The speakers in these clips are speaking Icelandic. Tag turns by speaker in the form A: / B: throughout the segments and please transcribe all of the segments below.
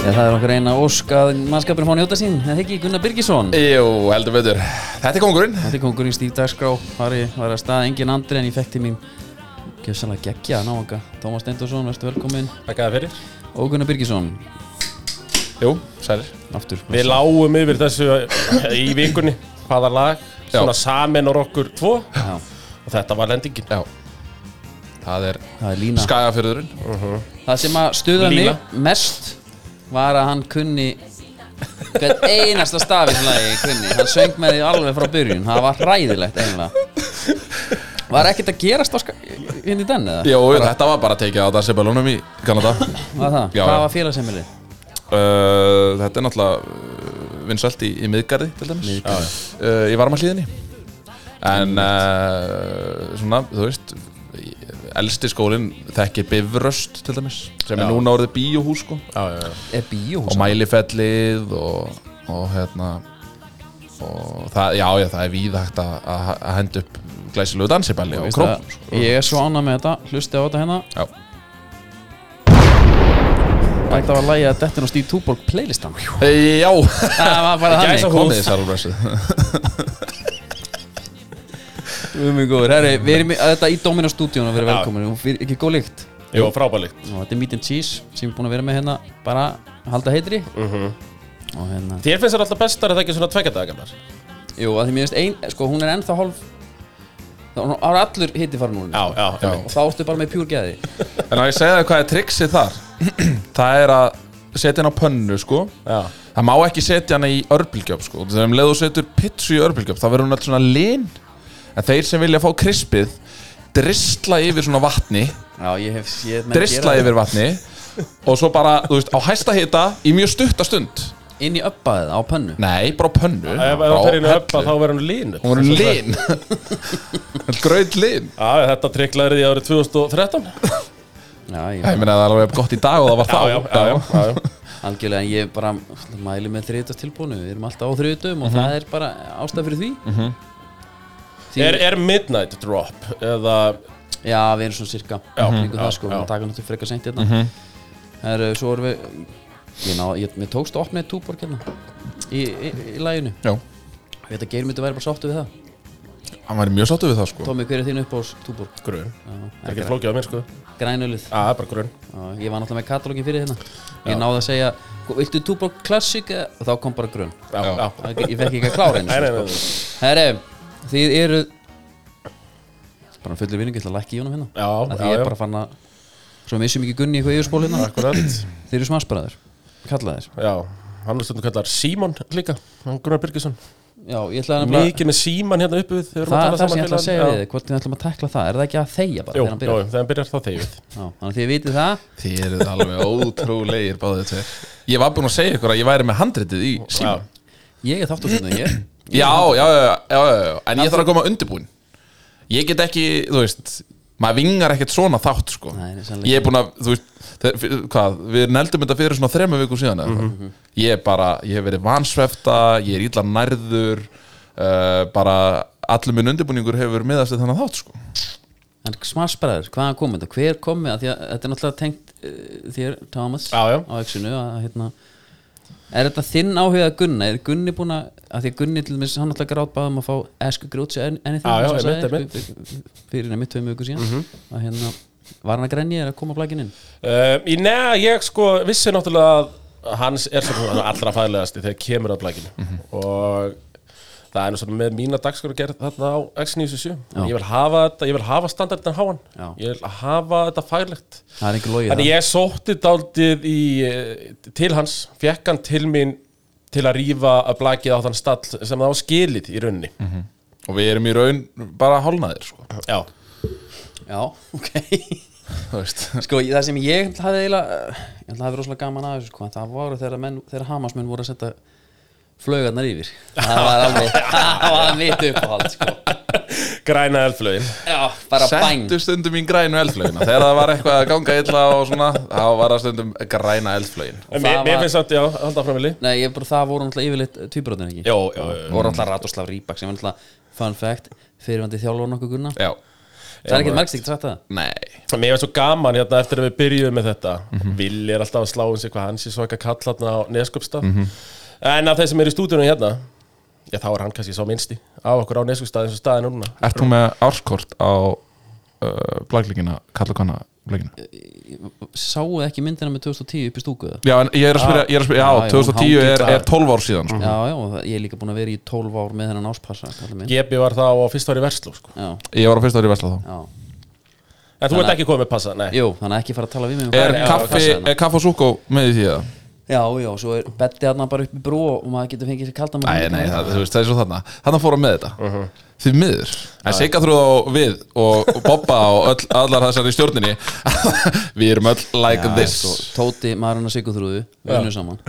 A: Ég, það er okkar eina ósk að mannskapurinn fá að njóta sín, eða ekki Gunnar Birgisson
B: Jú, heldur betur Þetta er kongurinn
A: Þetta er kongurinn Stíf Dagskrá, var ég var að staða engin andri en ég fekk til mín Gjössalega geggja náanga Tómas Stendursson, verður velkominn
C: Takk að það fyrir
A: Og Gunnar Birgisson,
B: Jú, sælir
A: aftur
C: Við lágum yfir þessu eh, í vikunni hvaða lag, svona
B: Já.
C: samin og okkur tvo
A: Já,
C: og þetta var lendingin
B: Já Það er
A: það er lína
B: skagafyrðurinn
A: Það sem að stuða
C: Lína.
A: mig mest var að hann kunni hvern einasta stafi sem lagi kunni, hann söng með því alveg frá byrjun það var hræðilegt eiginlega Var ekkert að gerast á ska- inn í den eða?
B: Jú, þetta var bara tekið á dansibælunum í Kanada
A: Var það?
B: Já,
A: Hvað
B: já.
A: var félagsheimilið?
B: uh, Þetta er náttúrulega vinsalt í, í miðgarði til dæmis Miðgarði uh, Í varmahlíðinni En uh, svona, þú veist Elsti skólinn þekkir Bifröst til dæmis Sem er
C: Já.
B: núna orðið bíóhús sko
C: Já, já, já.
A: Er bíóhús?
B: og mælifellið og, og hérna og það, já, já, það er víðhægt að, að að henda upp glæsilegu dansiballi og
A: Veist
B: krom
A: það, Ég er svo ánað með þetta, hlusti á þetta hérna
B: Já.
A: Þetta var lægið að dettin og stíð túborg playlistan
B: Hey, já,
A: Það var bara
C: Gæsa-
A: þannig
B: komið þessar úr blessuð
A: Guð minn góður, herri, við erum í- að þetta í Domino stúdíónu að vera velkomin og fyrir- ekki góð líkt
C: Jú, frábælikt
A: og þetta er meat and cheese sem ég er búin að vera með hérna bara að halda heitri og hérna
C: Þér finnst þetta alltaf bestar að það ekki svona tvekja dagar gamlar
A: Jú, að því mér finnst ein, sko hún er ennþá hálf þá hún ára allur hitti farin úr henni.
C: Já, já, já
A: og þá ertu bara með pjúr geði
B: En á ég segja það hvað er trixið þar Það er að setja hann á pönnu sko
C: Já,
B: Það má ekki setja hann í örbylgjöf sko Þegar um leið og setur pitsu í örbylgjöf þá verður hún alltaf svona lin En þeir sem vilja fá krispið dristla yfir svona vatni
A: Já, ég hef séð menn
B: dristla
A: gera
B: yfir vatni og svo bara, þú veist, á hæsta hita í mjög stutta stund
A: það inn í uppaðið á pönnu
B: Nei, bara á pönnu
C: ef
B: Bara á
C: það fer inn
B: hellu.
C: upp að þá verður hann lín
B: Hún var lin Gröð lin
C: Já, þetta tryglaði því árið 2013
A: Já, ég,
B: Ég meina það er alveg gott í dag og það var þá
C: já, já, já, já, já.
A: algjörlega en ég bara mæli með þriðutast tilbúinu við erum alltaf á þriðutum
C: Mhm.
A: og það er bara ástæð fyrir því því
C: Er, er Midnight Drop eða
A: Já, við erum svona cirka já, líka það sko, við erum að taka náttúrulega frekar seint hérna
C: Mhm.
A: mm Svo erum við ég, ná, ég, Mér tókst að opna eitt túborg hérna í, í, í læginu
B: já.
A: Ég veit að Geir myndi væri bara sáttu við það
B: Hann var mjög sáttu við það sko
A: Tómi, hver er þín uppáðs túborg?
C: grun Það er ekki flókið á mér sko Já,
A: Grænölið
C: það er bara grun
A: Já, Ég var náttúrulega með katalógin fyrir hérna Ég náði að segja, "Hva- viltu túborg klassik? eða-" Og þá kom bara grunn
C: Já,
B: Já.
C: já
A: Það er ekki- Ég fekk ekki að klára henni
C: Nei, nei,
A: sko.
C: nei, nei.
A: Herre, þið eru Bara fullir vinningi, ég ætla að lækki í honum hérna
C: Já,
A: Af Því
C: já,
A: ég er
C: já.
A: bara fann að Svo missum ekki gunni í eitthvað yfirspól hérna
C: Akkurat
A: Þeir eru smagsbræður, kallaðir
C: Já, hann er stundum kallar Símon líka Hann Gunnar Birgisson
A: Já, ég ætlaði nefnilega
C: Mikið með Símon hérna uppi við
A: Það er það sem ég ætla að segja við þið, hvort við ætlum að tekla það Er það ekki að þegja bara
C: Jú,
A: þegar hann
C: jú,
A: byrjar?
C: þegar hann byrjar þá þegið
A: Já, þannig að þið vitið það
B: Þið eruð alveg ótrúlegir báðið tveir Ég var búinn að segja ykkur að ég væri með handritið í síma
C: Já,
A: Ég er þáttur hérna hér
B: Já, já, já, já, já, já, já. En ég þarf að koma undirbúinn Ég get ekki, þú veist Maður vingar ekkert svona þátt sko
A: Nei, nei, sannlega.
B: Ég er búinn að, þú veist þeir- fyrir- Hvað, við neldum þetta fyrir svona þremmu viku síðan mm
A: Mhm.
B: Ég er bara, ég hef verið vansvefta Ég er illa nærður uh, Bara allur minn undirbúningur hefur miðast við þennan þátt sko
A: En smagsbræður, hvaðan kom þetta? Hver kom með? Því að þetta er náttúrulega tengt uh, þér, Thomas
C: Já, já.
A: Á exinu að, hérna, Er þetta þinn áhuga að Gunna? Er Gunni búin að, að því að Gunni til þess hann náttúrulega grátbæðum að fá Esku Grótsi anything
C: Já, já,
A: eins og hann
C: einmitt, Mhm.
A: sagði, Fyrir nefnir tveim viku síðan að, hérna, Var hann að grenja eða að koma blækininn?
C: Um, í neða, ég sko vissi náttúrulega að hans er svona allra fæðlegasti þegar kemur að blækinu
A: Mhm.
C: og það er nú svona með mína dagskor að gera þarna á X97
A: Já.
C: ég vil hafa þetta, ég vil hafa standardin háan
A: Já.
C: ég vil hafa þetta fælegt
A: Það er einhver logið
C: þannig ég sótti daldið í, eh, til hans, fekk hann til mín til að rífa að blækið á þann stall sem það á skilið í rauninni
A: Mhm.
B: Og við erum í raun bara hálnaðir sko
C: já,
A: Já, ok
B: Þú veist
A: Sko, það sem ég hafði eiginlega eh, ég hafði rosalega gaman að þessu sko, en það voru þegar, menn, þegar Hamasmenn voru að setja flaugarnar yfir það var alveg, það var mitt uppáhald sko.
C: græna eldflögin
A: já, bara bæng
B: Settu stundum í grænu eldflögina Þegar það var eitthvað að ganga illa og svona Þá var það stundum græna eldflögin
C: En
A: það
C: mér, mér
A: var-
C: finnst þetta, já, halda fram í lið
A: Nei, ég bara, það voru náttúrulega yfirleitt tvíbrotin ekki
C: já, já, já,
B: eh,
C: já.
A: voru náttúrulega Ratoslav Rýbak sem var náttúrulega fun fact fyrirvandi þjálfur nokkuð gunna
B: Eh, Já,
A: það er ekkert margst ekki sagt það
B: nei
C: Mér var svo gaman hérna eftir að við byrjuðum með þetta mm Villi er alltaf að slá um sig hvað hans er svaka kall hérna á Neskupstað En af þeir sem eru í stúdíunum hérna Já, þá er hann kannski svo minnsti á okkur á Neskupstað eins og staðin núna
B: Ert þú með árskort á uh, blæklingina, kalla kona blækina?
A: Sáu ekki myndina með 2010 upp í stúkuða
B: Já, en ég er að spyrja, ég er að spyrja,
A: Já, já,
B: já, 2010 er,
A: hangir-
B: er 12 ár síðan sko.
A: Já, já, og það- ég er líka búin að vera í 12 ár með þennan áspassa kallinn minn.
C: Gebi var þá á fyrsta ári versló sko.
A: Já,
B: Ég var á fyrsta ári í Vesla þá
A: já
C: En þú ert ekki komið með passa, nei
A: Jú, þannig að ekki fara að tala við mig um
B: Er
A: hvað-
B: kaffi,
A: hvað-
B: er kaffi og súkó með í því eða?
A: Já, já, svo er betti hann bara upp í brú og maður getur fengið sér kaldan
B: Nei, nei, það, þú veist, það er svo þarna Þannig fór hann með þetta
C: Uh-huh.
B: uh -huh. Því miður En Sigga þrúð á við og, og Bobba og öll, allar þessar í stjórninni Við erum öll like this
A: Svo, Tóti, maðurinn og Sigurþrúðu, við unnum saman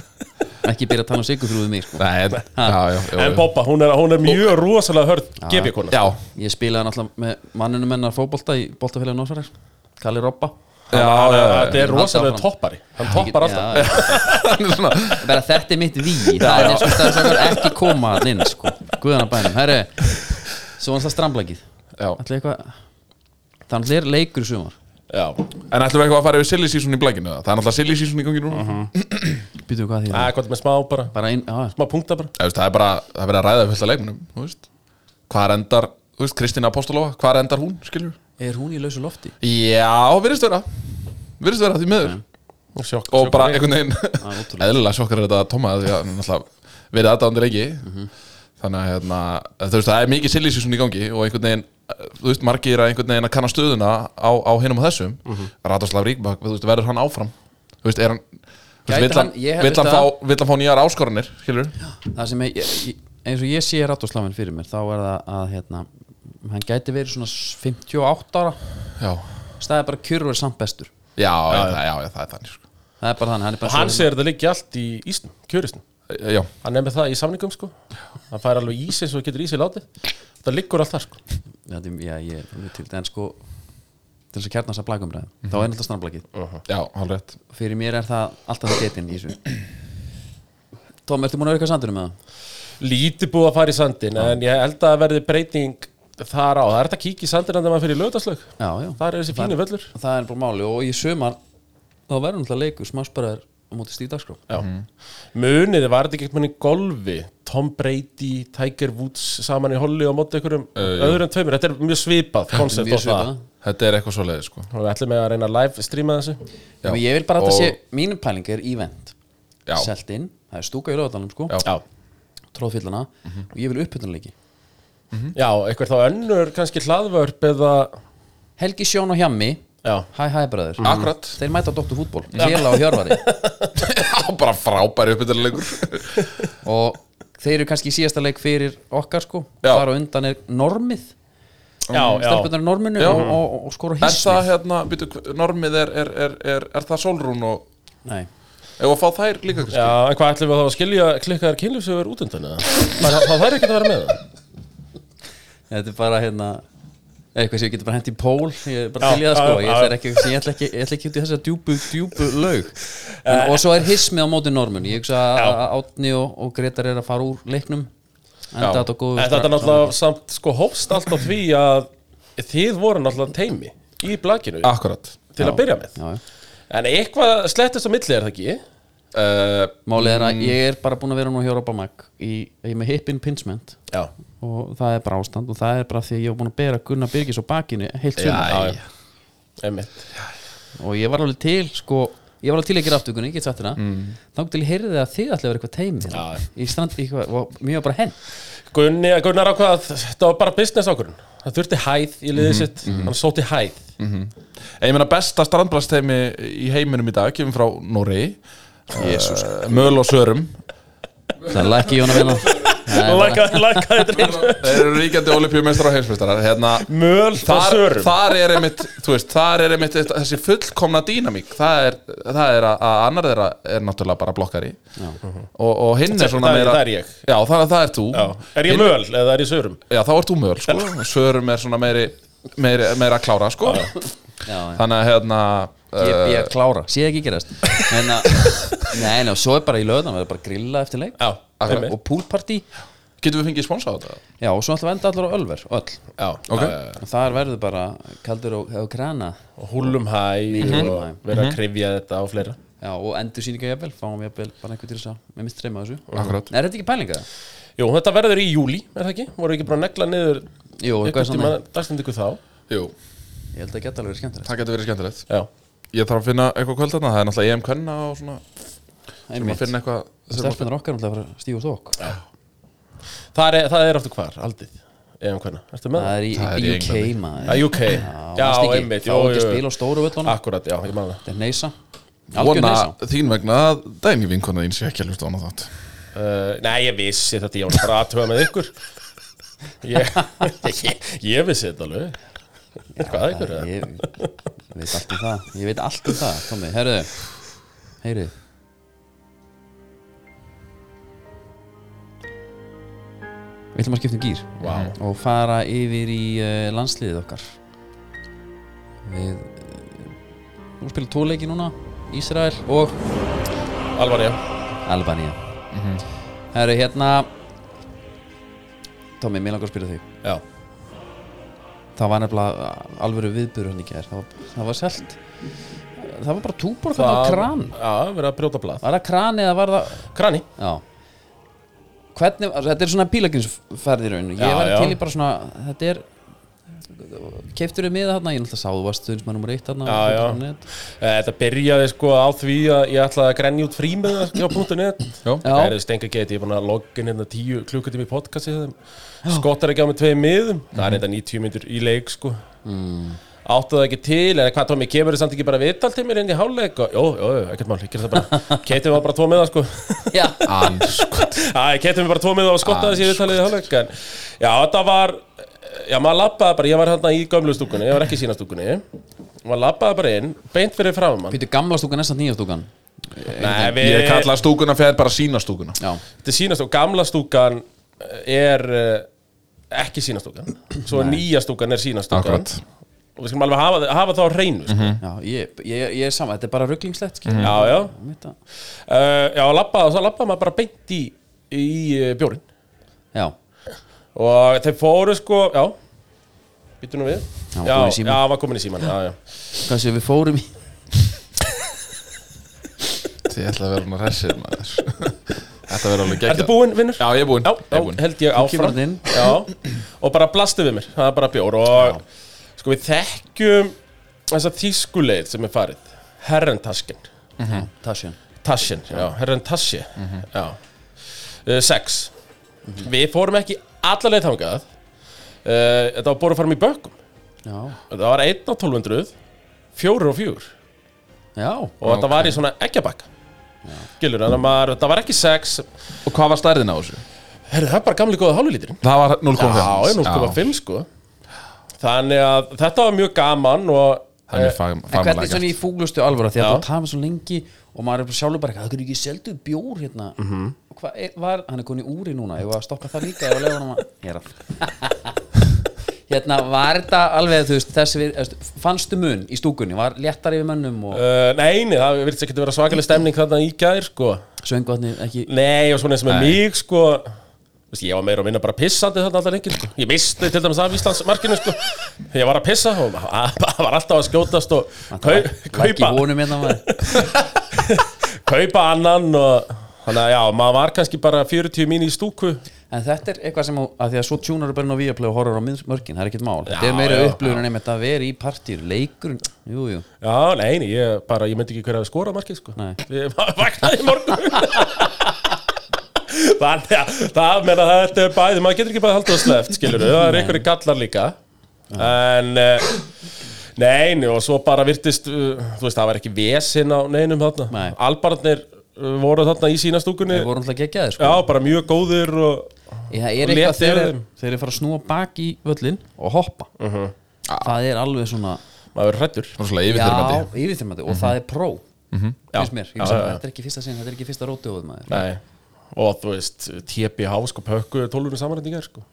A: Ekki byrja að tala um Sigurþrúðu mig sko.
B: Nei, en, já, já, já,
C: En
B: já.
C: Bobba, hún er, hún er mjög rosalega hörð Gebi kona
B: já
A: Ég spilaði náttúrulega með mannunum hennar fótbolta í boltafélagi Nósvarar Kalli Robba
B: Já,
C: Hann-
B: já, já.
C: Þetta er rosalega
A: áfram.
C: toppari Hann toppar alltaf
A: Já, já.
B: Hann er svona
A: Bara þetta er mitt ví Það er eins og það er ekki koma hann inn sko. Guðan að bænum, herri Svo var það stramblækið
B: Já.
A: Ætli eitthvað Þannig er leikur í sumar
C: Já,
B: En ætlum við eitthvað að fara yfir silly season í blækinu eða? Það er náttúrulega silly season í gangi núna
C: Uh-huh.
A: Býtum við hvað því
B: Ah.
C: það er gott með smá bara
A: Bara inn, já,
C: Smá punkta bara
B: Þú veist, Það er bara, það er verið að ræða fullt af leikmunum Þú veist, hvar endar, þú veist, Kristina Apostolova Hvar endar hún, skiljum
A: er hún í lausu lofti?
B: Já, virðist vera Virðist vera því miður
C: Sjokk,
B: Og
C: sjokk-
B: bara
C: sjokk-
B: einhvern veginn
A: ótrúlegt.
B: Eðlilega sjokkar er þetta að Toma Því að náttúrulega verið aðdáðandir ekki
A: Mhm.
B: Þannig að hérna, þú veist, það er mikið silly season í gangi Og einhvern veginn, eh, þú veist, margir að einhvern veginn að kanna stöðuna á, á hinum og þessum mm
A: Mhm.
B: -hmm. Ratoslav Ríkbak, þú veist, verður hann áfram Þú veist, er hann þú veist,
A: Gæti
B: Vill hann,
A: hann- ég hef-
B: vill hann,
A: veist
B: fá, vill hann fá nýjar áskoranir, skilur
A: það sem ég, ég, eins og ég sé Rattoslavin fyrir mér þá er það að hérna, hann gæti verið svona 58 ára
B: Já,
A: staði bara kjörur samt bestur
B: já, já, já, já, það er þannig sko.
A: það er bara þannig, hann er bara
C: Hann
A: svo-
C: segir þetta liggja allt í ísnum, kjörisnum
B: Eh, Já,
C: Hann er með það í samningum sko Hann fær alveg ís eins og getur ís í látið Það liggur allt þar sko
A: já, því- já, ég er mjög til en sko til þess að kjarna þess að blækumræðin þá er alltaf strandblækið
B: já, hálf rétt
A: fyrir mér er það alltaf getinn í þessu Tom, ertu múin að vera eitthvað sandunum með það?
C: Lítið búið að fara í sandin En ég held að það verði breyting þar á Það er þetta að kíkja í sandin en það maður fyrir lögutaslaug
A: Já, já,
C: Þar er þessi fínu völlur
A: það er bara máli og í sömar þá verður náttúrulega leikur smásparaður á móti stíðdagskrá
C: Já Muniði, var þetta ekki eitthvað í golfi Tom Brady, Tiger Woods saman í holli og móti einhverjum öðrum tveimur Þetta er mjög svipað koncept og það
B: Þetta er eitthvað svo leiði, sko
C: Og við ætlum að reyna að live streama þessu
B: Já.
A: ég vil bara að þetta
B: Og-
A: sé, mínu pæling er event
B: Já,
A: selt inn, það er stúka í lögadalum sko,
B: Já.
A: tróðfyllana og ég vil upphundunleiki
C: Já, eitthvað þá önnur kannski hlaðvörp eða
A: Helgi Sjón og Hjammi,
C: Já,
A: hæ hæ bræður
B: Mhm. akkurat
A: þeir mæta á Dr. Fútból, Kjela og Hjörvari
B: Já, bara frábæri uppbyttilegur
A: og þeir eru kannski í síðasta leik fyrir okkar sko,
B: Já.
A: þar og undan er normið,
C: já, já.
A: stelpunar er norminu og, og, og, og skora
B: Er það,
A: hísni
B: hérna, býtu, normið er, er, er, er, er það sólrún og
A: Nei.
B: Ef að fá þær líka, Kristi
C: Já, en hvað ætlum við þá að skilja klikkaðar kynlífsögur út undan eða? Það það þær ekki að vera með það
A: þetta er bara hérna eitthvað sem ég geti bara hent í pól ég er bara
C: Já,
A: til í það
C: já,
A: sko,
C: já,
A: ég
C: já.
A: ætla ekki, ég ætla ekki, ég ætla ekki út í þessa djúbu, djúbu laug en, og svo er hismið á móti normun ég hugsa að að Átni og, og Gretar er að fara úr leiknum en
B: Já.
A: þetta er góð
C: En þetta er náttúrulega samt sko hófst allt á því að þið voru náttúrulega teimi í blakinu
B: Akkurat
C: til að byrja með
A: Já, já.
C: En eitthvað slettist á milli er það ekki
B: uh,
A: Málið er
C: Mm.
A: að ég er bara búin að vera nú hjá Robba Mac í, ég er með hip impingement
C: Já,
A: og það er bara ástand og það er bara því að ég var búin að bera Gunnar Birgis á bakinu heilt sumar
B: já,
C: já. einmitt
A: og ég var alveg til sko ég var alveg til að gera aftökunni, ég get sagt þérna mm. þá til ég heyrði að þið ætli að vera eitthvað teimi hérna.
C: Já.
A: í strand, í eitthvað, og mér var bara henn
C: Gunni, Gunnar ákvað, þetta var bara business ákvörðun Það þurfti hæð í liðið sitt, hann sótti hæð
B: En ég meina besta strandblastteimi í heiminum í dag Kemur frá Noregi Jesus uh, Möl og Sörum
A: það er lækki Jónar Vinnar
C: Lækkaði lækkaði þetta inn
B: Þeir eru ríkjandi olipjumestrar og heimsmeistarar Hérna
C: Möl það
B: Þar,
C: sörum
B: þar er einmitt, þú veist, þar er einmitt þetta- þessi fullkomna dýnamík það er, það er að, að annar þeirra er náttúrulega bara blokkari og, og hinn er svona
C: Það er-
B: meira
C: það er ég.
B: Já, það, það er þú
C: Já, er ég möl eða er ég sörum?
B: Já, þá ert þú möl, sko og Sörum er svona meiri, meiri, meira að klára, sko
A: ég,
B: Þannig að hérna
A: ég er klára, sé ekki gerast en að, nei, nei, og svo er bara í löðan, við erum bara að grilla eftir leik
C: Já,
B: Akkurat.
C: einmitt
A: og poolparty
B: Getum við fengið sponsa á þetta?
A: Já, og svo ætlum við að enda allar á Ölver, öll
C: Já,
B: Ok.
C: já, já.
A: og þar verður bara kaldur og, og krana
C: og húlum hæ
A: Húllum
C: og
A: hæ.
C: vera að krifja þetta og fleira
A: Já, og endur síninga jafnvel, fáum jafnvel bara einhvern til þess að með mist reyma þessu
B: Akkurát.
A: Er þetta ekki pælinga það?
C: Jú, þetta verður í júli, er það ekki? Voru ekki bara að negla niður
A: Jú, eitthvað
C: einhvern
A: svona
C: tíma dagstendingu þá?
B: Jú,
A: Ég held að það geta alveg verið skemmtilegt
B: það getur verið skemmtilegt
C: Já,
B: Ég þarf að finna eitthvað kvöld þarna, það er náttúrulega EM kvenna og svona Þurfum að
A: Einmitt,
B: finna eitthvað þurfum að finna-
A: stelpunar okkar er alltaf að stífa þók
C: það er, það er aftur hvar, aldið, eða um hvernig, ertu með
A: Það
C: það?
A: er í,
B: Það er í
A: í UK
B: Englandi.
A: maður
C: Það er UK, já,
A: manstu ekki?
C: einmitt,
A: Fá
C: jú,
A: ekki að
C: jú.
A: spila á stóru völlunum
C: Akkurat, já, ég man það
A: Þetta er neysa Algjör
B: Vona
A: neysa
B: þín vegna að dæni vinkona þín sé ekki að hlusta á hana þátt
C: Uh, nei, ég vissi þetta, ég var bara aðtöða með ykkur ég, ég, ég vissi þetta alveg Hvað er ykkur? eða?
A: Ég ég veit allt um það Ég veit allt um það, Tommi, herðu Heyriði Við ætlum að skipta um gýr
C: Vá,
A: og fara yfir í uh, landsliðið okkar Við uh, Nú spilum tóleiki núna Ísrael og
C: alvar ég
A: Albanía
C: Mhm.
A: Herru, hérna Tommi, mér langar að spila þig
C: Já,
A: Það var nefnilega uh, alvöru viðbyrður hann í gær Það var, það var selt Uh, Það var bara túborg Það var kran
C: Já, verið að brjóta blað
A: Var það kran eða var það
C: Krani
A: Já Hvernig, altså, þetta er svona pílagrinsferð í rauninu Ég
C: Já,
A: var
C: já.
A: til í bara svona Þetta er Keiftur við miða þarna Ég náttúrulega sá þú varst stunds maður nummer eitt þarna
C: Já,
A: hérna á
C: já.
A: net.
C: Þetta byrjaði sko á því að ég ætlaði að grenja út frí með það á punktu net
A: Já.
C: Það er stenga geti, ég er búin að logga inn hérna tíu klukkutími í podcasti þeim. Skottar ekki á með tvei miðum Það er þetta 90 myndur í leik sko Áttu það ekki til, en hvað Tómi, kemur þið samt ekki bara vital til mér inn í hálfleik og, Jó, jó, jó, ekkert mál, ég gerði það bara Keitum var bara tvo með það sko
A: já.
B: Anskot
C: Já, ég keitum bara tvo með það og skottaði sér viðtalið í hálfleik en, Já, þetta var Já, maður labbaði bara, ég var hérna í gömlu stúkunni Ég var ekki í sína stúkunni Maður labbaði bara inn, beint fyrir framum mann
A: Pítur gamla stúkan, næsta nýja stúkan
C: Nei, við,
B: Ég kalla stúkuna fyrir bara sína stúkuna
A: Já,
C: þetta er sínast og gamla stúkan er eh, ekki sína stúkan Svo nýja stúkan er sína stúkan
B: Akkurat. Mhm.
C: Og við skulum alveg hafa, hafa það á hreinu sko.
A: já ég, ég, ég er saman Þetta er bara rugglingslegt skil.
C: Já, já
A: Mitt að-
C: uh, Já, labbaði, og svo labbaði maður bara beint í, í eh, bjórinn
A: Já,
C: Og þeir fóru sko, já Býtu nú við
A: Hann var
C: Já,
A: kominn í símann.
C: já, hann var komin í síman Já, já
A: hvað séu við fórum í
B: Ég ætla að vera hún að hressið maður Þetta verður alveg
C: Ertu
B: geggjað
C: búinn, vinnur?
B: Já, ég er búinn
C: já,
B: Ég er búinn.
C: held ég
A: kemur
C: áfram
A: þarna inn.
C: já, Og bara blastu við mér, það er bara bjór Og sko við þekkjum Þessa þýskuleið sem er farið Herrentaskin
A: Mhm. Tasjan
C: Taskin, já, herrentassi
A: Mhm.
C: Já uh, Sex Við fórum ekki alla leið þangað uh, Þetta var búin að fara í bökkum
A: Já,
C: Þetta var 1 á 1200 Fjórir og fjúr
A: já
C: Og þetta var í svona eggjabakka Gilur, þannig að maður, þetta var ekki sex
B: Og hvað var stærðin á þessu?
C: Herru, það er bara gamli góða hálflíturinn
B: Það var 0,5
C: Já, ég nú sko var fimm sko Þannig að þetta var mjög gaman og
B: Það er mjög fag-
A: En hvernig
B: fagmannlega
A: svona
B: gert.
A: í fúlustu alvara því að
C: Já.
A: þú tafum svo lengi og maður er bara sjálfur bara eitthvað, það er ekki seldu bjór hérna mm -hmm. Hvað er, var, hann er konið úri núna ég var að stoppa það líka, ég var að lefa hann að Hér að Hérna, var þetta alveg, þú veist, þessi við, veist, fannstu mun í stúkunni, var léttar yfir mönnum og
C: uh, Nei, nei, það virðist ekki að vera svakaleg stemning þarna í gær sko
A: sönguðni ekki
C: Nei, og svona eins og með mig sko Vist, Ég var meira og minna bara pissandi þarna alltaf lengi sko. Ég misti til dæmis af Íslandsmarkinu sko Ég var að pissa og það var alltaf að skjótast og kau,
A: Lækki
C: kaupa,
A: vonum hérna maður
C: kaupa annan og Þannig að já, maður var kannski bara 40 mín í stúku
A: En þetta er eitthvað sem, á- að því að svo tjúnar bara inn á Viaplay og horfur á mið- mörkin, það er ekkert mál Þetta
C: Já,
A: er meira
C: já,
A: upplifun en einmitt að vera í partír, leikur Jú, jú,
C: Já, nei, nei, ég, bara, ég myndi ekki hverja að skora markið sko
A: Nei.
C: Ég bara vaknaði í morgun Þannig að það meina að þetta er bæði Maður getur ekki bara haldið að sleft, skilur Það er einhverju gallar líka En eh, Nei, nei, og svo bara virtist uh, Þú veist, það var ekki vesinn á neinum þarna
A: Nei.
C: Albarnir uh, voru þarna í sína stúkunni
A: við vorum alltaf geggjaðir sko
C: Já, bara mjög góðir og
A: Ég, Það er
C: Og
A: eitthvað
C: létt yfir
A: þegar
C: þeim.
A: þeir eru fara að snúa bak í völlin og hoppa
C: Mhm.
A: Það er alveg svona
C: Maður er hrættur
A: Já,
B: Róslega yfirþyrmandi
A: yfirþyrmandi og það er pró finnst
C: Mhm. Já.
A: mér,
C: Já,
A: ég sagði
C: já, já.
A: þetta er ekki fyrsta sinn þetta er ekki fyrsta rótjóð maður
C: Nei Og þú veist, TPH sko pökkuðu tólurinn samanrættingar sko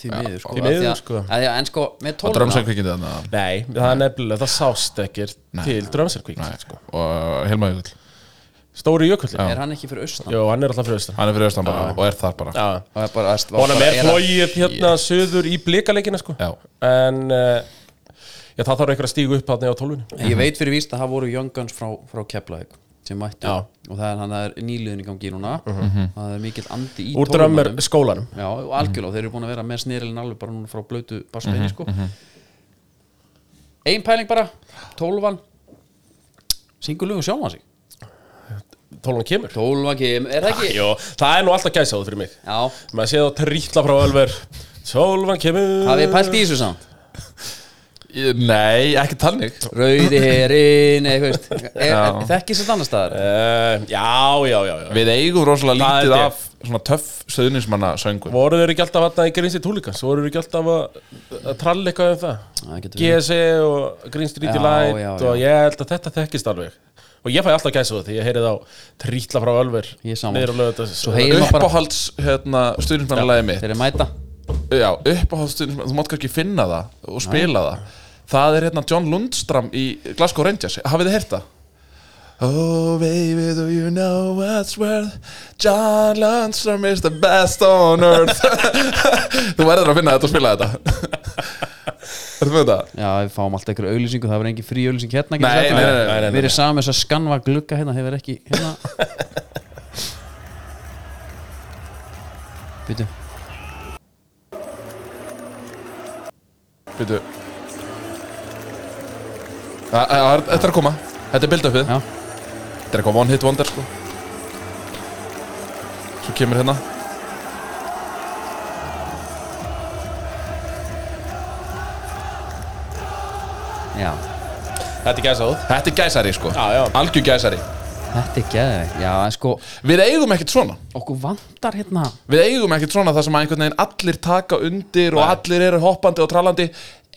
A: því miður sko,
C: Því miður,
A: af því
C: sko.
A: að- af því að- en sko með
B: Og
A: tóluna
B: drömsökvikið þannig
C: Nei, það er nefnilega, það sást ekkert til drömsarkvík sko.
B: Og Helma Jökull
C: Stóri Jökullin
A: Er hann ekki fyrir austan?
C: Jó, hann er alltaf fyrir austan
B: Hann er fyrir austan bara og er það bara
C: Já
A: Og er bara, veist, var
C: Honum
A: bara-
C: er
A: hann-
C: flóið hérna söður í blikalegina sko
B: Já.
C: En uh, Já, það þarf einhver að stígu upp þarna á tólfunni
A: Ég veit fyrir víst að það voru Young Guns frá, frá Keflavík sem mættu
C: Já. Mhm.
A: og það er, hann- það er nýliðin í gangi núna það er mikill andi í
C: Úr Mhm. drömmur
A: tólfunum.
C: skólanum
A: Já, og algjörlega, þeir eru búin að vera með snýrilin alveg bara núna frá blötu
C: Mhm,
A: baspeini, sko Ein pæling bara, tólfan Syngur lögum sjálfan sig
C: Tólfunni kemur
A: Tólfan kem, er það ekki?
C: Jó, það er nú alltaf gæsaðu fyrir mig
A: Já,
C: Maður séð þá trítla frá Ölver Tólfunni kemur
A: hafið þið pælt í þessu samt
B: Ég- Nei, ekki talning
A: Rauði herin, eða veist
B: Já.
A: Þekki sér annars staðar
C: Eh, Já, já, já, já
B: Við eigum rosalega
C: Það er
B: lítið
C: ég.
B: af svona töff söðnismanna söngum
C: Voru þeir ekki alltaf að það í Green Street Hooligans? Voru þeir ekki alltaf að, að tralla eitthvað um það?
A: Það getur verið.
C: GSE E og Green Street
A: Já,
C: Delight
A: já, já.
C: og ég held að þetta þekkist alveg og ég fæ alltaf gæsa því ég heyrið á trítla frá Ölver
A: Ég er sammála.
C: niður á lögðu
A: Svo heyr- Eigum að bara-
B: Uppáhalds hérna, stuðnismannalagi mitt
A: Þeir eru mæta
B: Já, uppáhalds stuðnismann, þú mátt kannski finna það og spila það Það er hérna John Lundstram í Glasgow Rangers Hafið þið heyrt það? Oh baby, do you know what's worth John Lundstram is the best on earth Þú verður að finna þetta og spila þetta Ertu með þetta?
A: Já, við fáum alltaf einhverju auðlýsingu, það verður engin frí auðlýsing hérna
B: Nei, nei, nei, nei,
C: nei, nei.
A: Við erum saman með þess að skanva glugga hérna, þeir verður ekki hérna Býtu
B: Býtu Það- það er- Þetta er að koma Þetta er build-upið
A: Já.
B: Þetta er eitthvað one hit wonder sko Svo kemur hérna
A: Já,
C: Þetta er gæsa því
B: Þetta er gæsari sko
C: Já, já.
B: Algjör gæsari
A: þetta er geðveikt Já, en sko,
B: Við eigum ekkert svona
A: okkur vantar hérna
B: Við eigum ekkert svona þar sem að einhvern veginn allir taka undir og allir eru hoppandi og trallandi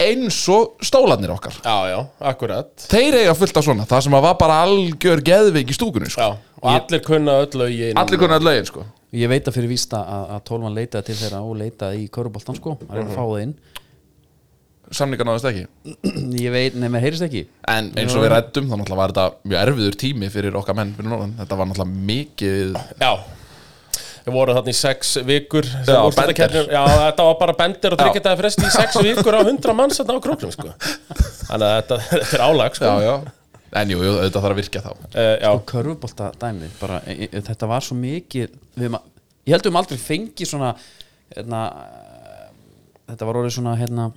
B: eins og stólarnir okkar
C: Já, já, akkurat
B: Þeir eiga fullt af svona Það sem að var bara algjör geðveik í stúkunni sko
C: Já, og allir kunna öll lögin
B: Allir konar lögin sko
A: Ég veit að fyrir vísta að, að tólvan leitaði til þeirra og leitaði í köruboltan sko Það er að fá það inn
B: Samningar náðast ekki
A: Ég veit, nei, mér heyrist ekki
B: En eins og við rættum þá náttúrulega var þetta mjög erfiður tími fyrir okkar menn fyrir norðan Þetta var náttúrulega mikið
C: Já Við vorum þarna í sex vikur sem
B: Já,
C: úrslitakeppnir- Já, þetta var bara bendir og
B: Já.
C: tryggitaði fresti í sex vikur á hundra manns þarna á króknum sko. Þannig að þetta, þetta er álag sko.
B: Já, já En jú, jú, auðvitað þarf að virka þá
C: Eh, já.
A: og körfubolta dæmi sko, bara, e, e, þetta var svo mikið við, höfum a- ég held við um aldrei fengið svona hérna, eh, þetta var orðið svona hérna,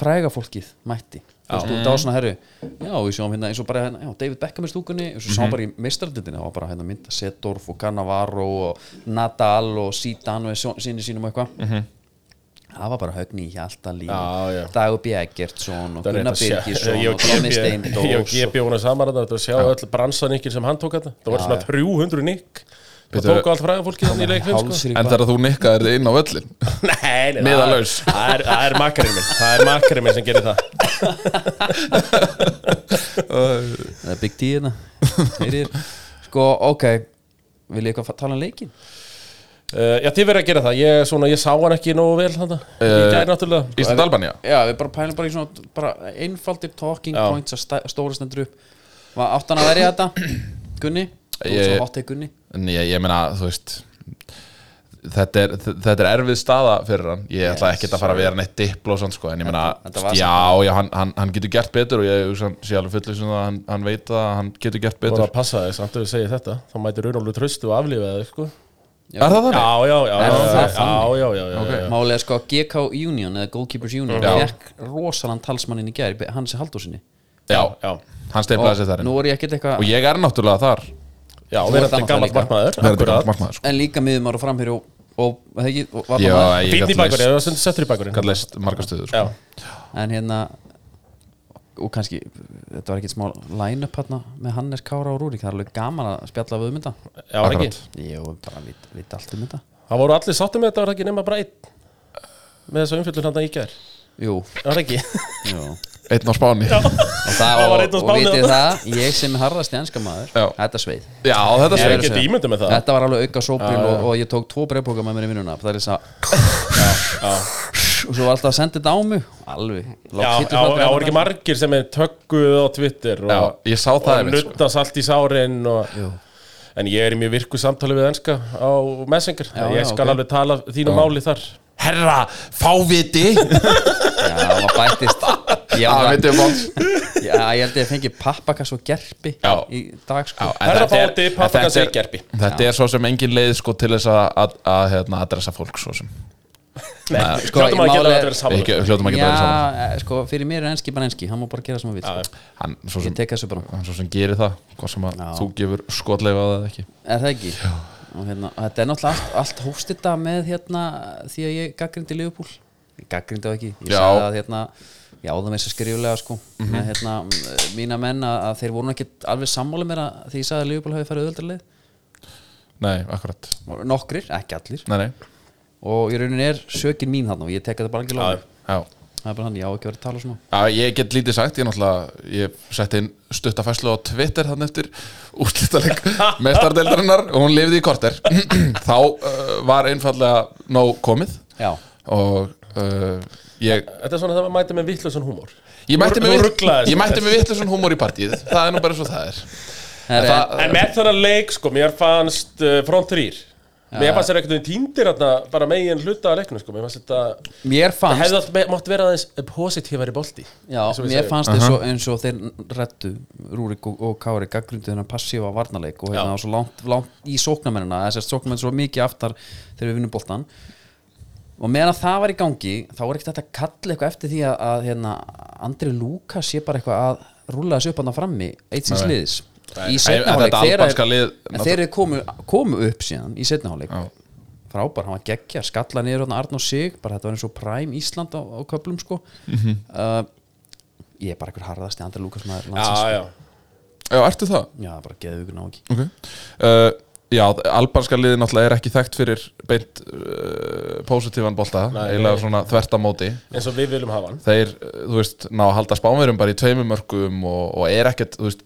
A: fræga fólkið mætti Þú veist, þetta var svona herru já, við sjáum hérna eins og bara hérna, já, David Beckham í stúkunni eins og
C: Mhm.
A: sjáum bara í meistardildinni það var bara hérna mynda Setorf og Cannavaro og Nadal og Zidane og sinni sínum og eitthvað það var bara högni í Hjaltalín
C: Mhm. Já, já.
A: Dagur B. Eggertsson og
C: Það er
A: Gunnar
C: rétt að sjá-
A: Birgisson
C: Ég
A: og Tommy Steindós
C: og Gebi Jónas Samar þetta var að sjá öll bransanikir sem hann tók þetta það var svona 300 nikk það
B: Bíddu.
C: tók allt fræða fólki þannig í leikfinn sko.
A: Hálsrík
B: En þegar þú nikkaðir þig inn á völlin
C: Nei, nei,
B: Miðalaus.
C: það- það er- það er makkarinn minn það er makkarinn minn sem gerir það
A: Það er Big D hérna Heyrir. Sko, ok Vil ég eitthvað fa- tala um leikin?
C: uh, Já, þið verður að gera það ég, svona, ég sá hann ekki nógu vel þannig
B: Eh,
C: ég gæri náttúrulega
B: Ísland Albania
A: Já, við bara pælum bara í svona bara einfaldir talking
C: Já.
A: points að stæ- stóra stendur upp Var áttan að verja þetta? Gunni? Þú ég...
B: Ég-
A: svo hotið Gunni
B: En ég, ég meina, þú veist Þetta er, þetta er erfið staða fyrir hann Ég ætla ekkert að fara að vera neitt dipló og svona, sko, En ég meina,
A: Þetta- þetta var
B: já, já, hann, hann, hann getur gert betur Og ég hugsa hann sé alveg fullið sem það að hann, hann veit það að Hann getur gert
C: voru
B: betur
C: að passa þess samt að við segja þetta þá mætir Unólu tröstu og aflífa það sko.
A: Já.
B: Er það
C: Já,
B: þannig?
C: já, já
A: Er
C: já,
A: það
C: já, já, já, já,
B: Ok.
C: já.
A: Málega sko GK Union eða Goalkeepers Union
B: Já.
A: fekk rosalann talsmanninn í gær Hansi Haldósinni
B: Já,
C: Já,
B: hann steiflaði sér þar inn.
A: Nú er ég ekkert
B: Og
A: eitthvað
B: ég er náttúrulega þar
C: já
A: Þú ert
C: verður þetta
A: annað
C: gammalt
A: líka.
C: markmaður
B: Verður þetta
C: akkurat.
B: galt markmaður sko.
A: En líka miðum ára framhýri og, og, og, og, og, og, og,
B: Já,
A: og,
B: ég
C: Fínn í
B: gat
C: bækurinn,
B: leyst-
C: það var sund- settur í bækurinn
B: gat leist margar stöður sko.
C: Já,
A: en hérna og kannski, þetta var ekkert smá line-up hérna með Hannes Kára og Rúrik það er alveg gaman að spjalla við um þetta
C: já, var ekki
B: Akkurat.
A: Jó, bara við, við allt um þetta
C: Það voru allir sáttum með þetta, var það ekki nema bara einn með þessu umfjöldun hann í gær
A: Jú,
C: Það var ekki
A: jú
B: Einn á Spáni Já,
A: Og það,
C: Það var
A: og,
C: einn á
A: og,
C: Spáni
A: vitið
C: þarna.
A: það, ég sem er harðast í enska maður
B: Já.
A: Þetta sveið
B: þetta
C: Ég er
B: segir
C: ekki
A: segja.
C: ímyndum með það
A: Þetta var alveg auka sópil og, og ég tók tvo breyðbóka með mér í vinnuna Það er þess að Og svo var alltaf að senda þetta á mig Alveg
C: Já,
A: lágt
C: já,
A: hitluflötur
C: já,
A: hérna.
C: voru ekki margir sem er tögguð á Twitter
B: Já,
C: og,
B: ég sá það
C: og
B: einmitt, sko.
C: nutta salt í sárin og
A: Jú.
C: en ég er í mjög virku samtali við enska á Messenger
A: Já,
C: ég
A: já,
C: skal
A: ok.
C: alveg tala þínu máli þar
B: Herra, fáviti
A: Já, það var bætist Ég,
B: Já,
A: var,
B: veitum við
A: já, ég held að ég fengi pappakass og gerpi
B: Já.
A: Í dag sko
C: Herra fáviti, pappakassi, gerpi.
B: Þetta er svo sem engin leið sko til þess að- að að, hérna, adressa fólk svo sem
C: Nei,
A: sko,
C: hljóttum að
A: í
C: geta
A: máli-
C: þetta verið
B: Við
C: saman
B: ekki- hljótum ekki að vera saman
A: Já, eh, sko, fyrir mér er enski bara enski Hann má bara gera sem hann vil
C: Já,
A: sko.
B: Hann svo sem,
A: Ég tek þessu bara
B: hann svo sem gerir það Hvað sem að
A: Já.
B: þú gefur skotleif á það eða ekki
A: Er það ekki? Og, hérna, og þetta er náttúrulega allt, allt hófst þetta með hérna, því að ég gaggrindi Liverpool Ég gaggrindi það ekki Ég
B: Já.
A: sagði að hérna, já það með þess að skriflega sko
C: Mhm.
A: með, hérna, m- Mína menn að, að þeir voru ekki alveg sammála mér að því ég sagði að Liverpool hafi farið auðvöldarlið
B: Nei, akkurat
A: Nokkrir, ekki allir
B: Nei, nei
A: Og í raunininn er sökin mín þarna og ég tek þetta bara ekki
C: Já,
A: lóðum
B: Já
A: Það er bara hann, ég á ekki verið að tala svona
B: Já, ég get lítið sagt, ég náttúrulega ég setti inn stuttafæslu á Twitter þannig eftir útlítaleg mestardeldarinnar og hún lifði í korter þá uh, var einfallega nóg komið
A: Já,
B: og uh, ég,
C: Þetta er svona það að mæta með vittlusan húmór
B: ég mætti
C: Nú-
B: mig
C: nú
B: vitt-
C: ruglaðist
B: ég mætti
C: þetta.
B: mig vittlusum húmór í partíð það er nú bara svo það er
A: Herre,
B: það,
C: En með þennan leik, sko, mér fannst uh, front 3 Mér fannst þeir einhvern veginn týndir hérna bara megin hluta að leiknum, sko Mér fannst þetta,
A: mér
C: það
A: fannst
C: hefði allt me- mátt vera aðeins positífari bolti
A: Já,
C: eins og við
A: mér
C: segjum.
A: fannst eins og, eins og þeir rettu Rúrik og, og Kári gaggrundu þennan passífa varnarleik og hérna
C: Já.
A: og svo langt, langt í sóknamennina þess að sóknamenn svo mikið aftar þegar við vinnum boltan og meðan að það var í gangi þá var ekkert þetta að kalla eitthvað eftir því að, að hérna, Andri Lúka sé bara eitthvað að rúla þessu upp hann frammi eitt síns
B: Nei.
A: liðis í
B: Nei,
A: setnaháleik
B: þetta albanska lið-
A: þeir eru komu, komu upp síðan í setnaháleik
B: Já.
A: frábær, hann var geggja, skalla niður hann Arn og Sig, bara þetta var eins og Prime Ísland á, á köflum sko uh, ég er bara einhver harðasti Andri Lúkas maður landsins,
C: Já, já
B: já, ertu það?
A: já, bara geðu ykkur náki
B: Okay. Uh, já, albanska liði náttúrulega er ekki þekkt fyrir beint uh, positífan bolta,
C: Nei.
B: eiginlega svona þvertamóti
C: eins og við viljum hafa hann
B: þeir, uh, þú veist, ná að halda spánverjum bara í tveimum mörgum og, og er ekkert, þú veist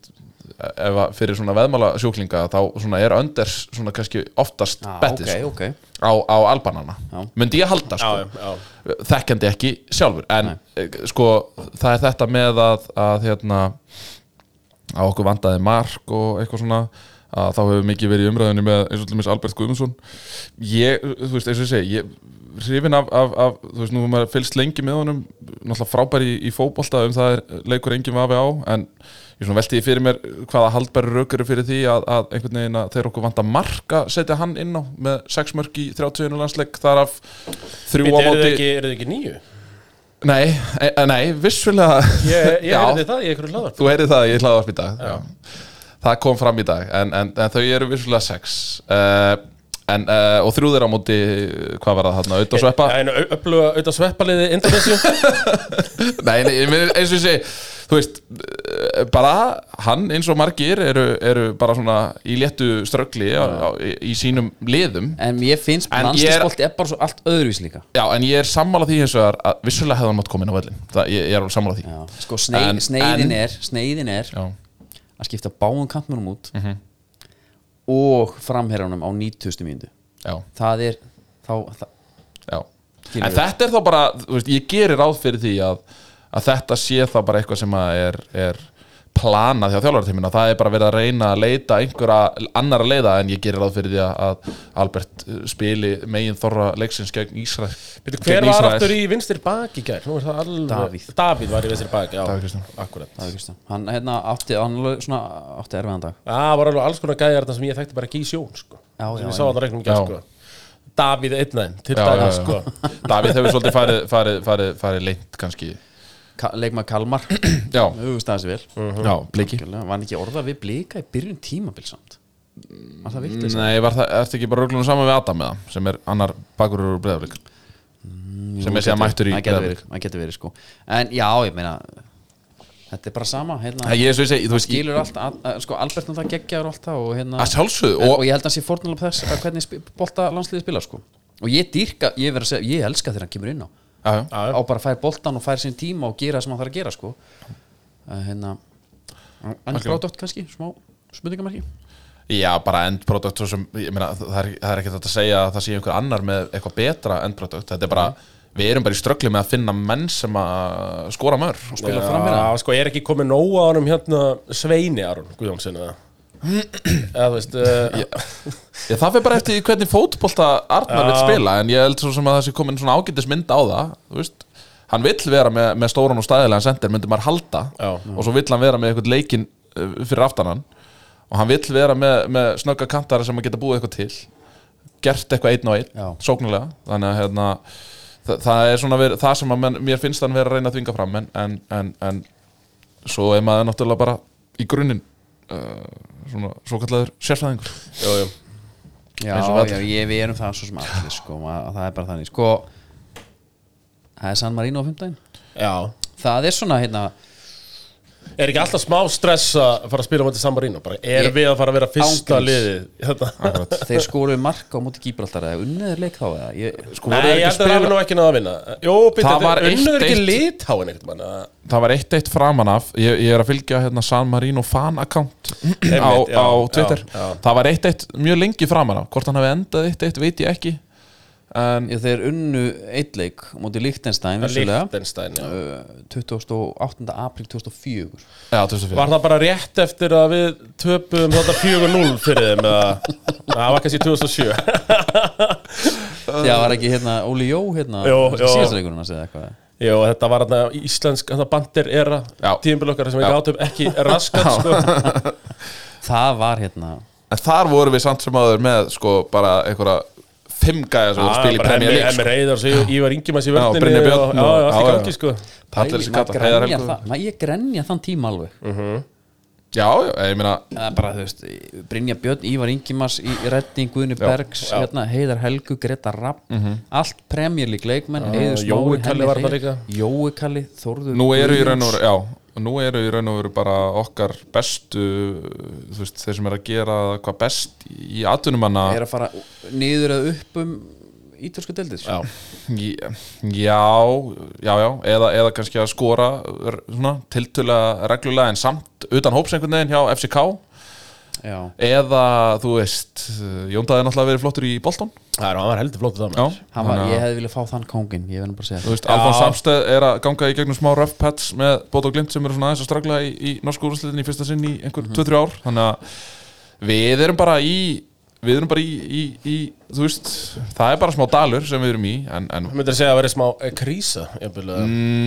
B: ef að fyrir svona veðmála sjúklinga þá svona er önders svona kannski oftast
A: ah,
B: bettið
A: ok,
B: sko,
A: ok,
B: á, á albanana
A: Já.
B: myndi ég halda sko,
C: Já, já,
B: þekkjandi ekki sjálfur en Nei. sko, það er þetta með að, að hérna að okkur vandaði mark og eitthvað svona að þá hefur mikið verið í umræðinu með eins og til dæmis Albert Guðmundsson ég, þú veist, eins og ég segi ég, hrifin af, af, af, þú veist, nú hefur maður fylgst lengi með honum, náttúrulega frábæri í, í fótbolta um það er leikur engin vafi á en ég svona velti því fyrir mér hvaða haldbæri rauk eru fyrir því að, að einhvern veginn að þeir okkur vanda mark að setja hann inn á með 6 mörk í 31 landsleik þar af
C: Býtu,
B: þrjú á
C: eru þið
B: móti
C: ekki, eru þið ekki nýju?
B: nei, e, e, nei, vissulega
C: Ég, ég
B: Já.
C: hefði það, ég er ykkur hlaðar
B: Þú heyrið það, ég hlaði upp í dag Já. Það kom fram í dag En, en, en þau eru vissulega sex uh, en, uh, Og þrjúðir á móti Hvað var það þarna, auðvitað sveppa
C: Það er einu öfluga auðvitað sveppaliði Indonesia
B: Nei, nei, ég meina, eins og ég segi Þú veist, eh, bara Hann eins og margir eru, eru bara svona Í léttu ströggli á, á, í, í sínum liðum
A: en mér finnst
B: En ég er-
A: landslisbolti er bara svo allt öðruvís líka
B: Já, en ég er sammála því hins vegar að vissulega hefði hann mátt koma inn á vellin Það, ég, ég er alveg sammála því
A: já. sko, sneið,
B: En-
A: sneiðin
B: en-
A: er sneiðin er
B: Já, Mhm.
A: að skipta báum kantmennum út og framherranum á 90. mínútu
B: já,
A: það er þá, það,
B: já
A: skilur
B: En
A: við.
B: þetta er þá bara, þú veist, ég gerir ráð fyrir því að, að þetta sé þá bara eitthvað sem að er, er planað hjá þjálfartíminu það er bara verið að reyna að leita einhverja annara leiða en ég gerir ráð fyrir því að, að Albert uh, spili megin þorra leiksins gegn Ísrael
C: Býtu, Hver var aftur í vinstir bak í gær? Nú er það alveg
A: Davíð.
C: Davíð var í vinstir bak, já
B: Davíð Kristján.
C: Akkurat
A: það er Kristján hann hérna átti, hann alveg svona átti erfiðan dag
C: Það var alveg alls konar gæjar þarna sem ég þekkti bara ekki í sjón sko.
A: Já, já,
C: sem ég sá að það regnum ekki
B: Já.
C: sko. Davíð einnaðin, til
B: Já, já,
C: dæmis sko.
B: já. Davíð hefur svolítið farið, farið, farið, farið leint kannski
A: Ka leikmaður Kalmar
B: Já,
A: hugust aðeins vel
C: Mhm.
B: já, bliki
A: Algjörlega, var hann ekki orða við blika í byrjun tímabil samt var það vilt
B: Nei, var það, ertu ekki bara röglunum saman við Adam með það sem er annar bakurur úr breðaflik sem er sér mættur í
A: það getur
B: Breiðablik.
A: verið, það getur verið sko en já, ég meina þetta er bara sama hérna,
B: Nei, Ég, eins og ég segi, þú veist, ég-
A: skilur allt, að, að, sko Albert náttúrulega geggjaður og allt það og hérna
B: að sjálfsögðu
A: En-
B: og,
A: og ég held að hann sé fórnulega þess að hvernig spi- bolta landsliði spila sko og ég dýrka, ég verð að segja, ég elska þegar hann kemur inn á
B: já, já.
C: Já, já.
A: á bara að færa boltan og færa sín tíma og gera það sem hann þarf að gera sko að hérna hann er gráðdótt kannski, smá spurningamarki
B: Já, bara endproduct svo sem, ég meina, það er, það er ekki þetta að segja að það sé einhver annar með eitthvað betra endproduct, þetta er bara, við erum bara í ströggli með að finna menn sem að skora mörg
A: spila fram hérna
C: Já, sko, ég er ekki komið nóg á honum hérna Sveini Aron Guðjónsson eða eða þú veist uh,
B: Já, það fyrir bara eftir því hvernig fótbolta Arnar vil spila en ég held svo sem að það sé komin svona ágætis mynd á það þú veist, hann vill vera með, með stóran og stæðilegan sendir, myndi maður halda
C: Já.
B: og svo vill hann vera með eitthvað leikinn uh, fyrir aftan hann og hann vill vera með, með snögga kantara sem að geta búið eitthvað til gert eitthvað einn og
A: Já.
B: einn, sóknulega þannig að hérna, það, það er svona verið, það sem að menn, mér finnst hann vera að reyna að þvinga fram en, en, en, en svo er maður náttúrulega bara í grunninn uh, svona svo kallar sérfræðingur
C: jú, jú.
A: Já,
B: Eins og allir.
A: já, ég, við erum það svo sem allir sko, og það er bara þannig sko, það er San Marino á 15
C: já
A: það er svona hérna
C: Er ekki alltaf smá stress að fara að spila á móti San Marino? Bara er
A: Ég-
C: við að fara að vera fyrsta
A: Ángríns.
C: liðið? Hérna. Þetta-
A: þeir skoruðu mark á móti Gíbraldar eða unniður leik þá eða ég,
B: Sko, voru
C: Nei,
B: þeir
C: ég
B: ekki
C: held að það
B: spila-
C: hafi nú ekki náða að vinna Jó,
B: Það
C: býttu,
B: var
C: unnur ekki
B: 1-1.
C: litháin einhvern mann
B: það var eitt eitt framan af ég, ég er að fylgja hérna San Marino fan account á,
C: Einmitt, já,
B: á Twitter
C: já, já.
B: það var eitt eitt mjög lengi framan af hvort hann hafi endað eitt eitt veit ég ekki en
A: ég, þeir unnu eitt leik á móti Lichtenstein vissulega
C: Lichtenstein, já
A: uh, 28. apríl 2004
B: já, 2004.
C: Var það bara rétt eftir að við töpum þetta 4-0 fyrir þeim eða? Það var kannski 2007
B: Uh.
A: Já, var ekki hérna Óli Jó hérna
C: Jó, jó.
A: síðastleikurinn að segja eitthvað
C: Jó, þetta var þarna íslensk, þetta bandir era
B: Já.
C: Tímbil okkar sem við
B: Já.
C: gátum ekki raskat sko.
A: Það var hérna
B: en þar voru við samt sem áður með sko bara einhverja fimm gæja sem voru að spila í Premier League
C: Emmi
B: sko.
C: Reyðar, svo Í- Ívar Ingimanns í vördninni
B: Brynjar Björn
C: Já,
B: og-
C: já, allt
B: já,
C: í
B: já.
C: gangi sko
B: Pallir
A: Pæli,
B: þessi
A: maður
B: kallar, Heiðar
A: grenjar
B: Helgu.
A: það- maður- Ég grenja þann tíma alveg
B: Mm. já, já, ég meina
A: Það er bara, þú veist, Brynja Björn, Ívar Ingimars í Redding, Guðni Bergs hérna, Heiðar Helgu, Greta Rapp
B: Mhm.
A: allt premjörlík leikmenn
B: Uh,
A: Heiður Smári,
C: Jói
A: Henry
C: Kalli var
A: Hreiðar,
C: það líka.
A: Jói Kalli, Þórður
B: nú eru í
A: Guðjóns.
B: raun og veru já, nú eru í raun og veru bara okkar bestu þú veist, þeir sem er að gera hvað best í atvinnumanna
A: er að fara niður eða upp um ítölsku deildið sko.
C: Já.
B: Já, já, já, eða, eða kannski að skora r- svona, tiltöla reglulega en samt utan hóps einhvern veginn hjá FCK
A: Já.
B: eða, þú veist, Jóndaði náttúrulega verið flottur í Bolton
C: Það er, hann var heldur flótið það
B: Já,
C: maður.
A: Hann Var, ég hefði viljað fá þann kóngin ég verðum bara að segja
B: þú
A: það
B: veist, Alfons Samsteð er að ganga í gegnum smá rough patch með Bóta og Glimt sem eru svona aðeins að stragla í, í norsku úrslitin í fyrsta sinn í einhver 2-3 ár þannig að við erum bara í við erum bara í, í, í þú veist, það er bara smá dalur sem við erum í en, en
C: Þú myndir að segja að vera smá eh, krísa jafnvel, eða-
B: Mm.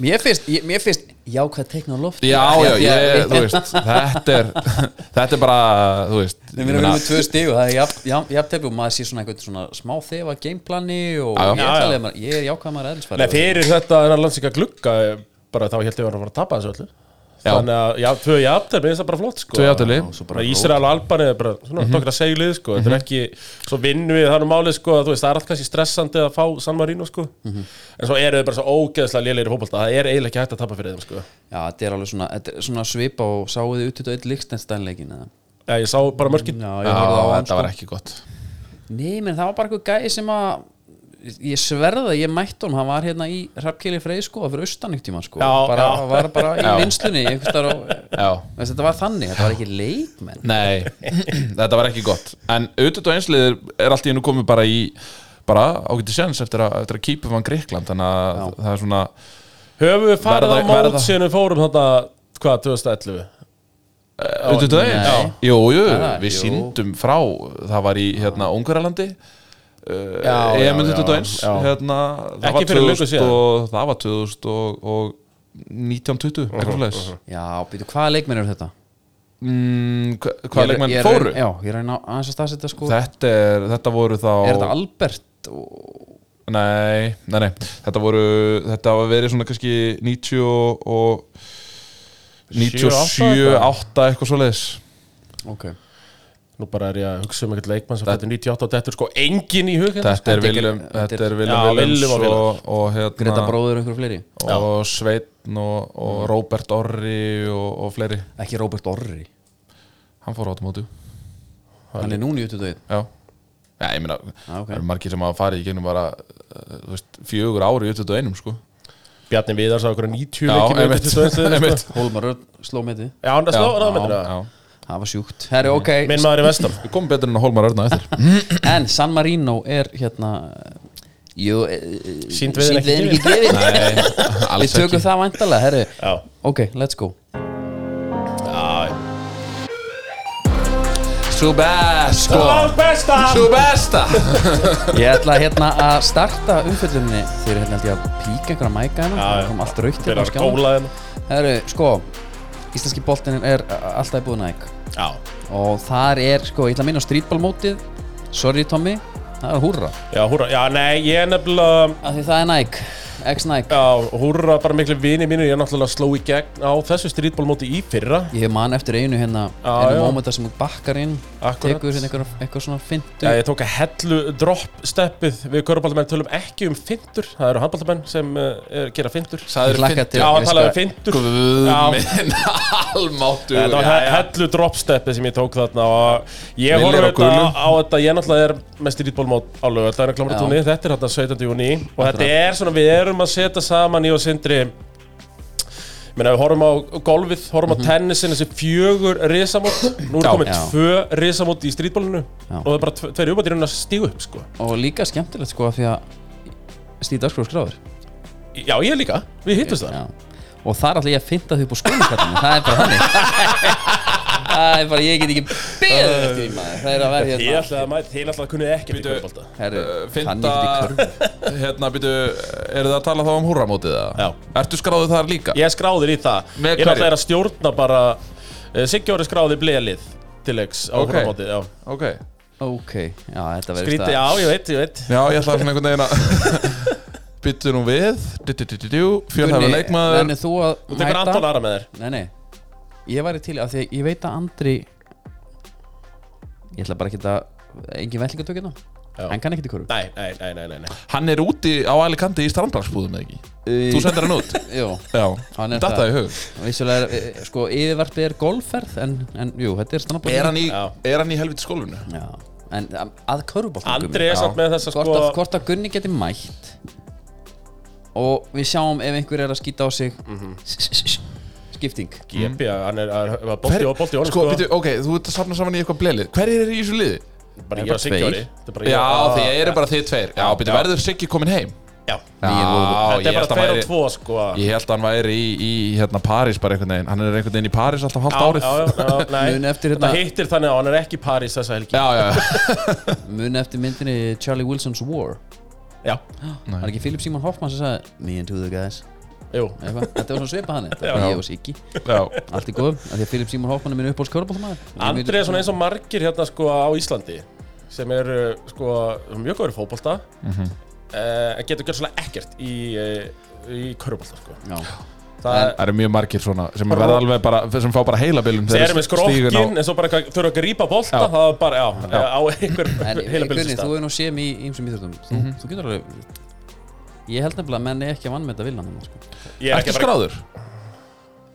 A: Mér finnst, ég, mér finnst jákvæð teikna á loft
B: Já, já, ég, þú
A: Við
B: veist Þetta er, þetta er bara Þú veist ég
A: erum
B: meina,
A: með tvö stig og það er jafn- jafn- jafntefli og maður sé svona einhvern svona smá þefa gameplani og
B: Já, já.
A: ég,
C: Já,
A: ætla að
C: já.
A: leiða maður- ég er jákvæð maður eðlisfæri
C: Nei, fyrir þetta en að landsíka glugga eh, bara þá held ég var að fara að tapa þessu öllu
B: Já.
C: Þannig að, já, tvö jafnir, mér finnst það bara flott sko.
B: Tvö Mhm. jafntefli.
C: Já, svo bara Ísrael og Albani er bara, svona, mm -hmm. tókra seglið sko. Þetta er
B: Mhm.
C: ekki, svo vinnum við þannig málið sko, að, þú veist, það er alltaf kannski stressandi að fá San Marino sko.
B: Mhm.
C: En svo eru þau bara svo ógeðslega lélegir í fótbolta Það er eiginlega ekki hægt að tapa fyrir þeim sko.
A: Já, þetta er alveg svona, þetta er svona svipa og sáu þið út út á eitt líkstenstænleikin eða?
C: Já, Ég sá bara mörkin
A: Já,
C: Já,
A: ég horfði á hann
B: Þetta
A: sko
B: var ekki gott
A: Nei, menn það var bara eitthvað gæði sem að ég sverða, ég mætti honum, hann var hérna í Rappkeli Frey sko, fyrir austan ykkur tíma sko
C: Já,
A: bara,
C: já.
A: hann var bara í
B: Já.
A: vinslunni einhvers staðar á-
B: Já
A: Veist, Þetta var þannig, þetta var ekki leikmenn
B: Nei, þetta var ekki gott En auðvitað einsliðir er allt í hennu komið bara í bara ágæti sjans eftir að, eftir að kýpa vann Greikland þannig að það er svona
C: Höfum við farið
B: Verða-
C: á mót
B: verða-
C: síðan við fórum þetta, hvað, 2011
B: auðvitað eins,
A: nei.
B: jú, jú,
A: Já,
B: við
A: jú.
B: síndum frá það var í hérna Ungarlandi
C: Já, já,
B: EM
C: já,
B: 21
C: já.
B: hérna, það
C: Ekki
B: var
C: fyrir löngu
B: 2000 og, það var 2000 og, og 1920, eitthvað uh
A: Já, býtu, hvaða leikmenn eru þetta?
B: Mm, hva-
A: Ég
B: hvaða
A: er-
B: leikmenn
A: ég er-
B: fóru?
A: Já, ég reyna á- aðeins að staðsetja sko
B: Þetta, er, þetta voru þá
A: Er þetta Albert? Og...
B: nei, nei, nei, þetta voru Þetta hafa verið svona kannski 90 og 97, 8 eitthvað svoleiðis
A: Ok
C: Nú bara er ég að hugsa um eitthvað leikmann sem fættur 98 og þetta er sko engin í hug hérna, sko.
B: Þetta er
A: þetta er-
B: Viljum
A: þetta er-
B: Þetta er Viljum
C: Já, Willum
B: Viljums
C: og
B: og, og
A: Greta
B: hérna
A: bróður einhver fleiri
B: og Sveitn og, og Robert Orri og, og fleiri
A: Ekki Robert Orri
B: Hann fór átumótu
A: Hann er núna í ututöðið
B: Já Já, ég meina,
A: Ah, ok.
B: það eru margir sem hafa farið í gegnum bara, uh, þú veist, fjögur ári í 21 sko.
C: Bjarni Viðar sá okkur 90
B: Já,
C: leikir með
B: einmitt,
C: 22 eða
B: einmitt.
C: sko.
A: Hólmar Örn sló með þið
C: Já, hann
B: Já,
C: er sláður á
B: já,
C: myndina
B: já.
A: Það var sjúkt Herri, ok
C: Minn maður í vestam
B: Við komum betur en að Hólmar Örna eftir
A: En San Marino er hérna Jú eh,
C: Sýnd við er ekki
A: sýnd ekki gefin
B: Nei,
A: Við
B: alls
A: tökum
B: ekki
A: það vandalega, herri
C: Já,
A: Ok, let's go
C: já
B: Sú besta
C: besta
B: Sú besta
A: Ég ætla hérna að starta umfjöllunni Þeir hérna held ég að píka einhverja mæka hérna
C: Já, já.
A: Það kom allt raukt hérna
C: Þeir
A: á
C: eru
A: skjána
C: gólaðin
A: Það eru, sko Íslenski boltinn er alltaf búin að ekki
C: Já
A: Og þar er, sko, ég ætla að minna á streetballmótið Sorry Tommy, það er húrra
C: Já, húrra Já, nei, ég er nefnilega
A: Af því það er Nike, ex-Nike
C: Já, húrra bara miklu vini mínu Ég er náttúrulega að sló í gegn á þessu strítbólmóti í fyrra
A: Ég man eftir einu hérna
C: Já, já.
A: Einu mómentar sem þú bakkar inn
C: Akkurat.
A: Tekur hérna eitthvað, eitthvað svona fyndu
C: Já, ég tók að hellu drop steppið Við körubaldamenn tölum ekki um fintur Það eru handbaldamenn sem uh, er, gera fintur
A: Ég
B: Sæður
A: hlakka til-
C: Já, hann
A: ég
C: talaði um
A: skal-
C: fintur
B: Guð
C: Já.
B: minn Almáttu
C: Þetta var he- hellu dropsteppið sem ég tók þarna og
B: Lillir
C: ég horfði
B: og
C: þetta
B: gulur.
C: á þetta, ég náttúrulega er með strítbólmót á lögullarinn klámar
A: Já.
C: tóni, þetta er þarna 17. júni og þetta er svona, við erum að setja saman í og sindri ég meina við horfum á golfið, horfum á tennisin þessi fjögur risamót nú er
A: Mhm. Já.
C: komið
A: Já.
C: tvö risamót í strítbólinu
A: Já.
C: og það er bara tve- tveir júbættir að stígu upp sko.
A: Og líka skemmtilegt, sko, af því að Steve Dagsgróf skráður
C: Já, ég líka, við hittumst það
A: Já. Og þar ætla ég að finna þau upp á skólakallinu Það er bara þannig Það er bara, ég get ekki beðið eftir því maður Það er að vera
C: Þið
A: hérna
C: ætlaði að mæta, þið ætlaði að kunni ekki við
B: Bíddu.
C: golfbalta
A: Herru, kann ég ekki körfu
B: Finda Eh, Hérna býtu Er það að tala þá um húramótið það?
C: Já.
B: Ertu skráðu þar líka?
C: Ég er skráður í það
B: Með
C: Ég er
B: hverju?
C: náttúrulega að stjórna bara eh, Siggi Sigjóri skráði bleilið til leiks á
B: Ok.
C: okay. húramótið já.
B: Ok
A: Ok, já, þetta verður
C: Skrítið, já, ég veit, ég veit
B: Já, ég ætla svona einhvern veginn að Byttu nú við Fjölhæfa leikmaður
A: Nennið þú
C: Þú
A: að
C: tekur Anton Ara með þér
A: Nei, nei, ég væri til að því að ég veit að Andri Ég ætla bara ekki að Engin vellingatökina
C: Já.
A: Hann kann ekki til körfu
C: Nei, nei, nei, nei, nei, nei.
B: Hann er úti á Alicante í strandblagsbúðum eða ekki? Þú sendir hann út
A: Jú,
B: Já,
A: Hann er
B: datta
A: það.
B: í hug
A: vissulega er, eh, sko, yfirvarpið er golfferð En, en jú, þetta er stannabóð
B: Er hann í,
C: Já.
B: er hann í helviti skólfinu?
A: Já, en að, að körfubóltum
C: Andri er samt með þessa sko
A: hvort, að, hvort að Gunni geti mætt og við sjáum ef einhver er að skýta á sig
B: Mhm.
A: skipting
C: Gepi, hann er, hann var bolti og bolti og honum
B: sko, býtu, ok, þú ert að safna saman í eitthvað blelið Hverjir eru í þessu liði?
C: Bara
A: Bara
C: ég og Sigjóri
A: tveir.
B: Já, því ég eru bara þið tveir Já, býtu,
C: Já.
B: verður Siggi komin heim?
C: Já,
B: Já,
C: þetta
B: ég held
C: er bara
B: að hann
C: tveir og
B: væri
C: tvo sko
B: Ég held að hann væri í, í hérna París bara einhvern veginn Hann er einhvern veginn í París alltaf halvt
C: Já,
B: árið
C: já, já,
A: Mun
C: nei
A: eftir
C: Þetta
A: hérna-
C: hittir þannig að hann er ekki í París þessa helgi
B: já, já.
A: muni eftir myndinni Charlie Wilson's War
C: Já,
A: var ekki Philip Simon Hoffman sem sagði me and two the guys
C: jú
A: Eitthvað. þetta var svona svipa hann þetta var
C: Já.
A: ég og Siggi
B: já.
A: allt í góðum af því að Philip Simon Hoffman er minn uppáhalds körfubóltamæður
C: Andri er svona eins og margir hérna sko á Íslandi sem er sko mjög góður í fótbolta mm
B: Mhm.
C: en getur gjörð svona ekkert í, eh, í körfbólta sko Það
A: En-
C: er
B: Það eru mjög margir svona sem verða alveg bara, sem fá bara heilabilum
C: Þeir eru með skrokkin, en svo bara eitthvað- þurfa að grípa bolta,
B: Já.
C: það er bara, já, eh,
B: Já.
C: á einhver
A: en Gunni,
C: heila bylsista.
A: þú hefur nú séð mér í ýmsum íþjóttum þú,
C: Mhm.
A: þú getur alveg ég held nefnilega að menn er ekki að vannmeta villan hann sko.
C: Ég er
B: Ertu
C: ekki bara,
B: skráður?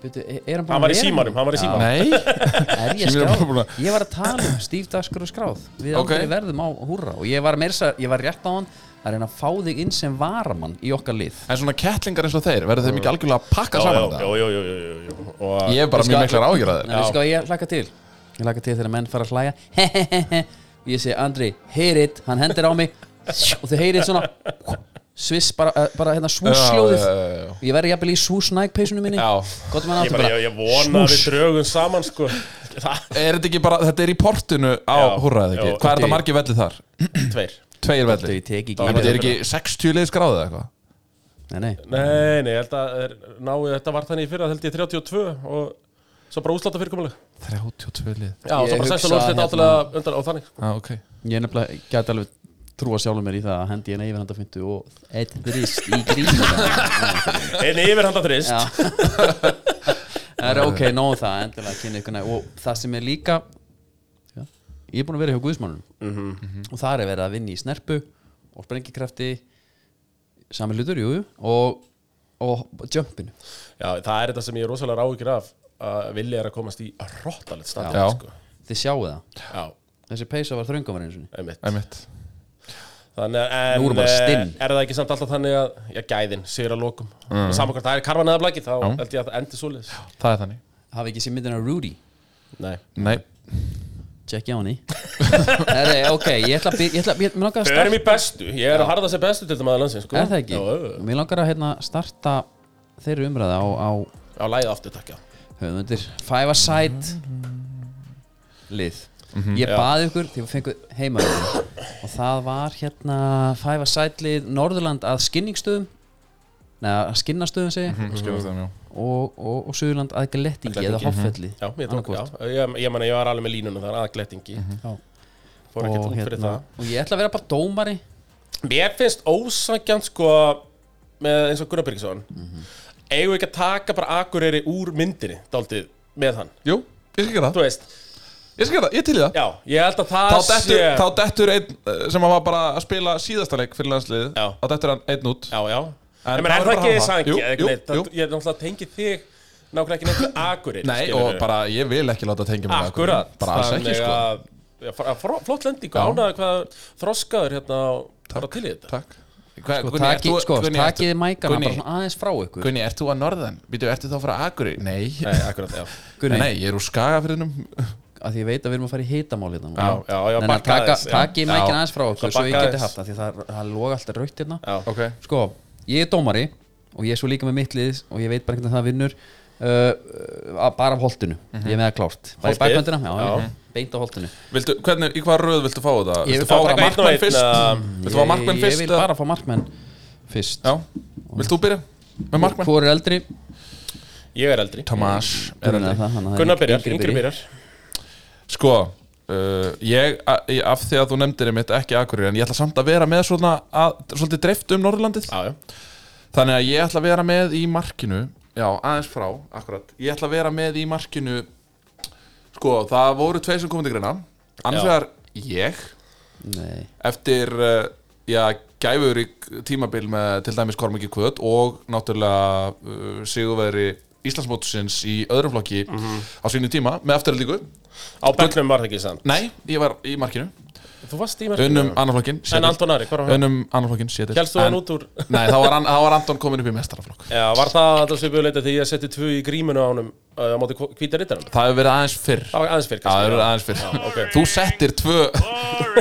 A: Bíddu, er- er hann búinn
C: hann var í
A: að vera
C: símanum,
A: með?
C: hann var í
A: Já.
C: símanum.
B: Nei
A: Er ég
B: Sem ég er bara búin
A: skráð?
B: að-
A: Ég var að tala um Steve Daskur og skráð Við
B: Ok.
A: aldrei verðum á húrra Og ég var meira að ég var rétt á hann að reyna að fá þig inn sem varamann í okkar lið
B: En svona kettlingar eins og þeir, verður þeim ekki algjörlega að pakka
C: Já,
B: saman
C: já,
B: það?
C: jú, jú, jú, jú, jú, jú. Og
B: Ég er bara
A: Ég
B: mjög
A: skal-
B: miklar ágjörð að
A: En
B: þeir
A: veistu hvað, ég hlakka til Ég hlakka til þegar menn fara að hlæja Ég segi Andri, heyrit, hann hendir á mig Og þau heyrið svona Sviss, bara, eh, bara hérna svúsljóðið
B: Já, já, já, já.
A: Ég verði jafnvel í svúsnækpeysunum minni
B: Já.
A: Gott með hann
C: ég bara, ég, ég vona að við
A: svúss.
C: drögum saman, sko. Það,
B: Er þetta ekki bara, þetta er í portinu á
C: Já.
B: húrraðið ekki?
C: Já.
B: Hvað er þetta margir velli þar?
C: tveir.
B: Tveir velli
A: Þau teki
B: En
A: ekki
B: þetta er ekki 60 leiðis gráðið eða eitthvað?
A: Nei, nei
C: Nei, nei, ég held að er, náið, þetta var þannig í fyrra, held ég 32 og svo bara úslata fyrirkomulega.
B: 32 leið
C: Já, og
A: Ég
C: svo bara
A: hugsa,
C: 16 úrslit
A: hérna-
C: áttalega undan og þannig. sko.
B: ah, ok
A: Ég nefnilega gæti alveg trúa sjálfur mér í það að hendi henni yfir handa fyndu og eitt drist í grínu
C: En yfir handa þrist.
A: Já Það er ok, nóg um það, endilega kynna ykkur næg og það sem er líka já, ég er búin að vera hjá Guðismannum
C: Mhm.
A: og þar er verið að vinna í snerpu og sprengikrafti sami hlutur, jú, jú, og og jumpinu
C: Já, það er þetta sem ég er rosalega ráðgjur af að vilja er að komast í rottalegt standi,
B: Já.
C: sko.
A: þið sjáu það,
C: Já,
A: þessi peysa var þröngum var eins og
C: einmitt.
B: Æmitt
C: Þannig að,
A: Nú erum
C: en
A: bara
C: eh,
A: stinn.
C: er það ekki samt alltaf þannig að, já, gæðin, sér að lokum. Mm. Saman hvort það er karvan eða blæki, þá held ég að það endi svoleiðis.
B: Það er þannig
A: hafi ekki sér myndina Rudy
C: Nei.
B: Nei
A: tjekki á henni Herri, ok, ég ætla að byr- ég ætla- ég- mig langar að
C: Þau
A: starta
C: erum í bestu, ég er að harða sér bestu til þetta maður landsins, sko.
A: Er það ekki?
C: Já, já,
A: Mér langar að hérna, starta þeirri umræða á, á
C: já. á lægið aftur, takk, já.
A: höfundir Five a side lið
C: Mhm.
A: Ég baði ykkur því við fengum heimaður og það var hérna fæfa sætlið Norðurland að skinningstöðum neða að skinnastöðum segi
B: Skilast þeim, Hm, já
A: og, og, og Suðurland að glettingi eða hoffelli
C: Mhm. Já, ég, tók, já.
A: Annarkvort.
C: Ég, ég, meni, ég var alveg með línuna þar að glettingi
A: Mhm. Já.
C: Fór ekkert
A: og,
C: út fyrir
A: hérna, og ég ætla að vera bara dómari
C: það Mér finnst ósangjant sko með eins og Gunnar Byrgisson
A: Mhm.
C: eigum við ekki að taka bara akureyri úr myndinni dálítið með hann
B: Jú, ég skal gera
C: Þú
B: það
C: veist,
B: Ég skal gera það, ég er til í það
C: já, ég held að það
B: Þá dettur, þá dettur einn eh, sem var bara að spila síðasta leik fyrir landsliðið
C: Já.
B: Þá dettur hann einn út
C: Já, já
B: En
C: En menn, er
B: bara
C: það ekki
B: hafa-
C: sangi?
B: Jú, jú, jú.
C: Ég er náttúrulega tengi þig nákvæmlega ekki neitt við akureyri
B: Nei,
C: skilurðu.
B: og bara ég vil ekki láta tengja mig við
C: Akkurat
B: Akureyri. Bara alls ekki,
C: Þannig
B: sko
C: að- Já, fr- að fr- Flott lending og ánaði hvað þroskaður hérna og bara til í þetta
B: Takk Hva,
A: og taki, sko, takið mækana bara
B: Gunni,
A: svona aðeins frá ykkur
B: Gunni, ert þú að norðan? Býtu, ertu þá frá Akureyri? Nei,
C: Nei, akkurat, já
A: Gunni,
B: Nei, ég er úr skagafyrinum
A: að því ég veit að við erum að fara í hitamál hérna núna.
C: Já, já, já,
A: Þannig að
C: bakka
A: taka-
C: aðeins, já.
A: Takið
B: Já.
A: mækina aðeins frá
C: Það
A: okkur svo ég
C: bakka
A: geti
C: aðeins.
A: haft það því það það loga alltaf rautt hérna
C: Já,
B: Ok
A: sko, ég er dómari og ég er svo líka með mittlið og ég veit bara hvernig það vinnur uh, uh, bara af holtinu,
B: Mhm.
A: ég er með það klárt bara í
C: Holtið?
A: bakvöndina, já,
C: Já.
A: já. beint á holtinu
B: viltu, hvernig, Í hvað röð viltu fá þetta?
A: Ég
B: Viltu
A: vil
B: fá
A: fá
B: bara
C: taka einn og
B: markmann
C: einn,
B: fyrst?
C: eða-
A: ehm,
B: Viltu fá
A: Ég-
B: markmann fyrst?
A: ég vil
B: eða-
A: bara fá markmenn fyrst
B: Já, vilt þú byrja? Með markmann?
A: hvor er eldri,
C: Ég er eldri
B: Tomás er
A: Gunnar,
B: eldri.
A: það, þannig að það er
C: Gunnar byrjar,
A: yngri
C: yngri byrjar
B: Sko, uh, ég, a- ég, af því að þú nefndir einmitt ekki Akureyri En ég ætla samt að vera með svona, að, svolítið dreift um Norðurlandið
C: Já, já
B: Þannig að ég ætla að vera með í markinu Já, aðeins frá, akkurat Ég ætla að vera með í markinu Sko, það voru tvei sem komið til greina Annars
C: Já.
B: vegar ég
A: Nei,
B: Eftir, uh, já, gæfurík tímabil með til dæmis Kormiki Kvöt Og náttúrulega uh, Sigurveri Íslandsmótusins í öðrum flokki
C: Mhm.
B: Á sínu tíma, með afturlíku
C: Á begnum var það ekki sann
B: Nei, ég var í markinu
C: Þú varst í merkinu
B: Unnum annarflokkin
C: En Anton Ari, hvað var hann?
B: Unnum annarflokkin sétil
C: Hélstu hann út úr
B: Nei, þá var, an- þá var Anton komin upp í mestaraflokk
C: Já, var það alltaf svipuleita því ég setti tvö í gríminu á honum uh, á móti hvíta rittarinn
B: Það hefur verið aðeins fyrr
C: Það var aðeins
B: Já,
C: fyrir
B: það eru aðeins fyrr Þú settir tvö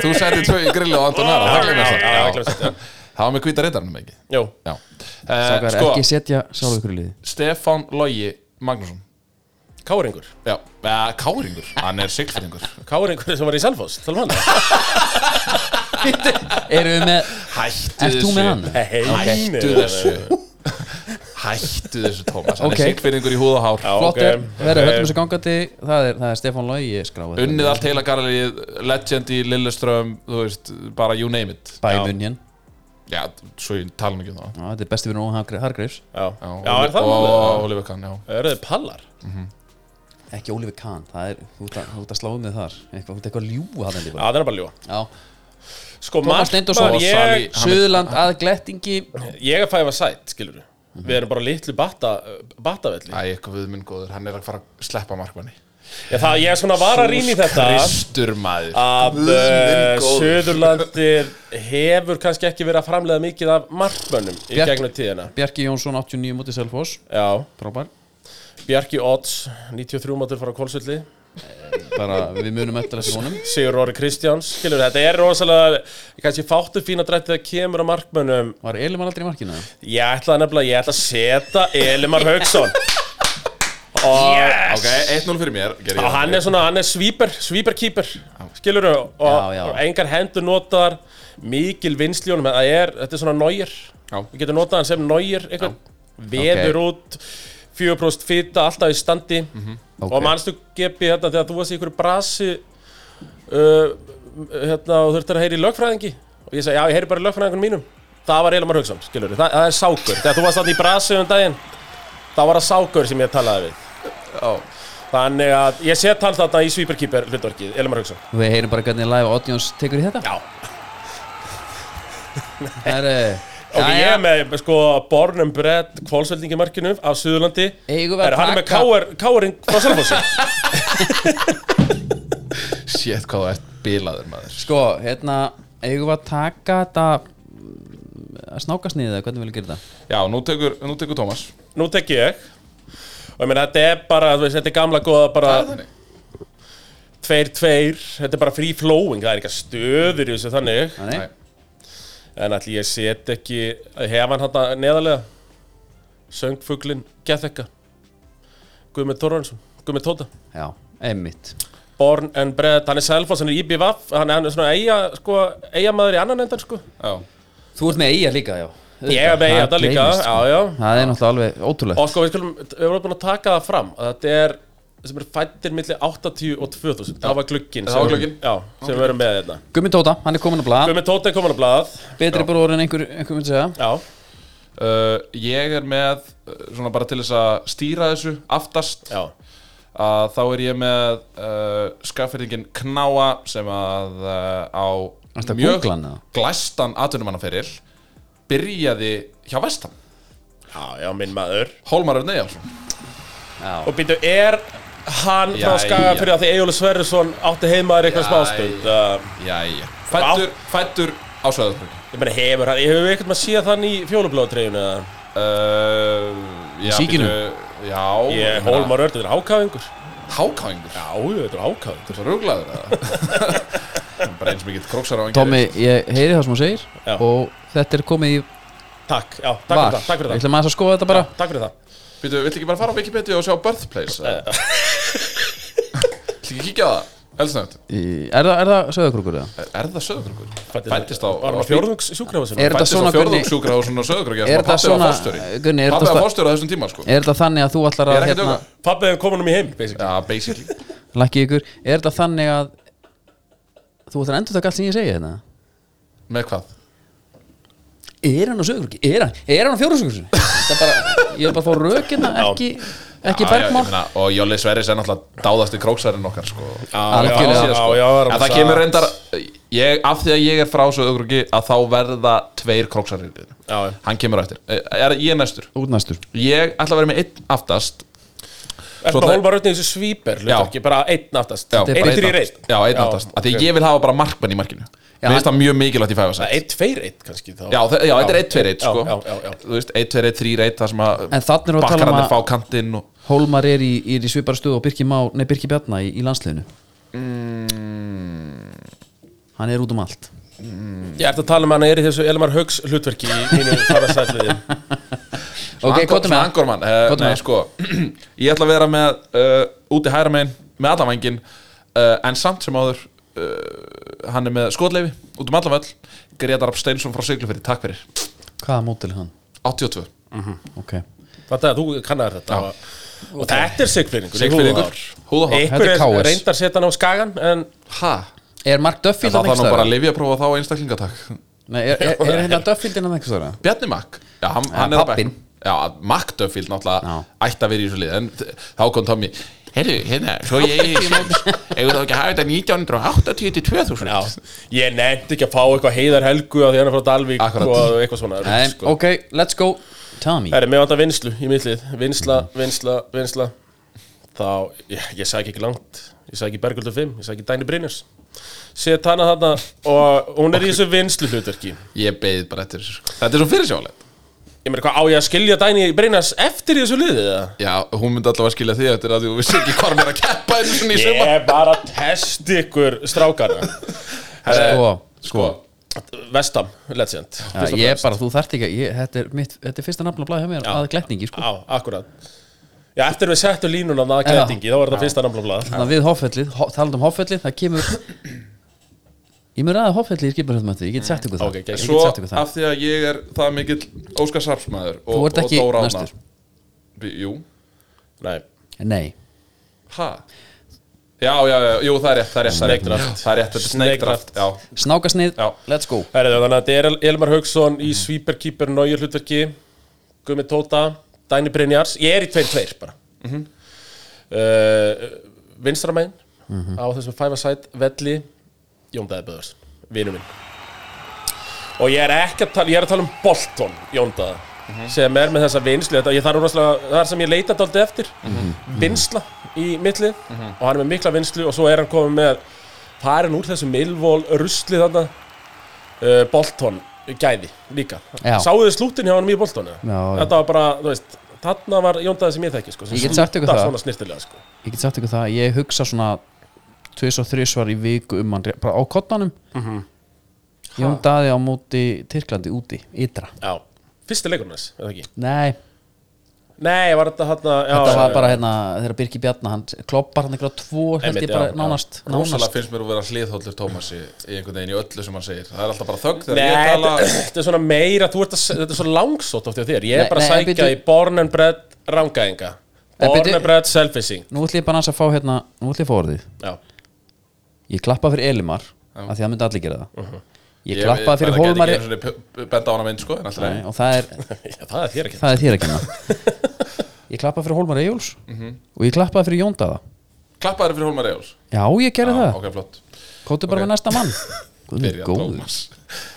B: Þú settir tvö í grillu á Anton Ara Það glemir
C: Já, já,
B: það
C: það gleymist
B: Já.
C: það,
B: Það var með hvíta reytarnum ekki
C: Jó,
B: Já eh,
A: sákar,
B: Sko,
A: ekki setja sálu ykkur í liði
B: Stefán Logi Magnússon
C: Káringur
B: Já, eh, Káringur Hann er siglfyrringur
C: Káringur sem var í Selfoss, talum hann
A: Eru við með,
B: Hættu
A: ert þú með hann?
B: Eh, Hættu þessu Hættu þessu, Tómas Hann
A: Ok.
B: er siglfyrringur í húð og hár
A: Flott er, verður
B: eh,
A: höllum þessu gangandi Það er, það er Stefán Lógi skráð
B: Unnið allt heila garlið Legend í Lilleström Þú veist, bara you name it
A: Bæmun hér,
B: Já, svo ég tala nú ekki um það
A: þetta er besti við nú Hargreifs
C: Já,
B: Já,
C: já er það
B: Og
C: málið?
B: Oliver Kahn, já
C: Eru þið pallar?
A: ekki Oliver Kahn, það er, þú ert að, þú ert að slá um þig þar eitthvað, þú ert eitthvað að ljúa hann
C: Já,
A: endur bara
C: það er bara ljúa
A: já,
C: Sko,
A: Tómas Steindorsson
C: markmaður, ég,
B: Sali.
A: Suðurland að glettingi
C: ég er fæfa sætt, skilur við Við erum bara litlu batta, uh, battavelli
B: Æ, eitthvað við minn góður, hann er að fara að sleppa markmanni
C: Ég, það, ég er svona var að rýna í þetta Ah.
B: Kristur maður
C: að
B: Guð minn
C: uh,
B: góður.
C: Suðurlandir hefur kannski ekki verið að framlega mikið af markmönnum í
A: Bjart-
C: gegnum tíðina
A: Bjarki Jónsson 89 mútið Selfoss
C: Já,
A: frábær,
C: Bjarki Odds, 93 mátur frá Kolsvöldi
A: bara við munum eftir þessu honum
C: Sigur Róri Kristjáns, skilur þetta er rosalega, kannski fáttu fína drætti þegar kemur að markmönnum
A: var Elimann aldrei í markinu?
C: Ég ætla nefnilega, ég ætla að setja Elimar Haugsson og,
B: Ok, 1-0 fyrir mér gerði ég
C: og hann er svona, hann er svíper, svíperkýper skilur og,
A: Já, já.
C: og engar hendur notaðar mikil vinsli honum, það er, þetta er svona náir
B: Já.
C: við getum notað hann sem náir einhvern, veður út 4% fita, alltaf í standi
A: Mhm. Ok.
C: og manstu gepi hérna þegar þú varst í einhverju brasi uh, hérna og þurftir að heyra í lögfræðingi og ég sagði, já, ég heyri bara í lögfræðingunum mínum það var Elamar Hauksson, skilur Þa, um, það er sákur þegar þú varst þarna í brasi um daginn það var að sákur sem ég talaði við
B: Já.
C: þannig að ég set hann þarna í svíperkýper hlutverkið, Elamar Hauksson
A: við heyrum bara hvernig live audience tekur í þetta
C: já,
A: það er, eh,
C: ok, ég
A: jæja,
C: er með sko Bornum Brett kválsveldingamarkinu af Suðurlandi
A: Eigum við að
C: er hann er með
A: taka-
C: káar, káarinn frá Salfossi
B: Sétt hvað þú ert bilaður maður
A: sko, hérna eigum við að taka þetta mm, að snákast niður það, hvernig vil ég gera þetta?
B: Já, nú tekur, nú tekur Tómas
C: nú tek ég og ég meina þetta er bara, þú veist, þetta er gamla góða bara tveir, tveir, þetta er bara free flowing það er ekki að stöður í þessu þannig
A: Nei.
B: Nei.
C: en allir ég set ekki hef hann hann neðarlega söngfuglin Gethekka Guðmund Þorvarsson, Guðmund Tóta
A: já, einmitt
C: Born and Bred, hann er Selfoss, hann er IBVF hann er, hann er svona eiga, sko, eigamæður í annan endan sko.
B: Já.
A: Þú ert með eiga líka, já
C: ég er með eiga
A: Það
C: þetta líka
A: gleymist, sko.
C: já, já.
A: Það er náttúrulega alveg ótrúlegt
C: og sko við skulum, við vorum búin að taka það fram að þetta er sem er fættir milli 80 og 2000 það var glukkin
B: Það var glugginn.
C: já, sem við erum með hérna
A: Gummi Tóta, hann er komin að blaða
C: Gumi Tóta er komin að blaðað
A: Betri bróður en einhver, einhver myndi segja
C: já,
B: Uh, ég er með, uh, svona bara til þess að stýra þessu aftast
C: já,
B: að þá er ég með uh, skaffiringin Knáa sem að uh, á
A: Ertu að
B: mjög
A: googla hann eða?
B: glæstan atvinnumannaferil byrjaði hjá Vestam
C: já, já, minn maður
B: Hólmar Örn Eyjálsson
A: Já,
C: og býtu, er hann frá
B: Jæja.
C: skaga fyrir að því Egilur Sverrisson átti heimaður eitthvað smástund uh,
B: Jæja Fættur, fættur á Söðurbröki
C: ég meina hefur hann, ég hefur eitthvað maður síða þann í fjólubláðatreifinu eða
B: uh,
A: Síkinu?
B: Já
C: ég, Hólmar Örn, þetta er hákáðingur já,
B: Hákáingur
C: þetta er hákáðingur
B: Svo ruglaður eða Bara eins og mikill króksar á
A: Tommy, ég heyri það sem hún segir
C: Já.
A: Og þetta er komið í
C: takk, já, takk
A: var
C: fyrir það, takk
A: Ég
C: fyrir það
A: ætla maður að skoða þetta bara
C: takk fyrir það
B: Býtu, viltu ekki bara fara á Wikipedia og sjá Birthplace? eða? Viltu ekki kíkja á það? Elsnögt
A: Í- Er það, er það söðakrúkur eða?
B: Er er það Söðurbrökur? Fættist á
C: Var hann á fjórðungssjúkrafasinu?
A: Er þetta
B: Fættist á
A: svona, Gunni,
B: fjórðungssjúkrahúsinu og Söðurbröki
A: er þetta svona Gunni, er þetta
B: Pappi var
A: sta-
B: fórstjóri á þessum tíma sko
A: er þetta þannig að þú ætlar að
B: Ég er ekki
A: hérna,
B: djóka.
C: Pappið hefði komin um í heim basically.
B: Já, basically
A: Lækki ykkur, er þetta þannig að Þú ætlar að endur taka allt sem ég segi hérna? þetta?
B: Með hvað?
A: Er hann á sögurkrúki? Er hann, er hann á fjórðungssjúkrahúsinu? Þetta er bara, Ég er bara að fá rökina, ekki,
B: Já,
A: ekki
B: já,
A: bergmál
B: ég meina, Og Jóli Sverris er náttúrulega dáðasti króksarinn okkar sko
A: Algjörlega.
C: já, já, já,
B: En það kemur reyndar ég, Af því að ég er frá Söðurbröki að þá verða tveir króksarinn í liðinu.
C: Já, já.
B: Hann kemur á eftir Eh, er, Ég er næstur
A: Útnæstur
B: Ég ætla að vera með einn aftast
C: Er
B: Svo
C: bara
B: það-
C: hólmar ötni í þessu svíper hlutverki, Bara einn aftast
B: Já,
C: Einn
B: bara
C: fyrir
B: aftast.
C: einn
B: Já, einn aftast Af því að ég vil hafa bara markmann í markinu Mér finnst það mjög mikilvægt í fæfa
C: Það er Einn tveir einn kannski þá
B: Já, þe- já, þetta er 1, 2, 1
C: Já,
B: sko
C: já, já, já.
B: Þú veist, 1, 2, 1, 3, 1 Það sem að
A: En þarna erum við að tala um
B: bakkararnir
A: að-
B: fá kantinn og
A: Hólmar er í, er í svipara stöðu og Birki, Má, nei, Birki Bjarna í, í landsliðinu Hann er út um allt
C: Ég ert að tala um hann er í þessu Elmar Haugs hlutverki Í mínu farasætliði
A: Ok, hvað
B: Angor-
A: er
B: svona
A: með
B: Angorman, eh,
A: Hvað er
B: nei,
A: með?
B: sko Ég ætla að vera með uh, Úti hæra megin, með allan vangin uh, En samt sem áður uh, Hann er með skotleifi, út um allan völl Gretar Rapp Steinsson frá Siglufyrði, takk fyrir
A: Hvaða mótil er hann?
B: 82
A: Ok
C: Þetta að þú kannar þetta og, og þetta er sigfyrringur
B: Siglfyrðingur, húðahár
A: Þetta
C: Ekkur
A: er
C: er
A: KS.
C: reyndar setan á skagan En
B: Ha,
A: Er Mark Duffy
B: það
A: þarna
B: var nú
A: einhverstaðar?
B: bara að lifja prófa þá einstaklingatak
A: Nei, er, er, er hérna Duffield innan einhverstaðar? eða?
B: Bjarni Makk Já, hann, hann er á
A: pabbinn.
B: bekknum. Já, Makk Duffield náttúrulega
A: Já.
B: ætti að vera í þessu lið En þ- þá kom Tommy Herru, hérna, svo ég er í mót Eða þá ekki að hafa þetta 1980 til 2000
C: já, ég nefndi ekki að fá eitthvað heiðar helgu Því hann er frá Dalvík
B: Akkurat.
C: og eitthvað svona rugl,
A: Nei,
C: sko.
A: ok, let's go Tommy
C: Það er með vantar vinslu í millið Vinsla, vinsla, vinsla Þá, ég, ég sagði ekki langt Ég sagði ekki Bergöldur 5, ég sagði ekki Dæni Brynjars Set hana þarna Og hún er í þessu vinslu hlutverki Ég
B: Ég beið bara eftir þessu sko. Þetta er svo fyrirsjálega
C: meina hvað, á ég að skilja Dæni Brynjars Eftir í þessu liðið eða?
B: Já, hún myndi allavega skilja því eftir að þú vissi ekki hvað hann er að keppa einu svona í
C: Ég
B: sumar
C: er bara að testa ykkur strákana
A: Sko,
B: Sko,
C: Vestam, legend
A: ja, ég er bara, þú þarft ekki að- ég, þetta, er mitt, þetta er fyrsta nafn að blæða hjá mér að glætningi, sko
C: Á, akkurat Já, eftir við settum línuna að gætingi Þá var þetta fyrsta namla blað
A: Þannig að við hoffellið, ho talað um hoffellið, það kemur Ég mér aða hoffellið í skiparhjöldmætti, ég get sagt ykkur það
C: Ok, ok.
A: Ég
B: svo
A: get sagt ykkur það
B: af því að ég er það mikill Óskar Sarpsmaður og,
A: Þú ert ekki
B: og Dóra Ána.
A: næstur.
B: Bí- Jú,
C: Nei,
A: Nei,
B: ha Já, já, já, jú, það er rétt, það er rétt það er rétt.
C: Snake draft.
B: Það er rétt, þetta er
C: Snake
B: sneikdraft Já,
A: snákasnið,
B: Já.
A: let's go
C: Herðu, þannig að þetta er Elmar Haugsson í Svíperkýper Nóir hlutverki Gumi Tóta, Dæni Brynjars Ég er í tveir tveir bara mm Vinstramæn á þessum five a side Velli, Jón Dæði Böðars Vinu minn Og ég er ekki að tala, ég er að tala um Bolton Jón Dæði sem er með þessa vinslu, þetta, ég þarf úrvarslega það er sem ég leita dálítið eftir vinsla í mittlið og hann er með mikla vinslu og svo er hann komið með farin úr þessu milvól rusli þarna uh, Bolton gæði líka
A: Já.
C: Sáuðu slútin hjá hann í Bolton eða?
A: Já, já.
C: Þetta var bara, þú veist Þarna var Jóndaði sem ég þekki sko, sem
A: Ég get sagt ykkur
C: slútar
A: það.
C: Svona snirtilega sko.
A: Ég get sagt ykkur það, ég hugsa svona tvis og þrisvar í viku um hann ré- bara á kottanum Jón Daði á móti Tyrklandi úti, ytra
C: Já, fyrsti leikurinn þess, eða ekki
A: Nei,
C: Nei, var þetta hann já,
A: Þetta var
C: já,
A: bara
C: já.
A: hérna, þegar Birki Bjarna hann kloppar hann eitthvað tvo, held
C: Einmitt,
A: ég bara
C: já, já.
A: nánast,
B: Rósalega
A: nánast.
B: finnst mér að vera hliðhóllur Tómasi í einhvern veginn í öllu sem hann segir Það er alltaf bara þögg
C: Nei,
B: þegar ég
C: þetta,
B: tala
C: þetta er svona meira, þú ert að, þetta er svo langsótt oft hjá þér
A: Nei,
C: Ég er bara að
A: nei, en
C: sækja
A: bíddu-
C: í born and bred rangæðinga
A: En
C: Born
A: bíddu-
C: and bred self-fishing
A: Nú ætlum ég bara aðeins að fá hérna, nú ætlum ég að fá orðið
C: Já,
A: Ég klappa fyrir Elimar, af því að það myndi allir gera það
B: Mhm.
A: Ég klappa fyrir
B: bara
A: Hólmari
B: gæti ekki einu sinni benda á hana mynd sko En alltaf
A: Nei, og það er,
C: já það er þér ekki
A: það er þér að kenna Ég klappa fyrir Hólmar Ejuls
B: Mhm.
A: og ég klappa fyrir Jóndaða
B: Klappaður fyrir Hólmar Ejóls
A: Já, ég gerði það,
B: Ok, flott
A: kóttu bara
B: ok.
A: með næsta mann Guð minn
B: Byrja
A: góður.
B: Tómas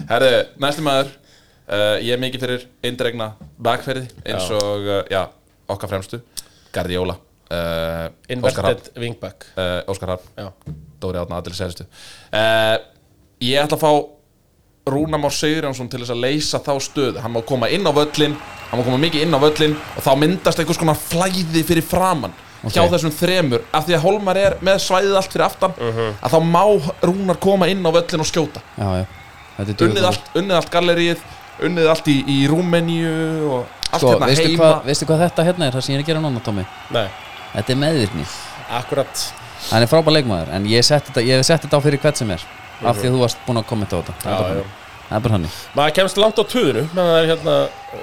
B: Herðu, næstu maður uh, Ég er mikið fyrir eindregna bakferði Eins og, uh, já, okkar fremstu Gardióla uh, Óskar Hafn
C: Inverted wingback
B: uh, Óskar Hafn
C: Já,
B: Dóri Átna Adil Sæðistu uh, Ég ætla að fá Rúna Már Sigurjónsson til þess að leysa þá stöðu Hann má koma inn á völlin Hann má koma mikið inn á völlin Og þá myndast einhvers konar flæði fyrir framann Hjá þessum þremur Af því að Holmar er með svæðið allt fyrir aftan
C: Mhm.
B: Að þá má Rúnar koma inn á völlin og skjóta
A: Já, já, þetta er
B: Unnið
A: djöfull.
B: allt, unnið allt galleríið Unnið allt í, í Rúmeníu Og allt
A: Sko,
B: hérna
A: veistu
B: heima
A: hvað, veistu hvað þetta hérna er, það sem ég er að gera núna, Tommy
C: nei,
A: Þetta er meðvirkni
C: akkurat
A: Hann er frábær leikmaður En ég sett þetta, ég hef sett þetta á fyrir hvert sem er Af því að þú varst búin að kommenta á þetta Það er bara
C: Já, já.
A: þannig. Það er bara hannig
C: Maður kemst langt á töðinu Það er hérna,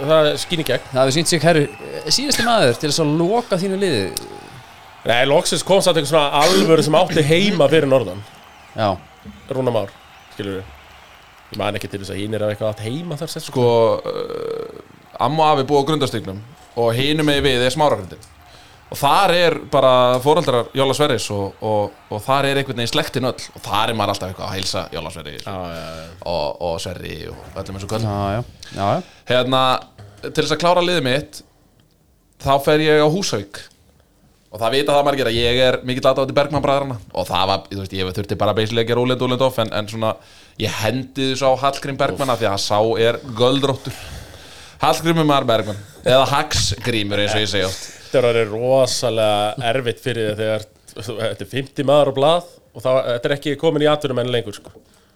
C: það er skín í gegn
A: Það hefur sínt sig, herru, eh, síðasti maður til þess að loka þínu liði
C: Nei, loksins kom satt eitthvað svona alvöru sem átti heima fyrir norðan
A: Já,
C: Rúna Már, skilur við Ég man ekki til þess að hinn er eitthvað átt heima þar sér sko.
B: sko uh, amma og afi búa á grundastygnum og hinum með við er smáragrindin og þar er bara fóröldrar Jóla Sverris og, og, og þar er einhvern veginn slektin öll og þar er maður alltaf eitthvað að heilsa Jóla Sverris
C: Já, já, já
B: og, og Sverri og öllum eins og
A: já,
B: kvöld
A: já, já, já.
B: hérna, til þess að klára liðið mitt þá fer ég á Húsavík og það vita það margir að ég er mikill aðdátt í Bergman bræðrana og það var, þú veist, ég þurfti bara basically að gera úlend úlend off en, en svona, ég hendi þessu á Hallgrím Bergman af því að sá er göldróttur Hallgrímur maður Bergman eða Hagsgrímur eins og ég segi oft
C: Þetta er orðið rosalega erfitt fyrir þig þegar þetta er 50 maður á blað og þá, þetta er ekki komin í atvinnum enn lengur sko.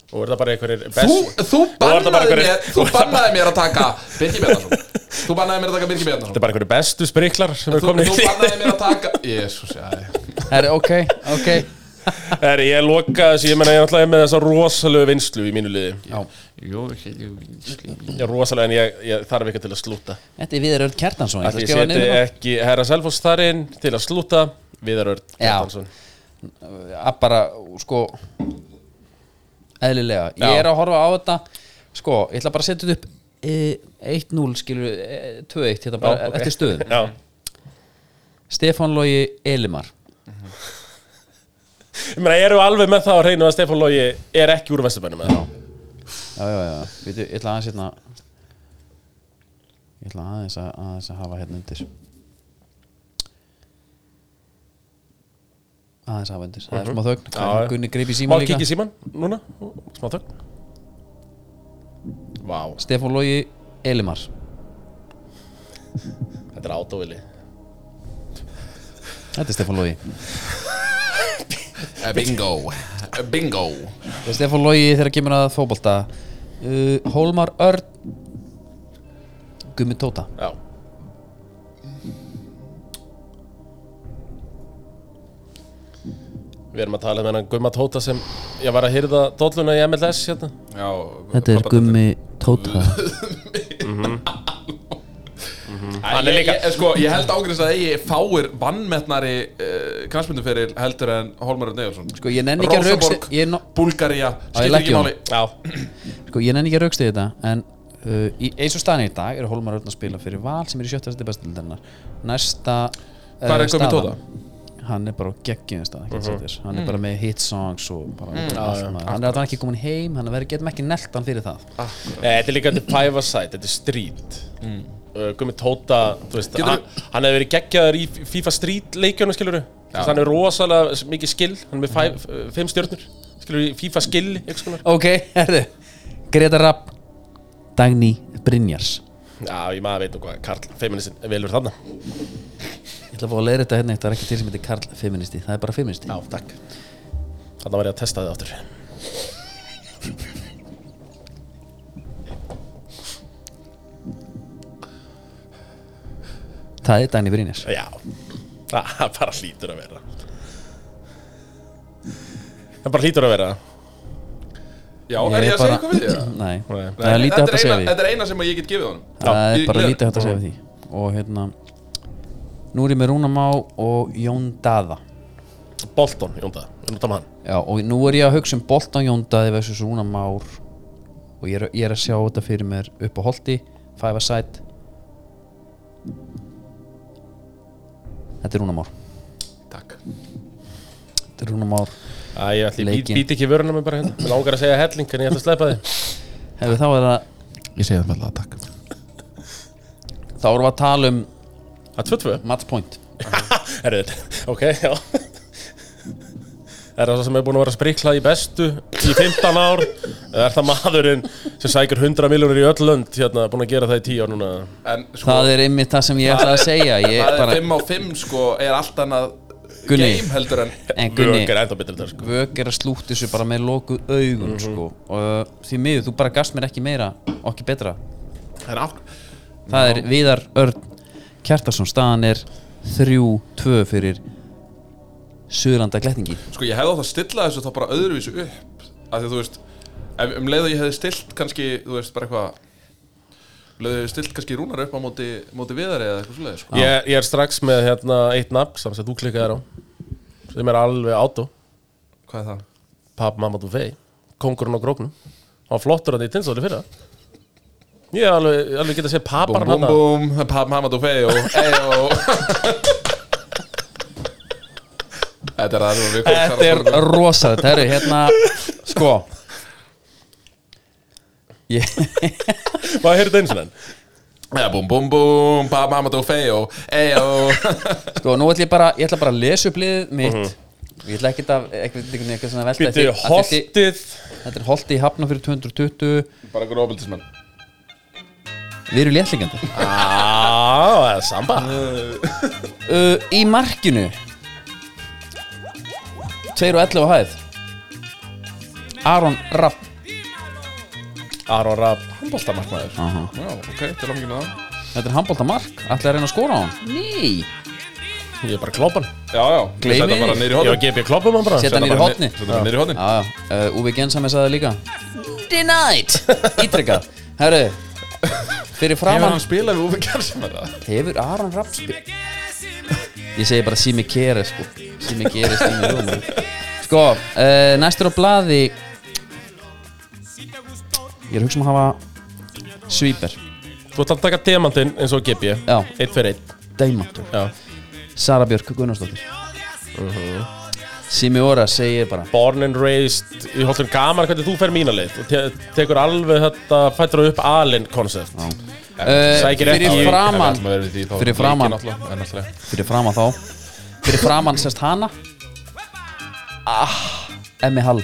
C: og er það bara einhverjir
B: Þú,
C: best
B: þú
C: Nú er það bara
B: bannaði
C: einhverjir-
B: mér þú bannaði mér að taka Birgi Bjarnason þú bannaði mér að taka Birgi Bjarnason
C: Þetta er bara einhverjir bestu spriklar sem er
B: þú,
C: komin í
B: þú bannaði mér að taka Jésús, já,
A: Herru, ok, ok
C: Er ég loka þessu, ég menna ég er alltaf með þessa rosalegu vinslu í mínu liði
A: já.
C: Ég er rosalega en ég, ég þarf ekki til að slúta
A: Þetta er Viðar Örn Kjartansson ég eh, ætla
C: Því
A: að
C: ég
A: skrifa
C: seti
A: niður
C: ekki herra Selfoss þar inn til að slúta Viðar Örn Kjartansson
A: núna. Að bara, sko eðlilega Ég er að horfa á þetta Sko, ég ætla bara að setja þetta upp e, 1-0 skilur við, e, 2-1 hérna bara
C: Já, ok.
A: eftir stöðum
C: Já,
A: Stefán Lógi Elimar
C: ég meina, eru alveg með það á hreinu að Stefán Lógi er ekki úr Vesturbænum eða?
A: Já, já, já, Veitu, ég ætla aðeins hérna Ég ætla aðeins að, aðeins að hafa hérna undir Aðeins að hafa undir Það er smá þögn,
C: Mhm. Já, já.
A: Gunni greip í
C: Má
A: síma líka
C: kikið síman núna, smá þögn Vá,
A: Stefán Lógi Elimar
C: þetta er átóvili
A: Þetta er Stefán Lógi Þetta
B: já Eh, bingo Eh, bingo
A: er Stefán Lógi þegar kemur að fótbolta uh, Hólmar Örn Gummi Tóta
C: Já Við erum að tala um hennan Gumma Tóta sem ég var að hyrða dolluna í MLS hérna
B: já,
A: Þetta er Gummi Tóta
C: Hann er líka-
B: ég, ég, sko, ég held ágrins að eigi fáir vannmetnari uh, knarspundumferil heldur en Holmar Örn Eilsson
A: Sko, ég nenni ekki að
B: Rósaborg,
A: rauks- ég no-
B: Búlgaría,
A: ég
B: skiptir
A: legg
B: ekki
A: í
B: máli
C: Já,
A: Sko, ég nenni ekki að raukstu þetta en uh, í, eins og staðin í dag eru Hólmar Örn að spila fyrir Val sem er í sjötta seti bestildarinnar næsta uh,
B: Hvar er Gummi Tóta? Mhm.
A: Hann er bara á geggjum stað mm -hmm. hann er bara með hit songs og bara mm,
C: já,
A: allt maður hann er alltaf ekki komin heim hann verður getum ekki nelt hann fyrir það
C: Nei, Eh, þetta er líka þetta er five a side, þetta er street mm. Gummi Tóta, þú veist
B: Getur-
C: hann, hann hefur verið geggjaður í FIFA street leikjörnum skilur Hann er rosalega s- mikið skill, hann er með five, mm. fimm stjörnur Skilur í FIFA skill, eitthvað skonar
A: ok, herðu Greta Rapp Dagný Brynjars
C: Já, ég maður veit nú hvað Karl, feministin, velur þarna
A: ég ætla að fá að leira þetta hérna þetta er ekki til sem heitir Karl Feministi það er bara Feministi
C: Já, takk Þarna var ég að testa þið áttur
A: Það er Dani Brynjar
C: Já, það bara hlýtur að vera Það bara hlýtur að vera
B: Já, er ég að segja eitthvað við því? eða?
A: Nei,
C: Nei.
A: það er lítið
B: Þetta
A: hægt að segja
B: eina-
A: við
B: Þetta er eina sem ég get gefið honum
A: Það er
B: Ég-
A: bara
B: ég-
A: lítið hægt að segja við því Og hérna Nú er ég með Rúnamá og Jón Daða
C: Bolton, Jónda, Jónda mann
A: Já, og nú er ég að hugsa um Bolton Jón Daði versus Rúnamár Og ég er, ég er að sjá þetta fyrir mér upp á holti Five a side Þetta er Rúnamár
B: Takk
A: Þetta er Rúnamár
C: Æ, ég ætli, ég
A: Leikinn.
C: být, být ekki vörunum bara hérna Mér langar að segja helling, en ég ætla að sleppa þið
A: Hefur þá er það
B: Ég segja það með alltaf takk
A: Þá erum við að tala um
C: Það er 2-2
A: match point
C: Herðu, ok, já Er það sem er búin að vera spriklað í bestu í 15 ár? Eða Er það maðurinn sem sækir 100 miljónir í öll lönd hérna, búin að gera það í 10 ár núna?
B: En sko,
A: Það er einmitt það sem ég ætla að segja Ég
B: það er
A: bara,
B: 5 á 5 sko Er allt annað
A: Gunni.
B: game heldur en
A: en Gunni
C: Vögg er ennþá betur þetta, sko.
A: Vögg er að slútt þessu bara með lokuð augum sko. og uh, því miður, þú bara gast mér ekki meira og ekki betra
B: Það er átt
A: það er Viðar Örn Kjartarsson, staðan er 3-2 fyrir Suðurlanda gletningi
B: Sko, ég hefði átt að stilla þessu þá bara öðruvísu upp Af því að þú veist ef, Um leið og ég hefði stillt kannski Þú veist, bara eitthvað um leið og ég hefði stillt kannski rúnar upp á móti, móti viðari eða eitthvað svoleiði sko.
C: Ég, ég er strax með hérna eitt nafn sem sem þú klikkaðir á sem er alveg átó
B: Hvað er það?
C: Pab Mamadou Fey, kongurinn á gróknum hann var flottur hann í tinsáli fyrra ég er alveg, alveg geta að segja
B: Búm,
C: pabar hann
B: búm,
C: að
B: búm, pab, mamma, þú fei og ei og Þetta er það sem við komum
A: þetta er rosa, þetta er hérna sko ég,
C: maður heyrði það eins og enn
B: ja, Búm, búm, búm, pab, mamma, þú fei og ei og
A: sko, nú ætla ég bara ég ætla bara að lesa upp liðið mitt ég ætla ekkert að ekkert, ekkert, ekkert, ekkert, svona velta
C: Býttu,
A: því- af því-
C: holtið
A: þetta er holti í hafna fyrir 220
B: Bara einhver ofbeldismenn
A: Við erum léttlingandi
C: aaa, samba
A: uh, Í markinu 2 og 11 á hæð Aron Rapp
C: Aron Rapp, handbóltamarkmaður
B: Já, ok, til ámyggjum með það
A: Þetta er handbólta mark, ætlaði að reyna að skora á hann Nei,
C: ég er bara kloppan
B: Já, já,
A: Gleymi
B: þetta
A: því.
B: bara niður í
C: ég var
B: hóðin
C: að gefa ég kloppum hann bara
A: Setja- Þetta
C: Set.
A: niður í horni.
B: Þetta bara niður í hóðin
A: já, já, uh, Uwe Gensham sagði það líka Denied Ítrekkað, herru Fyrir
B: Hefur
A: framann
B: hann spilað við Uwe Gersham eða?
A: Hefur Aron Rapp spil Ég segi bara Simi Kere sko Simi Kere stími rúmi Sko, uh, næstur á blaði Ég er að hugsa um að hafa Svíper,
C: þú ætlar að taka demantinn eins og gef ég
A: já,
C: eitt fyrir eitt
A: Dæmantur
C: Já.
A: Sara Björk Gunnarsdóttir Simi Óra segir bara
C: born and raised í hóllum gaman hvernig þú fer mína leið og te tekur alveg þetta fættur upp alin koncept
A: uh,
C: Sækir ekki í-
A: Fyrir framann Fyrir
B: Fyrir
A: framan.
B: framann
A: Fyrir framann þá Fyrir framann sérst hana Ah Emmi Hall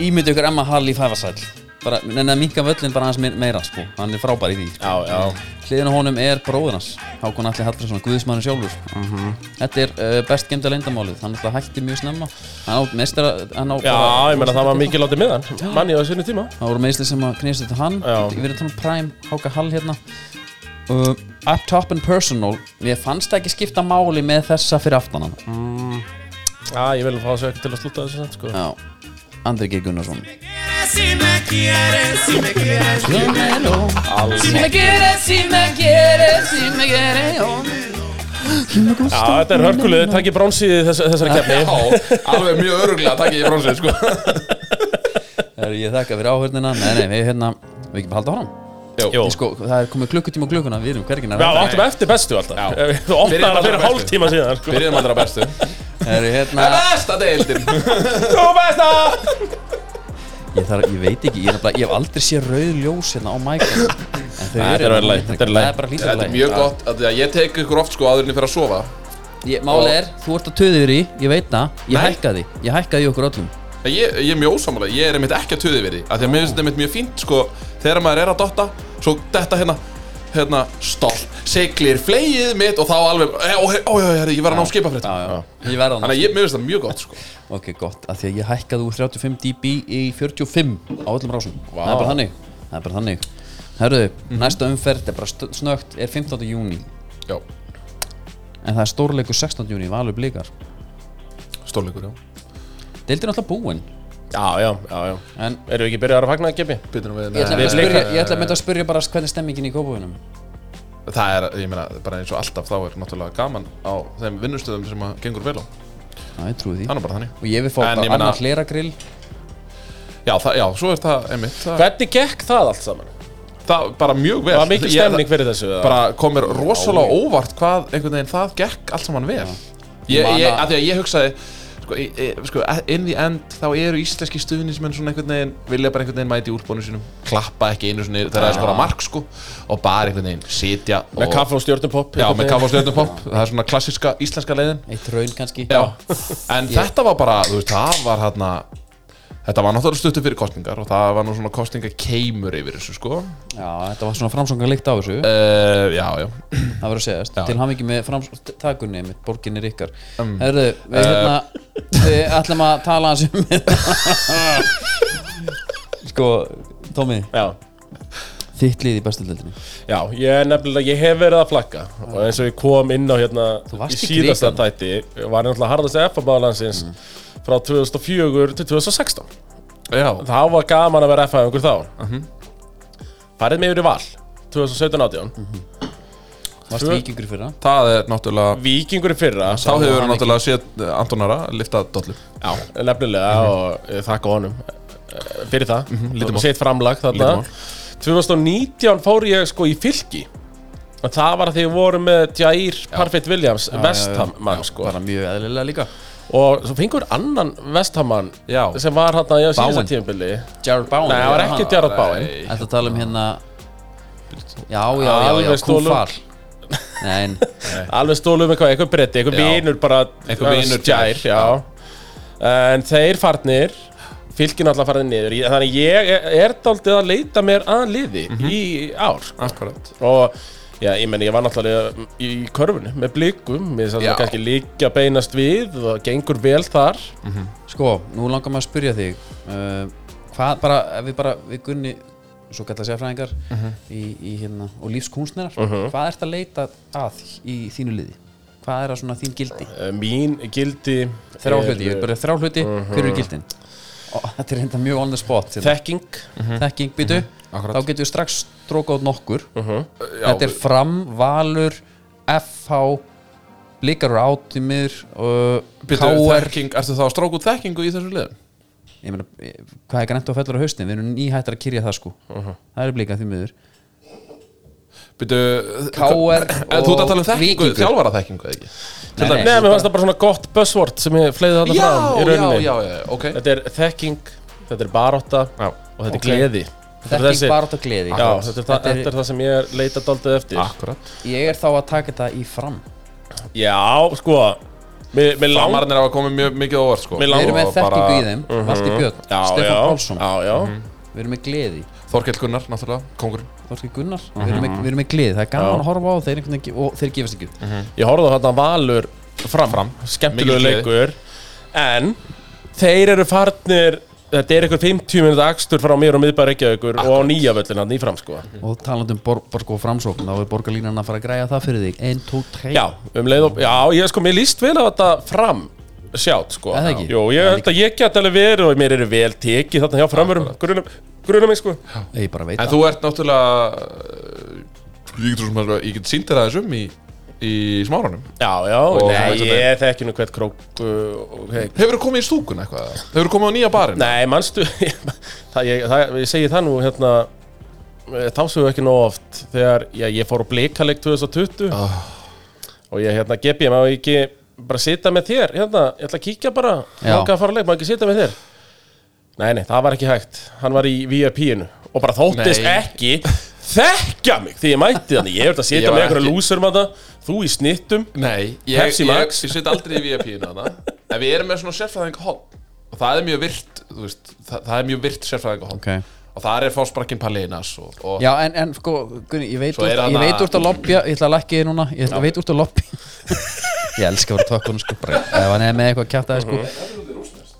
A: Ímyndu ykkur Emma Hall í fæfarsæl bara, Neina minka völlin bara hans meira sko Hann er frábær í því
C: já, já
A: Hliðin á honum er bróðir hans Hákon Alli Hallfriðsson, guðismannu sjálfur
C: Mhm.
A: Þetta er uh, best gemda leyndamálið Hann ætla hætti mjög snemma Hann á meistara hann á
C: já,
A: bara-
C: ég meina það var mikið látið með hann manni á þessu tíma
A: Það voru meðsli sem að knýst þetta hann
C: Já.
A: Við erum þannig Prime, Háka Hall hérna uh, Up top and personal Mér fannst það ekki skipta máli með þessa fyrir aftanan mm.
C: já, ég vil fá þessu ekki til að slúta þessu samt, sko.
A: Já Andri G. Gunnarsson
D: Si me quieres, si me quieres, si me quieres, si me quieres, si me quieres.
C: já, þetta er hörkuleg, takk ég bróns í þess, þessari keppni
B: Já, alveg mjög öruglega að taka ég bronsið sko
A: Það er ég þakka fyrir áhörnina Nei, nei, við hérna Við ekki bara halda honum
C: Jú.
A: sko, Það er komið klukkutíma og klukkuna Við erum hvergin að
C: já,
A: ræða
C: áttum eftir bestu alltaf
B: Já.
C: þú opnaði
B: Byrjum
C: það
B: allra
C: fyrir
B: bestu.
C: hálftíma síðan sko.
B: Byrjum allra bestu
A: Það er hérna
B: Besta deildin
C: þú besta
A: ég, þarf, ég veit ekki Ég, er nefnilega- ég hef aldrei séð rauð ljós hérna á mækana
C: Nei, þetta er verið lagi, þetta er
A: hérna
C: lagi.
A: Það er bara hlýtur
B: Þetta er mjög gott að því að Ég tek ykkur oft sko áður en ég fer að sofa
A: Ég- Málið er, þú ert að töður í, ég veit það Ég
B: Nei.
A: hækkaði, ég hækkaði í okkur öllum
B: En Ég, ég er mjög ósamála, ég er einmitt ekki að tuði verið Af því að mér finnst þetta einmitt mjög fínt sko Þegar maður er að dotta, svo detta hérna Hérna, stolt, seglir, flegið mitt Og þá alveg, ó, ó, ó, já, já, ég var að ná skipafrétt
A: já, já. Ég verða
B: Þannig að ég, mér finnst það mjög gott sko
A: Ok, gott, af því að ég hækkaði úr 35 dB í 45 á öllum rásum Það er bara þannig Það er bara þannig Herðu,
B: Mhm.
A: næsta umferð er bara st- snöggt er 15. júni
B: Já,
A: en það er stórleikur 16. júni, valur blíkar
B: stórleikur, já
A: Deildin er alltaf búin
C: Já, já, já, já
A: en
C: Erum við ekki byrjað að fagna að gefi?
B: Býtum Eh, við
A: ég ætla að mynda að
C: Nei,
A: spyrja,
C: Blikar-
A: ég ætla að mynda að spyrja bara hvernig er stemmingin í kópavinum
B: Það er, ég meina, bara eins og alltaf þá er náttúrulega gaman á þeim vinnustöðum sem að gengur vel á
A: Já, ég trúi því
B: Það er nú bara þannig
A: Og ég vil fá
B: En
A: bara
B: ég meina-
A: annar hlera grill
B: Já, það, já svo er það einmitt Það,
C: Hvernig gekk það allt saman?
B: það bara mjög vel
C: Það var mikil
B: Ég- það-
C: stemning fyrir þessu
B: bara komir rosalega óvart hvað einhvern veginn það gekk allt saman vel ég,
A: Man
B: ég,
A: að-
B: að því að ég hugsaði sko, í- í- sko, in the end þá eru íslenski stuðnismenn svona einhvern veginn vilja bara einhvern veginn mæti úlbónu sínum klappa ekki einu svona þegar það er skora mark sko og bara einhvern veginn sitja
C: Með
B: og,
C: kaffe og stjórnumpopp
B: já, með kaffa og stjórnupopp það er svona klassiska íslenska leiðin
A: Eitt raun kannski
B: já. en þetta var bara þú veist, það var hérna Þetta var náttúrulega stuttu fyrir kostningar og það var nú svona kostningakeimur yfir þessu sko
A: Já, þetta var svona framsóknar líkt á þessu
B: uh, Já, já
A: Það verður að segjast
B: Já.
A: Til hann ekki með framsóknartakunni mitt borginni ykkar Herðu, við hérna Við ætlum að tala hans um Sko, Tómi
C: Já,
A: Þitt lið í bestildildinni
C: já, ég er nefnilega, ég hef verið að flagga Og eins og ég kom inn á hérna í
A: varst í
C: síðasta
A: krikanum.
C: tætti Var ég náttúrulega harðast F-báðalansins
B: Mm.
C: Frá 2004 til 2016
B: Já,
C: Það var gaman að vera F-báðingur þá
B: Mhm.
C: Farið með yfir í val 2017-18
B: Mhm.
A: Varst
C: Tvö-
A: vikingur í fyrra
B: það er náttúrulega
C: Víkingur í fyrra
B: Þá hefur við náttúrulega séð eh, Antonara lifta dollu
C: Já, nefnilega og ég þakka honum eh, fyrir það mm
B: Mhm. lítið mál.
C: Sitt framlag
B: Lítið
C: þarna
B: mál.
C: 2019 fór ég sko í fylki og það var að því við vorum með Jair Parfit Williams Vestham mann sko
A: Bara mjög eðlilega líka
C: og svo fengur annan Vestham mann
B: Já.
C: sem var hérna í síðasta
A: Bowen.
C: tíðanbili
A: Jared Bowen
C: Nei, það var ekki Gerard Báin
B: Nei.
A: Þetta tala um hérna Já, já, já, já,
C: Alveg stólum.
A: kúfar Nei, en-
C: alveg stólu um eitthvað, eitthvað bretti, eitthvað
B: Já.
C: vinur bara
B: Einhver vinur
C: Jair,
B: Jair,
C: já en þeir farnir fylgin alltaf farið niður Ég- þannig ég er- er daldið að leita mér að liði í ár sko.
B: Mhm. Akkurat
C: og já, ég meni, ég var náttúrulega í körfunni með blikum, ég sagði
B: Já.
C: það kannski líka beinast við og gengur vel þar
B: Mhm.
A: Sko, nú langar maður að spyrja þig uh, Hvað bara, ef við bara við gunni, svo gætla að segja fræðingar í, í hérna, og lífskúnsnerar Hvað ert að leita að í þínu liði? Hvað er að svona þín gildi?
C: Eh, mín gildi
A: Þrjá
C: er,
A: hluti, ég vil bara þrjá hluti, hver eru gildin? Ó, þetta er hérna mjög on the spot
C: eh,
A: hérna.
C: þekking
A: Þekking, býtu,
B: Akkurat.
A: þá getum við strax stróka út nokkur Þetta er fram, valur, FH, blikar og átimir, uh,
B: Býttu
A: KR
B: þekking, ertu þá að stróka út þekkingu í þessu liðum?
A: ég meina, eh, hvað er grænt og fellur á haustin við erum nýhættar að kyrja það sko það er blíkað því miður
B: Býttu
A: KR
B: En þú ert að tala um
A: og
B: þekkingu,
A: Víkingur.
B: þjálfara þekkingu eða ekki?
C: Til dæmis- Nei, mér fannst það bara svona gott buzzword sem ég fleiði þarna
B: Já,
C: fram í
B: já,
C: rauninni
B: já, já, ok
C: Þetta er þekking, þetta er baróta
B: Já.
C: og
A: Ok.
C: þetta er gleði Þetta er
A: þekking
C: þessi-
A: bara átt og gleði
C: Já, þetta er, það,
A: Þetta er-
C: þetta er það sem ég er leita daldið eftir
B: Akkurat
A: ég er þá að taka þetta í fram
C: Já, sko Mér, mér lang...
B: Lamarnir hafa komið mjög mikið á óvart sko
C: Mig
A: við erum
B: Og
A: með
B: bara
A: þekkingu í þeim Valdi Björn,
C: Mhm. Já, já,
A: Stefán Pálsson
C: já, já.
A: við erum með gleði,
B: Þorkell Gunnar, náttúrulega, kongurinn
A: Þorski Gunnar við, erum með,
C: Mhm.
A: við erum með gleði, það er gaman að horfa á þeir einhvern veginn og þeir gefast ekki upp.
C: Ég horfði á þarna valur fram,
B: Fram.
C: Skemmtilegu
B: Mikil gleði.
C: leikur En þeir eru farnir Þetta er eitthvað 50 minúta akstur frá mér og miðbæri Reykjavíkur og á nýja völlin hann í fram sko
A: og talandi um bor, bor, sko, framsókn þá er borgarlínan að fara að græja það fyrir þig 1, 2, 3
C: Já, um leið og, já, ég sko, mér líst vel á þetta fram sjátt, sko.
A: Er það ekki?
C: Jú, ég held að ég get alveg verið og mér eru vel tekið þarna hjá framverum, grunum, grunum mig, sko.
A: ég bara veit
B: En
A: það
B: þú ert náttúrulega uh, Ég get, svo sem að- ég get sýnt þér aðeins um í, í smáranum
C: Já, já,
B: Og-
C: nei, ég þekki nú hvert krók, uh, okay.
B: Hefur þú komið í stúkun eitthvað? Hefur þú komið á nýja barinn?
C: Nei, manstu, það, ég, það, ég segi það nú, hérna, eh, þá sögum við ekki nóg oft þegar já, ég fór á blikaleg 2020
A: Ah.
C: og ég, hérna, gefi, ég má ekki bara sita með þér, hérna, ég ætla að kíkja bara,
A: Já.
C: langa að fara að leik, má ekki sita með þér. Nei, nei, það var ekki hægt, hann var í VIP-inu og bara þóttist
B: Nei.
C: ekki þekkja mig því ég mætti þannig, ég er að
B: Ég
C: sita
B: var
C: með einhverja
B: ekki-
C: lúsur maður, þú í snittum,
B: Nei, ég,
C: Pepsi
B: ég, ég,
C: Max.
B: sitt aldrei í VIP-inu þarna En við erum með svona sérfræðinga hóp Og það er mjög virt, þú veist Það, það er mjög virt sérfræðinga hóp
A: Ok.
B: Og það er fósbrakkin Palinas og, og
A: Já, en, en sko, Gunni, ég veit,
B: Svo
A: úr,
B: er
A: ég
B: þarna-
A: veit úr að loppja, ég ætla að lækki þið núna, ég ætla, veit úr að loppja Ég elska að vera tökkunum sko, bara, ef hann er með eitthvað að kjáta það sko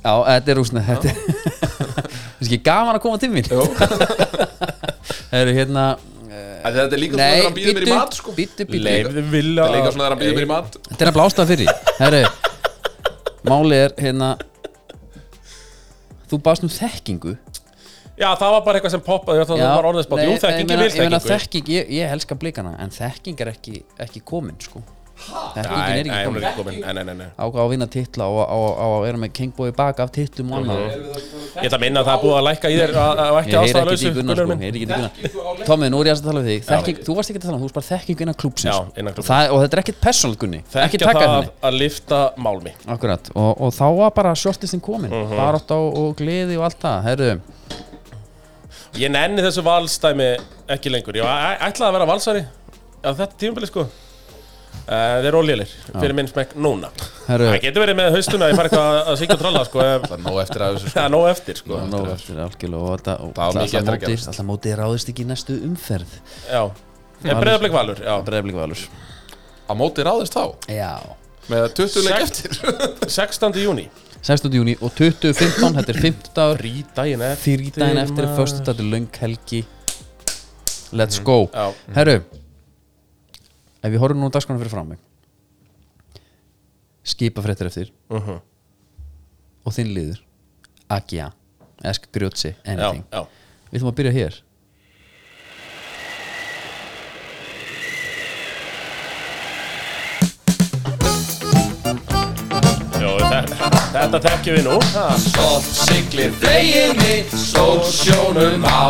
A: Já, þetta er rúsnest, þetta er Þú veist ekki, gaman að koma til mín Þetta Eru hérna
B: Að Þetta er líka svona
A: Nei,
B: þegar hann býður mér í mat sko
A: bítu, bítu
C: Leifðu vilja
B: Þetta er líka svona þegar hann býður mér í mat
A: Þetta er að blásta fyrir Herru Máli er hérna Þú baðst um þekkingu
C: Já, það var bara eitthvað sem poppaði Það
A: Já,
C: var orðinspátt
A: nei,
C: Jú,
A: ég
C: þekking
A: meina-
C: er vil
A: Ég meina þekking,
C: þekkingu
A: ég, ég elska blikana En þekking er ekki, ekki komin sko Þekkingin
C: Nei,
A: er
C: nei,
A: ekki
C: hún er
A: komin
C: ekki komin Nei, nei, nei, nei.
A: Ákvað á að vinna titla og, og, og, og vera með kengbói bak af titlum og annað
C: Ég ætla að minna að það er búið að lækka í þér að- að- að
A: Ég
C: ekki
A: heyri ekki
C: ástæðalausu
A: því Gunnar sko, ég heyri ekki því Gunnar Tommi, nú er ég aðeins að tala við þig þekking, Þú varst ekki að tala um, þú varst bara þekking innan klúpsins
C: Já, innan klúbbsins.
A: það, Og þetta er ekkit personal Gunni Ekki
C: Þekkja
A: taka
C: það
A: henni
C: að lifta málmi
A: Akkurat, og, og þá var bara shortlistin komin uh
C: Mhm.
A: -huh. Barátt á og gleði og allt það Herru,
C: Ég nenni þessu valstæmi ekki lengur Ég æ- ætlaði að vera valsari Já, þetta tímabili sko Uh, þeir eru ólíðilir fyrir minn smekk núna
A: herru
C: Það getur verið með haustuna Ég fari eitthvað að- að syngja og tralla sko ef-
B: Það er nóg eftir að þessu sko
C: Það er nóg eftir sko
A: Nó, eftir algjörlega og þetta og
B: Það var mikið
A: alltaf
B: eftir að
A: móti-
B: gerast.
A: Alltaf mótið ráðist ekki í næstu umferð
C: Já En breyðarblik valur Já
A: Breiðablik Valur
B: Á móti ráðist þá
A: Já
B: Með 20 leik
C: Sex-
B: eftir
C: 16. júni
A: 16. júni og 2015, þetta er 15 dagur
C: Rídaginn eftir
A: Þýri daginn eftir, förstu dagur löng helgi Let's go
C: Mhm. Já
A: Herru Ef við horfum nú dagskona fyrir fram mig Skipa fréttir eftir
C: Mhm.
A: Og þinn liður Agia, Esk Grjótsi,
C: Já,
A: anything
C: já
A: Við þum að byrja hér
C: Jó, þetta, þetta tekjum við nú ha.
D: Stolt siglir veginni, stór sjónum á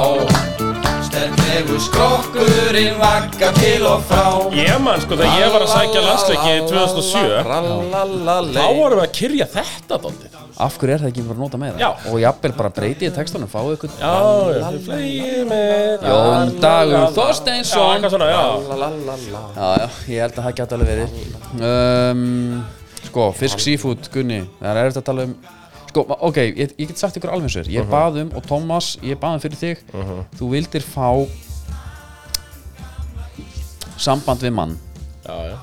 D: Stertlegu skrokkurinn vagga til og frá
C: Ég man sko þegar ég var að sækja landsleiki 2007 Þá vorum við að kyrja þetta dóttið
A: Af hverju er það ekki bara að nota með það?
C: Já.
A: Og jafnvel bara breytið í textunum, fáið ykkur
C: Já, við flegið með
A: Jón Dagur
C: Já,
A: Þorsteinsson
C: eitthvað svona, já
A: Já, já, ég held að það gæti alveg verið um, Sko, fisk seafood, Gunni Það er eftir að tala um Sko, ma- ok, ég, ég get sagt ykkur alveg sér Ég bað um, og Thomas, ég bað um fyrir þig Þú vildir fá Samband við mann
C: Já, já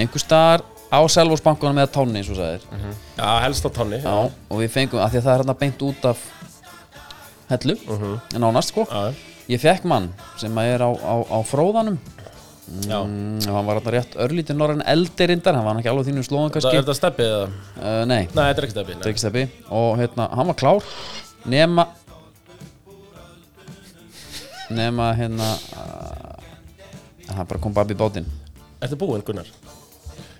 A: Einhver staðar á Selvósbankunum eða Tónni, eins og sagðir
C: Já, helst á tónni Já,
A: Já, og við fengum, af því að það er hérna beint út af Hellu, nánast sko
C: já,
A: Ég fekk mann sem að er á, á, á fróðanum
C: já.
A: Mm, hann var alltaf rétt örlítið norðan eldirindar hann var ekki alveg þínu slóðan
C: Það
A: kannski
C: er þetta steppið eða? Nei,
A: uh, nei,
C: þetta er ekki steppið nei.
A: tekisteppi og hérna, hann var klár nema nema hérna uh, hann bara kom bara upp í bátinn
C: Ertu búinn Gunnar?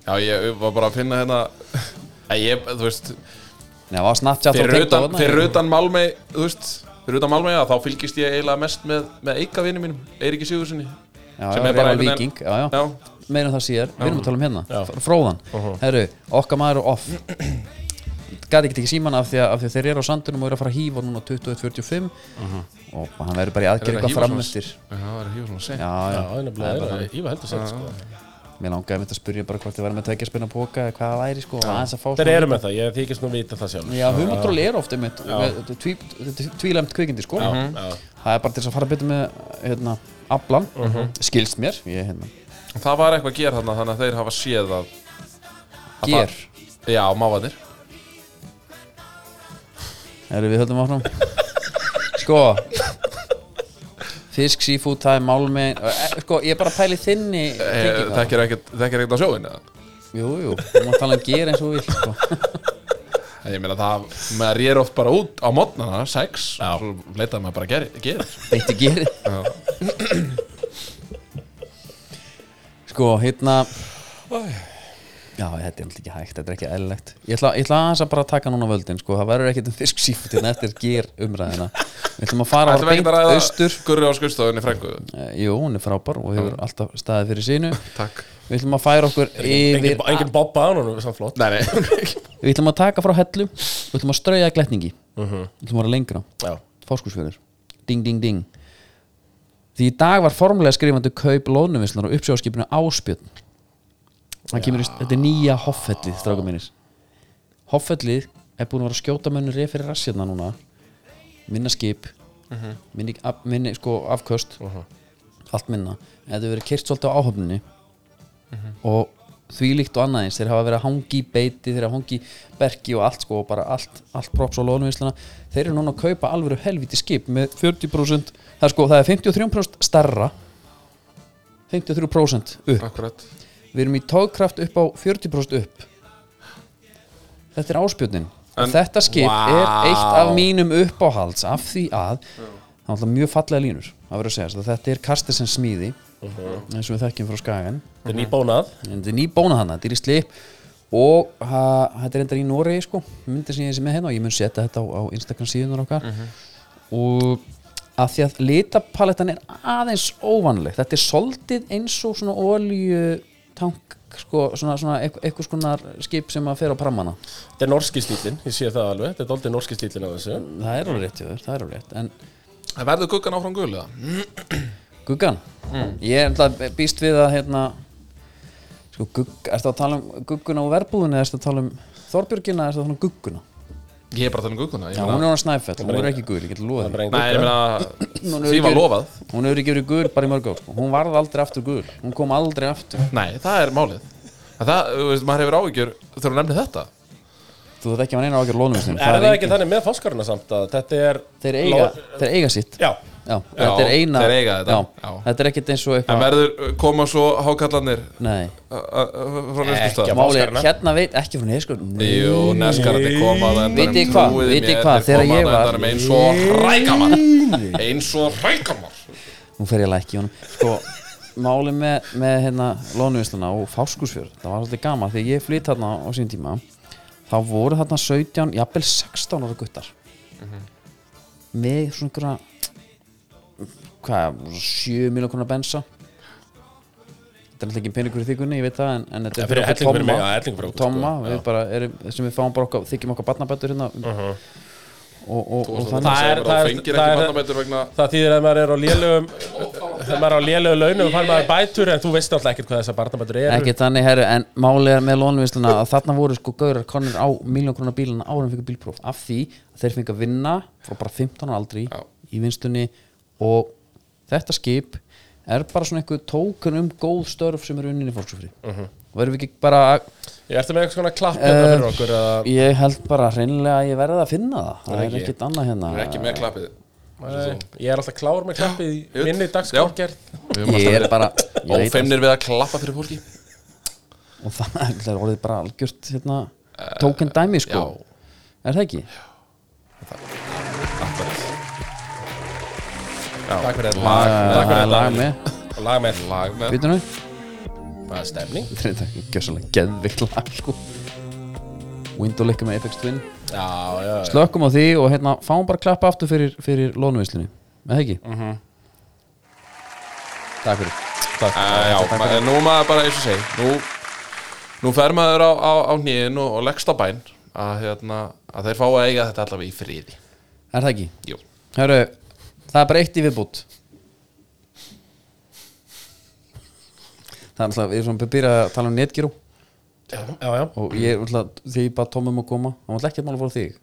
B: Já, ég var bara að finna hérna Æ, Ég, þú veist
A: nei, það var Snapchat og
B: Fyrir
A: TikTok
B: utan,
A: þarna.
B: fyrir utan Malmei, þú veist Fyrir utan Malmei, að þá fylgist ég eiginlega mest með, með eikavinni mínum, Eiríki Sigurssoni
A: já,
B: sem
A: já,
B: er bara
A: Real
B: einhvern veginn-
A: Viking, já, já,
B: Já,
A: meira um það síðar, við erum að tala um hérna
C: Já.
A: fr- fróðan, herru, okkar maður og off gæti ekki tekið síman af því, að, af því að þeir eru á sandunum og eru að fara að hífa núna 21.45 og hann verður bara í aðgerð
B: Þeir eru að
A: eitthvað
B: hífa
A: fram
B: svona-
A: eftir
B: Já, það er hjóðsson að segja
A: já,
C: Já,
A: já,
C: það
A: það
C: er
A: er bara
C: nefnilega Ég var heldur sætt sko
A: Mér langaði mitt að spyrja bara hvort þið verðum með tvekja spinna póka eða hvað það væri sko og aðeins að fá
C: Þeir eru með það, ég þykist nú vita það sjálf
A: Já, hugmyndról er ofta mitt tvílemt kvikindi sko Það er bara til þess að fara betur með hérna, aflan, skilst mér ég, hérna,
B: Það var eitthvað ger þarna, þannig að þeir hafa séð að að
A: Ger,
B: það- Já, mávanir
A: erum við höldum áfram Sko Fisk, seafood, það er málmi Sko, ég er bara að pæli þinni
B: Eh,
A: tengingu þarna.
B: Þekkir ekkert þekkir ekkert á sjóin eða?
A: Jú, jú, þú mátt tala um ger eins og þú vill sko.
B: En Ég meina það, maður ég er oft bara út á mótnana, sex Já. Svo leitaði maður bara að gera- gera
A: Beitti gerið Sko, hérna Já, þetta er alltaf ekki hægt, þetta er ekki eðlilegt Ég ætla, ég ætla aðeins að bara taka núna völdin sko. Það verður ekkert um fisk sífut hérna eftir ger umræðina Við ætlum að fara bara
B: Ætlum við ekki
A: beint
B: að ræða
A: austur
B: Gurri á skurstofunni frængu
A: Eh, Jú, hún er frábær og hefur alltaf staðið fyrir sínu
B: Takk
A: Við ætlum að færa okkur yfir
C: Engin, engin bobba á honum, samt flott
B: Nei, nei
A: Við ætlum að taka frá hellu Við ætlum að strauja gletningi Við ætlum að vera lengra
C: Já,
A: Fáskursfjörður Ding, ding, ding Því í dag var formulega skrifandi kaup lóðnumislunar og uppsjóðskipinu Áspjörn Það kemur í, þetta er nýja hoffellið, stráka mínir Hoffellið er búin að vera að skjóta mönnur reyð fyrir rassjarna núna minna skip minni, af, minni sko afköst allt minna en þetta hefur verið kyrt svolítið á áhöfninni og þvílíkt og annað eins þeir hafa verið að hangi í beiti, þeir hafa hangi í berki og allt sko og bara allt, allt props og lónuvísluna, þeir eru núna að kaupa alvöru helviti skip með 40% það er sko, það er 53% starra 53% upp
B: Akkurat
A: við erum í tóðkraft upp á 40% upp þetta er áspjötnin
B: En-
A: og þetta skip
B: Vá.
A: er eitt af mínum uppáhalds af því að það er alltaf mjög fallega línur að vera að segja að þetta er Karstensens smíði
B: Mhm.
A: eins og við þekkjum frá Skagan
C: Þetta er nýbónað
A: en þetta er nýbónað hana, þetta er í slip og ha, þetta er enda í Noregi sko myndir sem ég sem er hérna og ég mun setja þetta á, á Instagram síðunar okkar og að því að litapalettan er aðeins óvanleg þetta er soldið eins og svona olju tank sko, svona, svona eitth- eitthvað skonar skip sem að fer á prammana
C: Þetta er norski stílinn, ég sé það alveg Þetta er doldið norski stílinn á þessu
A: það er alveg rétt, jöður, það er alveg rétt en
B: En verður guggan áfram gul eða?
A: Guggan Ég er alltaf býst við að hérna Sko, gugg, ertu að tala um gugguna og verbúðinu eða ertu að tala um Þorbjörgina eða ertu að tala um gugguna
B: Ég er bara að tala um gugguna ég
A: Já,
B: meina-
A: hún er á snæfell, hún er ekki guður, ég get
C: Það
A: loðið
C: er
A: því.
C: engin
B: Nei, ég
C: gugga.
A: Hún
B: meina
A: hefur
B: Því var
A: ekki-
B: lofað
A: Hún hefur ekki verið guður bara í mörg ár sko. Hún varð aldrei aftur guður, hún kom aldrei aftur
B: Nei, það er málið En Það, þú veist, maður hefur áhyggjur þegar hún nefnir þetta
A: Þú þarf ekki að neina ágjör lónum sinni
C: Er það ekki þannig með fáskaruna samt að þetta er
A: Þeir eiga, þeir eiga sitt
C: Já,
A: Já, þetta er eina
B: þeir eiga þetta.
A: Já,
B: Já.
A: þetta er ekkit eins og
B: En
A: eitthvað
B: verður eh, koma svo hákallanir
A: Nei,
B: a- a- a- frá næstum
C: Ekki
B: stað?
C: að-
A: málið,
C: Áskarana?
A: er- hérna veit, ekki frá nesko
B: Jú, neskarandi koma á endanum,
A: Vitið þið hvað,
B: trúið
A: vitið
B: mér,
A: hvað,
B: þeir
A: þegar ég
B: koma á
A: var-
B: endanum Eins og hrækamar Eins og hrækamar
A: nú fer ég að lækja honum sko, máli með, með hérna, lónuvinsluna og fáskursfjörð það var svolítið gaman því að ég flytt þarna á sín tíma þá voru þarna 17, jafnvel 16 ára guttar
C: Mhm.
A: með svona einhverja hvað, 7 miljón konar bensa þetta er alltaf ekki peningur í þykunni, ég veit það en, en þetta
C: En fyrir helling fyrir mig, já, helling fyrir
A: tomma,
C: okkur,
A: tomma
C: sko,
A: við bara erum, sem við fáum bara okkar þykjum okkar barnabættur hérna
C: Mhm.
A: og, og, og, og þannig
C: það er-
B: Það
C: það er-
B: fengir ekki
C: það er-
B: barnabætur vegna
C: það þýðir að maður er á lélögum Þegar maður er á lélögum launum fær maður bætur En þú veist náttúrulega ekkert hvað þessar barnabætur eru
A: ekki þannig herru, en málið er með lónvinsluna að þarna voru sko gaurar konir á miljónkrona bílana árum fyrir bílpróf af því að þeir fengi að vinna frá bara 15 ára aldri
B: Já.
A: í vinstunni og þetta skip er bara svona einhver tókun um góð störf sem eru unninni fólksufri uh -huh. og erum við ekki bara að-
C: Ég ertu með eitthvað svona klapp
A: Ehm,
C: hérna fyrir okkur eða-
A: ég held bara hreinlega að ég verði að finna það það er
C: ekki.
A: ekkert annað hérna
B: Hún er ekki með klappið
C: Nei, Ég er alltaf klár með klappið í
B: Ull.
C: minni dagskorgerð
B: Við höfum
A: ég
B: alltaf
A: er bara ég
B: verið
A: veit það.
B: Ófeimnir við að klappa fyrir fólki
A: og það er- það er orðið bara algjört hérna, tókun dæmi sko er það ekki?
C: Takk fyrir þetta
B: Lag-
C: Takk
A: það er
C: fyrir
A: lag
C: þetta
A: með
C: Og Lag með
B: Lag með
A: Býtum við?
C: Það er stemning
A: Þetta er gjössalega geðvikt lag sko Window líka með Apex Twin
C: Já, já, já
A: Slökkum á því og hérna fáum bara klappa aftur fyrir, fyrir lónuvislunni Með það ekki? Takk fyrir
B: Eh, Já, ma- eh, nú er maður bara eins og segi Nú, nú fer maður á, á, á hnýðin og, og leggst á bæn að, hérna, að þeir fá að eiga þetta allavega í friði
A: Er það ekki?
B: Jú
A: Hörru, það er bara eitt í viðbútt Það er alltaf, við erum svona byrjað að tala um netgyrú
C: Já, já
A: og ég er alltaf, þegar ég bara Tommi um að koma hann var alltaf ekki að mála fór þig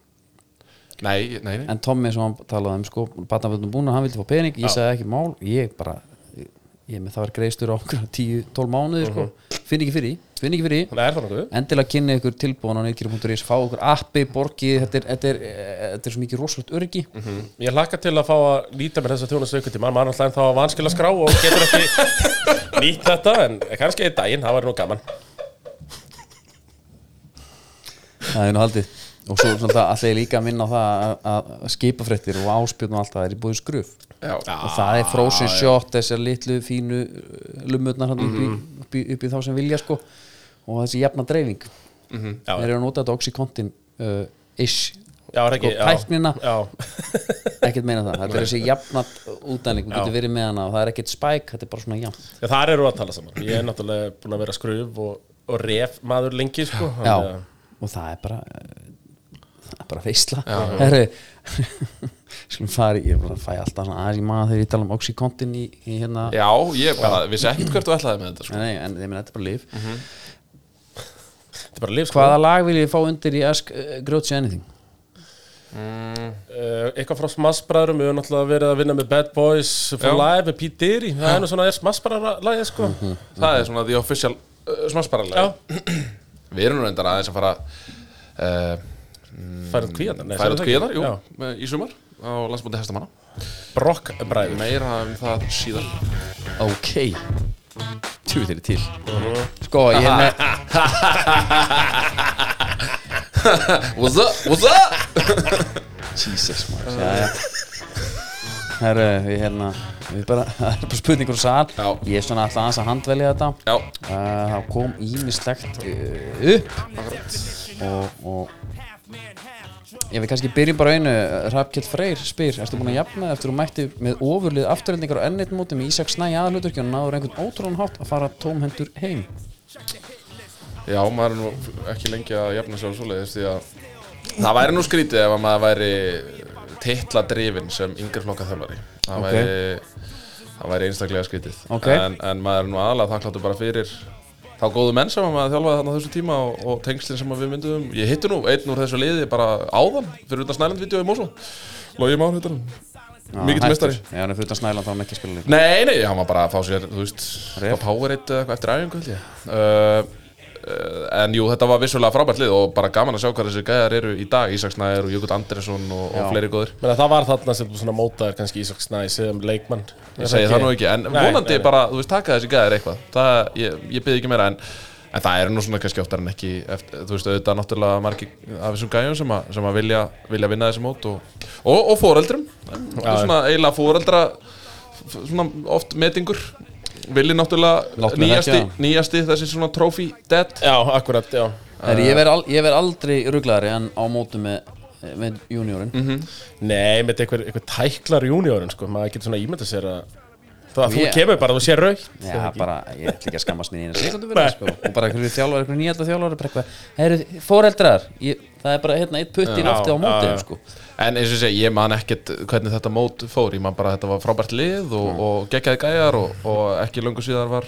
B: Nei, nei, nei
A: en Tommi sem hann talaði um sko batnaföldum búna, hann vildi fá pening, ég sagði ekki mál ég bara, ég með það var greiðstur á okkur 10-12 mánuði sko finn ekki fyrir, því, finn ekki fyrir því.
C: Þannig er það nokkuð
A: endilega kynni ykkur tilbúin á neyrkjur.is fá ykkur appi, borgi, þetta er þetta er, eh, þetta er svo mikið rosalegt öryggi
C: Ég hlakka til að fá að nýta mér þessa þjónustu ykkur tíma Mann alltaf en þá að vanskil að skrá og getur ekki nýtt þetta En kannski einn daginn, það var nú gaman
A: það er nú haldið og svo alltaf alltaf ég líka að minna á það að- að skipafréttir og áspjörn og allt það er í búið skruf
B: Já, já,
A: og það er frozen shot þessar litlu fínu uh, lumutnar hann upp, í,
C: Mhm.
A: upp, í, upp í þá sem vilja sko og þessi jafna dreifing mm -hmm.
C: Mhm, Já,
A: þeir eru að nota þetta oxycontin uh, ish,
C: Já, er ekki
A: Sko,
C: já.
A: tæknina.
C: Já,
A: ekkert meina það þetta er þessi jafna útdæling og getur verið með hana og það er ekkert spæk, þetta er bara svona jafn
C: Já, þar eru að tala saman Ég er náttúrulega búin að vera skröf og, og ref maður lengi, sko
A: já,
C: Þannig að-
A: og það er bara uh, það er bara veisla herru skulum fara, í- ég er bara að fæ alltaf svona aðeins í maður þegar ég tala um oxycontin í, í hérna
B: ég bara vissi ekkert hvert þú ætlaði með þetta sko.
A: Nei, en ég meina þetta er bara líf
C: Þetta er bara líf, sko
A: Hvaða lag vil ég fá undir í Ask uh, Grótsi Anything?
C: Uh, eitthvað frá smassbræðurum, við höfum náttúrulega verið að vinna með Bad Boys for
B: Já. Mhm.
C: Live með Pete Diri, það er nú svona er smassbræðara lagið sko
B: Það er svona the official uh, smarsparallega
C: Já,
B: Við erum nú reyndar aðeins að fara uh,
C: færið kvíðan
B: færa út kvíðar, jú, með- í sumar á landsbúndi hestamanna
C: Brokkbræður
B: Meira um það síðan
A: Ok Tjú þeir til Sko, ég er með
B: What's up, what's up?
A: Jesus maður Jæja Herru, við hérna Við bara, það er bara spurningur og sal
B: Já.
A: Ég er svona alltaf aðeins að handvelja þetta
B: Já,
A: uh, Það kom ímislegt uh, upp Og, og Ég vil kannski byrja bara á einu Rafkjöld Freyr spyr Ertu búin að jafna þig eftir að þú mætti með ofurlið afturhendingar og ennit móti með Ísak Snæ aðaluturkjörn og náður einhvern ótrúan hátt að fara tómhendur heim
B: já, maður er nú ekki lengi að jafna sér á svoleiðis því að það væri nú skrítið ef að maður væri titla drifin sem yngri flokka þjálfari það,
A: Ok.
B: væri, það væri einstaklega skrítið
A: Ok.
B: en, en maður er nú aðalega þakkláttu bara fyrir þá góðu menn sem að maður þjálfaði þarna á þessu tíma og, og tengslinn sem að við myndum ég hitti nú einn úr þessu liði bara áðan fyrir utan snælandvídeó í Mosó Lógi Már hittar hann mikill mestari
A: Ah, Já, hann er fyrir utan Snæland þá hann ekki að spila líka
B: Nei, nei, hann var bara að fá sér, þú veist,
A: Ref.
B: Ref. Powerade eða eitthvað eftir æfingu, held ég. Uh, uh, en jú, þetta var vissulega frábært lið og bara gaman að sjá hvað þessir gæðar eru í dag, Ísaksnæður og Jökull Andresson og,
A: Já.
B: og fleiri góður.
C: Menna, það var þarna sem þú svona mótaðir kannski Ísak Snæ sem um leikmann
B: Ég segi það nú ekki, en
C: Nei,
B: vonandi
C: nei, nei.
B: bara, þú veist, taka þessi gæðar eitthvað. Það, ég, ég byrði ekki meira, en, en það er nú svona kannski oftar en ekki, eftir, þú veist, auðvitað náttúrulega margir af þessum gæðum sem, að- sem að vilja, vilja vinna þessi mót og, og, og fóreldrum, svona eiginlega fóreldra, svona oft metingur. Vili náttúrulega
A: Láttu mig
B: nýjasti,
A: þekkja það.
B: nýjasti þessi svona trophy dead
C: Já, akkurat, já
A: Þegar ég verð al, ég verð aldrei rugglaðari en á mótu með, eh, með juniorinn
C: Nei, með þetta einhver, einhver tæklar júniorinn sko maður getur svona ímynda sér að það, þú
A: Ég-
C: kemur bara, þú sér raukt
A: Já, bara, ég ætla ekki að skammast mér í einu sekundu fyrir
C: Nei.
A: það sko Og bara einhverju þjálfari, einhverju nýjölda þjálfari bara eitthvað Heyrðu, foreldrar, ég, það er bara hérna eitt putt í lofti á
C: Já, já,
A: mótið
C: já.
A: sko
B: En eins og ég segi, ég man ekkert hvernig þetta mót fór Ég man bara að þetta var frábært lið og, og geggjaði gæjar og, og ekki löngu síðar var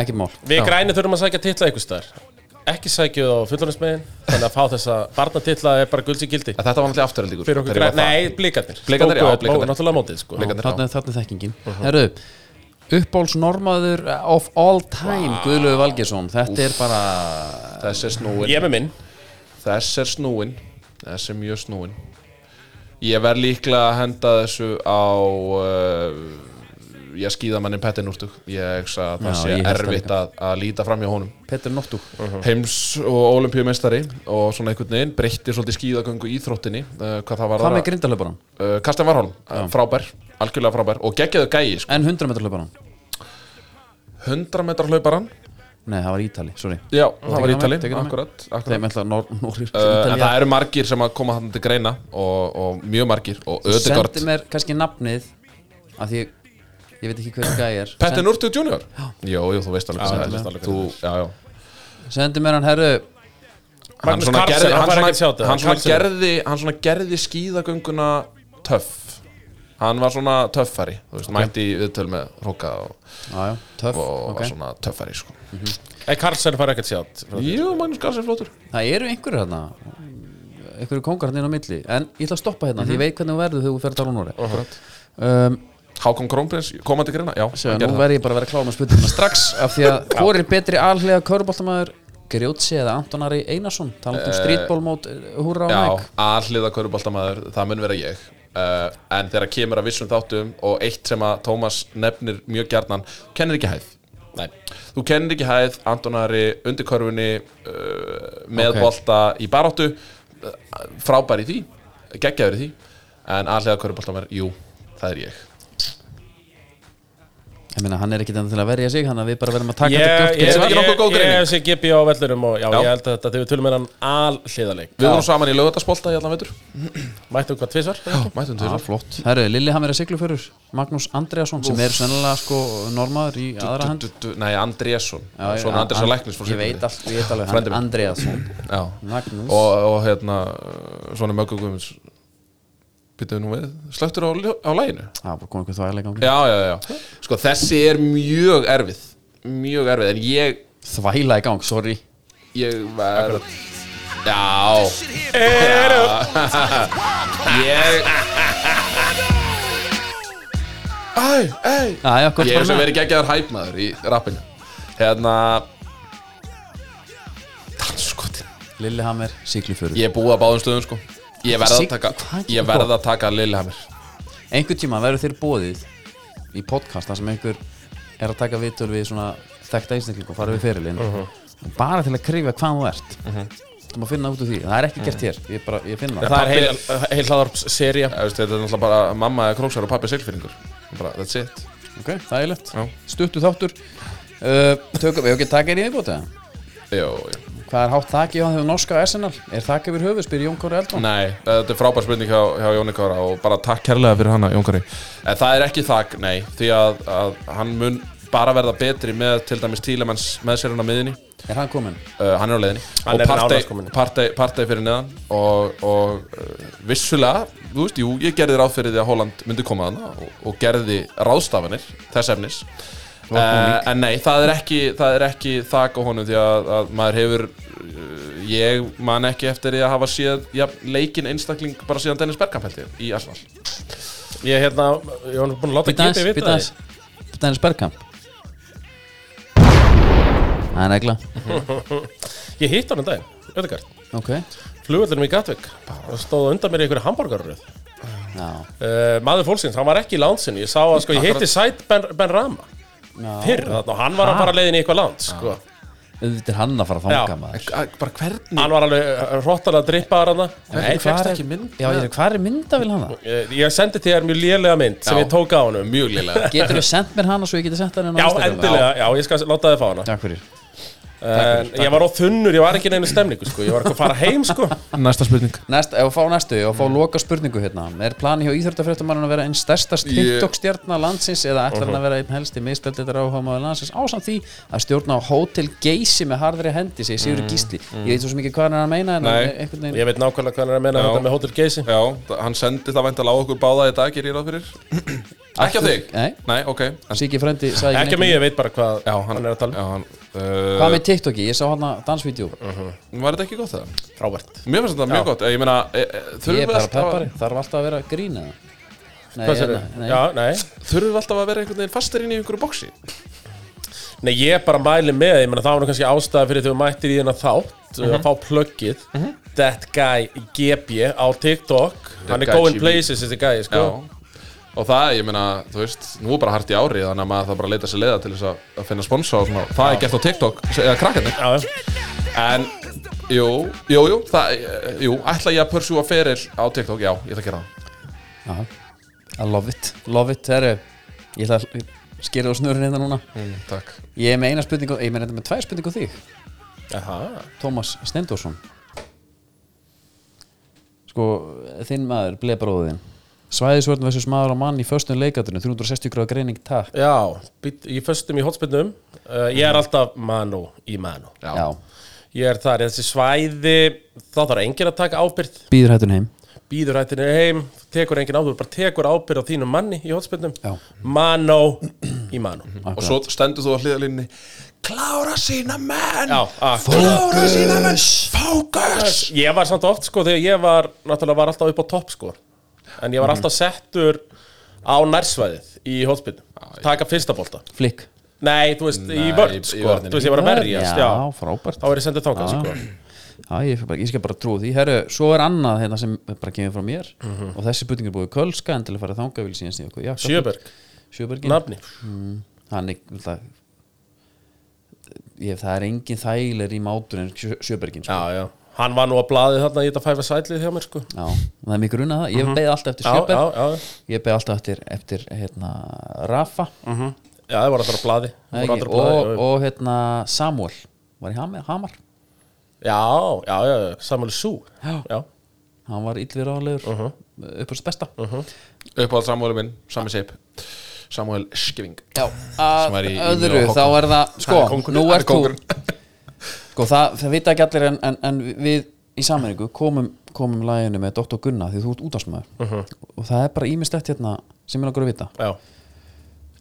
A: Ekki mál
C: Við græni þurfum að sækja titla einhvers staðar Ekki sækjuð á fullorðinsmegin Þannig að fá þessa barnatitla er bara gulds í gildi
B: En þetta var náttúrulega afturhaldíkur
C: Fyrir okkur græni, nei, blikarnir
B: Blikarnir, já,
C: Stóku-
B: Blikarnir.
C: og náttúrulega mótið sko
B: Blikarnir.
A: Þarna er þarna er þekkingin Herru, uppbólsnormaður of all time Guðlaugur Valgjesson Þetta er bara,
B: Þess er snúin
C: Ég er með minn
B: Þess er snúin Þess er mjög snúin Ég verð líklega að henda þessu á uh, Ég skýða manni pettin úrtug Ég hugsa að það
A: Já,
B: sé
A: ég held það
B: erfitt
A: líka.
B: að, að líta fram hjá honum
A: Petur Nóttúk
B: heims og olimpíumeistari og svona einhvern veginn breytti svolítið skíðagöngu í þróttinni uh, hvað það var
A: Hvað með grindalöparan?
B: Uh, Karsten Varholm, uh, frábær, algjörlega frábær og geggjaðu gæi, sko.
A: En 100 metrar Eh.
B: 100 metrar hlauparan
A: Nei, það var Ítali, sorry
B: já, það var
A: Tekin á
B: ítali,
A: mig, tekin á mig.
B: akkurat, akkurat.
A: Þeim ætla Nór, Nóri
B: Uh,
C: Eh,
B: en það eru margir sem að koma hann til greina og, og mjög margir og ödegort
A: Sendi mér kannski nafnið af því ég, ég veit ekki hvernig gæði er
B: Petter Núrtug Junior jú, jú, þú veist alveg hvað
C: ég veist
B: það er
C: alveg hvað
B: þú, já, já.
A: Send, Sendi mér hann herru
B: Hann,
C: Magnús
B: svona
C: Carlsen,
B: gerði,
C: hann
B: hann,
C: fær
B: svona,
C: ekkert sjátt,
B: hann, svona
C: Carlsen.
B: gerði, hann svona gerði skíðagönguna töff hann var svona töffari þú veist, mætti í viðtöl með hróka og,
A: Jájá, töff,
B: og
A: ok
B: var svona töffari sko.
C: En Karlsson fær ekkert sjátt
B: jú, Magnús Garsen flottur
A: Það eru einhverju hérna einhverju kongar hérna inn á milli en ég ætla að stoppa hérna því ég veit hvernig þú verður þegar þú ferð að tala um Nóri um,
B: Hákon Krónprins, koma til greina já,
A: Sjá,
B: hann gerði
A: nú verð ég bara að vera klár með spurninguna strax af því að hvor er betri alhlega köruboltamæður Grjótsi eða Anton Ari Einarsson taland um streetballmót húra á
B: Eh, Já,
A: næk
B: alliða köruboltamaður, það mun vera ég uh, En þegar kemur að vissum þáttum og eitt sem að Tómas nefnir mjög gjarnan Kennir ekki hæð Nei. Þú kennir ekki hæð, Antonari, undir körfunni, uh, með
A: Ok.
B: bolta í baráttu uh, Frábær í því, geggjaður í því En alliða köruboltamaður, jú, það er ég
A: ég meina hann er ekkit enn til að verja sig hann að við bara verðum að taka
C: Ég
A: þetta gjótt
C: ég-
B: Þetta er ekki nokkuð góð
C: ég- ég
B: greining.
C: hef sér GP á vellurum og já,
B: Já.
C: ég held að þetta þegar við tölum með hann al hliðarleik
B: Við vorum saman í lögutarsbolta í allan veitur
C: Mættum hvað tvisvar
B: Mætum til
A: Já,
B: þessar
A: flott. Herru, Lillehammer er sigluförur Magnús Andreasson sem er sennilega sko normaður í aðra hand
B: Du- du- du- Nei, Andrésson
A: Já, já,
B: Svona Andrésson
A: And-
B: Læknis frá
A: Ég veit
B: Siglufirði.
A: allt, ég veit alveg hann
B: Frændi minn.
A: Andreasson
B: Já,
A: Magnús
B: og, og hérna svona möggu guðmunds byttuðu nú við, slögtur á, ljó- á læginu
A: Það var komið eitthvað þvægilega gangi
B: já, já, já, sko þessi er mjög erfið mjög erfið, en ég
A: Þvæla í gang, sorry
B: ég var já, ég æ, æ
A: Æja, gott
B: ég
A: bara
B: hef sem
A: með
B: verið geggjaður hæpmaður í rappinu hérna
A: Lillehammer, Siglufjörður
B: Ég er búið að báðum stöðum sko Ég verð að
A: Sig-
B: taka,
A: hvað getur
B: ég verð að taka Lillehammer
A: Einhvern tíma verður þér bóðið í podcast þar sem einhver er að taka vitur við svona þekkta einstakling og fara við ferilinn bara til að krifja hvað þú ert uh þú má finna út úr því, það er ekki gert hér ég, bara, ég finna það
C: Það er heil, heil hlaðarpsserja
B: Ég veist, Þetta er náttúrulega bara mamma eða króksar og pappi seglfyrringur bara, That's it
A: ok, það er leitt,
B: Já.
A: stuttu þáttur uh, tökum við, ok, taka er í viðbóta
B: Jó, jó
A: hvað er hátt þakki á því norska Arsenal er þakki yfir höfuð, spyr Jón Kóri Eldon
B: Nei, þetta er frábær spurning hjá, hjá Jóni Kára og bara takk kærlega fyrir hana, Jón Kári En það er ekki þakk, nei, því að, að hann mun bara verða betri með til dæmis Tílemanns með sér hann á miðinni
A: er hann kominn?
B: uh, hann er á leiðinni
C: Hann er nánast
B: og
C: kominn.
B: partæði fyrir neðan og, og uh, vissulega þú veist, jú, ég gerði ráð fyrir því að Holland myndi koma þarna og, og gerði ráðstafanir þess efnis uh, en nei, það er ekki það er ekki þak á honum því að, að maður hefur uh, ég man ekki eftir því að hafa séð já, leikinn einstakling bara síðan Dennis Bergkamp held ég í Arsenal
C: Ég er hérna, ég var búin að láta
A: Býta
C: Kitty
A: aðeins,
C: vita
A: býta aðeins
C: það
A: Býta aðeins Bergkamp Það er negla
C: Ég hitt hann um daginn, auðvitað
A: Ok
C: Flugvöldunum í Gatwick og stóð undan mér í einhverju hambúrgarröð
A: Já
C: uh, Maður fólksins, hann var ekki í landsinu Ég sá að sko, ég hitti Sæt Ben, ben Rama Fyrr, þarna, og hann var að fara leiðin í eitthvað land sko.
A: Auðvitað er hann að fara að
C: Já.
A: fanga maður
B: Að- bara hvernig,
C: Hann var alveg eh, hróttalega drippaðar hann Nei,
B: hvernig fékkst
A: Hvar er-
B: ekki mynd
A: Já, ég er hvað er myndavél hana?
C: Ég Eh, ég sendi til þér mjög lélega mynd sem
B: Já.
C: ég tók á honum
B: mjög lélega
A: Getur þú sendt mér hana svo ég geti sendt hana inn á
C: Já,
A: Instagram?
C: endilega, já, ég skal láta þið fá hana
A: Takk fyrir
C: En ég var á þunnur, ég var ekki í neinu stemningu sko. Ég var ekki að fara heim sko.
B: næsta spurning
A: Næst, ef að fá næstu, ef að fá loka spurningu hérna Er plani hjá Íþjórtafréttamann að vera einn stærsta TikTok-stjarna landsins eða ætlar hann að vera einn helsti miðstöldetar áhugamáður landsins ásamt því að stjórna á Hotel Geysi með harðri hendi, segir Sigur Gísli Ég veit svo sem ekki hvað hann er að meina en
B: Nei.
A: hann er einhvern veginn
C: Ég veit nákvæmlega hvað hann er að menna
B: Já.
C: þetta með Hotel Geysi
B: Já, þa- hann sendi það væntalega á okkur báða í dag, gerir ég ráð fyrir Ekki á þig?
A: Nei.
B: Nei, ok en,
A: Siggi frendi sagði um
C: Ekki að mig, ég veit bara hvað
B: Já,
C: hann, er að tala um.
B: já, hann,
A: Hvað
C: Eh,
B: uh,
A: með TikToki? Ég sá hana dansvídeó
B: Var þetta ekki gott það?
C: um Frábært
B: Mér finnst þetta mjög gott Ég meina, e, e,
A: Ég er
B: þurfum við
A: bara
B: alltaf,
A: peppari Þarf alltaf að vera grín eða? Nei, hérna,
C: Hvað sér
A: nei, nei.
C: Já, nei
B: þurfum við alltaf að vera einhvern veginn fastir inn í einhverju bóksi
C: Nei, ég bara mæli með, ég menna það var nú kannski ástæða fyrir þegar þú mættir í hérna þátt
B: Mhm.
C: að fá pluggið That guy GB á TikTok Hann er
B: guy
C: going
B: GB.
C: places, þetta guy, sko
B: Og það, ég meina, þú veist, nú er bara hart í ári Þannig að maður það bara leita sér leiða til þess að, að finna sponsa og svona Það er gert á TikTok, se- eða krakkarnir
C: Já, já.
B: En, jú, jú, jú, það, eh, jú Ætla ég að pursúa feril á TikTok, já, ég ætla að gera það
A: Já, I love it Love it, herru Ég ætla að skera á snurinn hérna núna
B: mm, Takk
A: Ég er með eina spurningu, ég meina þetta með tvær spurningu á þig
C: Aha.
A: Tómas Steindorsson Sko, þinn maður, blebróðin Svæðisvörn versus maður á mann í föstum leikatunum 360 gráða greining, takk
C: Já, být, ég föstum í hotspinnum uh, Ég er alltaf manu í manu
B: Já,
A: Já,
C: Ég er þar, þessi svæði þá þarf enginn að taka ábyrgð
A: býður hættun heim
C: býður hættinu heim, tekur enginn ábyrgð bara tekur ábyrgð á þínum manni í hotspinnum
A: Já.
C: Mano í mano
B: og svo stendur þú á hliðalínni klára sína menn
C: Já, ah. að
B: klára sína menn fókus
C: Ég var samt oft sko þegar ég var náttúrulega var alltaf upp á topp sko en ég var alltaf settur á nærsvæðið í hotspinnum, taka fyrsta bolta
A: Flick
C: Nei, þú veist, í
B: Nei, í-
C: vörn
B: í
C: sko,
B: vörninni.
C: þú veist, ég var að verjast, já,
A: Eh, Já, frábært
C: þá er ég sendið þangað
A: Já.
C: sko
A: Já, ég, fer bara, ég skal bara trúa því Herru, svo er annað hérna sem bara kemur frá mér
C: Mhm.
A: og þessi spurning er búið í kölska en til að fara þangað vil síðan stíða okkur jakka.
C: Sjöberg,
A: Sjöbergin
C: nafni
A: hann er það, ég, það er engin þægilegri í mátur en sjö, Sjöbergin sko.
C: Já, já, hann var nú að blaði þarna í þetta fæfa sætlið hjá mér sko
A: já, það er mikið runað það ég beði alltaf eftir
C: Mhm. Já, já,
A: Sjöberg
C: já
A: ég beði alltaf eftir, eftir hérna, Rafa
C: Já, það var alltaf að blaði,
A: Nei, ekki,
C: voru allir á blaði,
A: og,
C: Mhm, já, já.
A: og hérna, Samuel var í Hamar, Hamar.
C: Já, já, já, já, Samuel Sú
A: Já.
C: já.
A: hann var illvið ráðlegur uh
C: Mhm.
A: upp á þess besta
B: uppáð Samuel minn, Sami Seip Samuel Skiving
A: Já, að
B: Sem var í- í
A: öðru
B: Mjóhóknum.
A: þá er það, sko,
B: Hann er kóngurinn.
A: nú
B: Hann
A: er
B: er
A: þú
B: kóngurinn.
A: sko, það, það vita ekki allir en, en, en við í sammenningu komum, komum læginu með Dr. Gunna því þú ert útásmaður og það er bara ímislegt hérna sem er okkur að vita
C: já,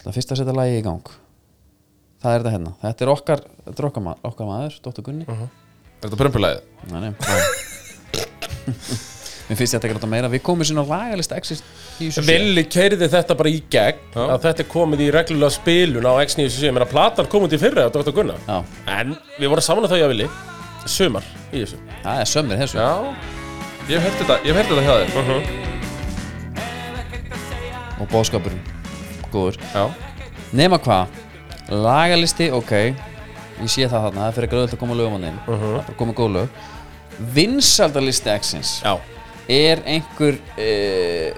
A: Það fyrst að setja lægi í gang það er þetta hérna, þetta er okkar þetta er okkar, ma okkar maður, Dr. Gunni
B: er þetta prömpulæðið?
A: Nei, nei, það Mér finnst þetta ekki rátt að meira við komum sín á lagalista exist í þessu sé.
C: Villi keiriði þetta bara í gegn að þetta er komið í reglulega spilun á X97 menn að platan kom út í fyrra á Dr. Gunnar
A: Já.
C: en við vorum saman að þau að Villi sumar í þessu
A: Það er sömmið þessu
B: Já Ég hef heyrt þetta, ég hef heyrt þetta hjá þér
A: Og bóðskapurinn Góður
B: Já
A: Nema hvað Lagalisti, ok Ég sé það þarna, það er fyrir gröðult að koma lögum hann inn
C: Mhm.
A: Það er bara að koma góð lög Vinsaldalisti X-ins
C: Já,
A: Er einhver uh,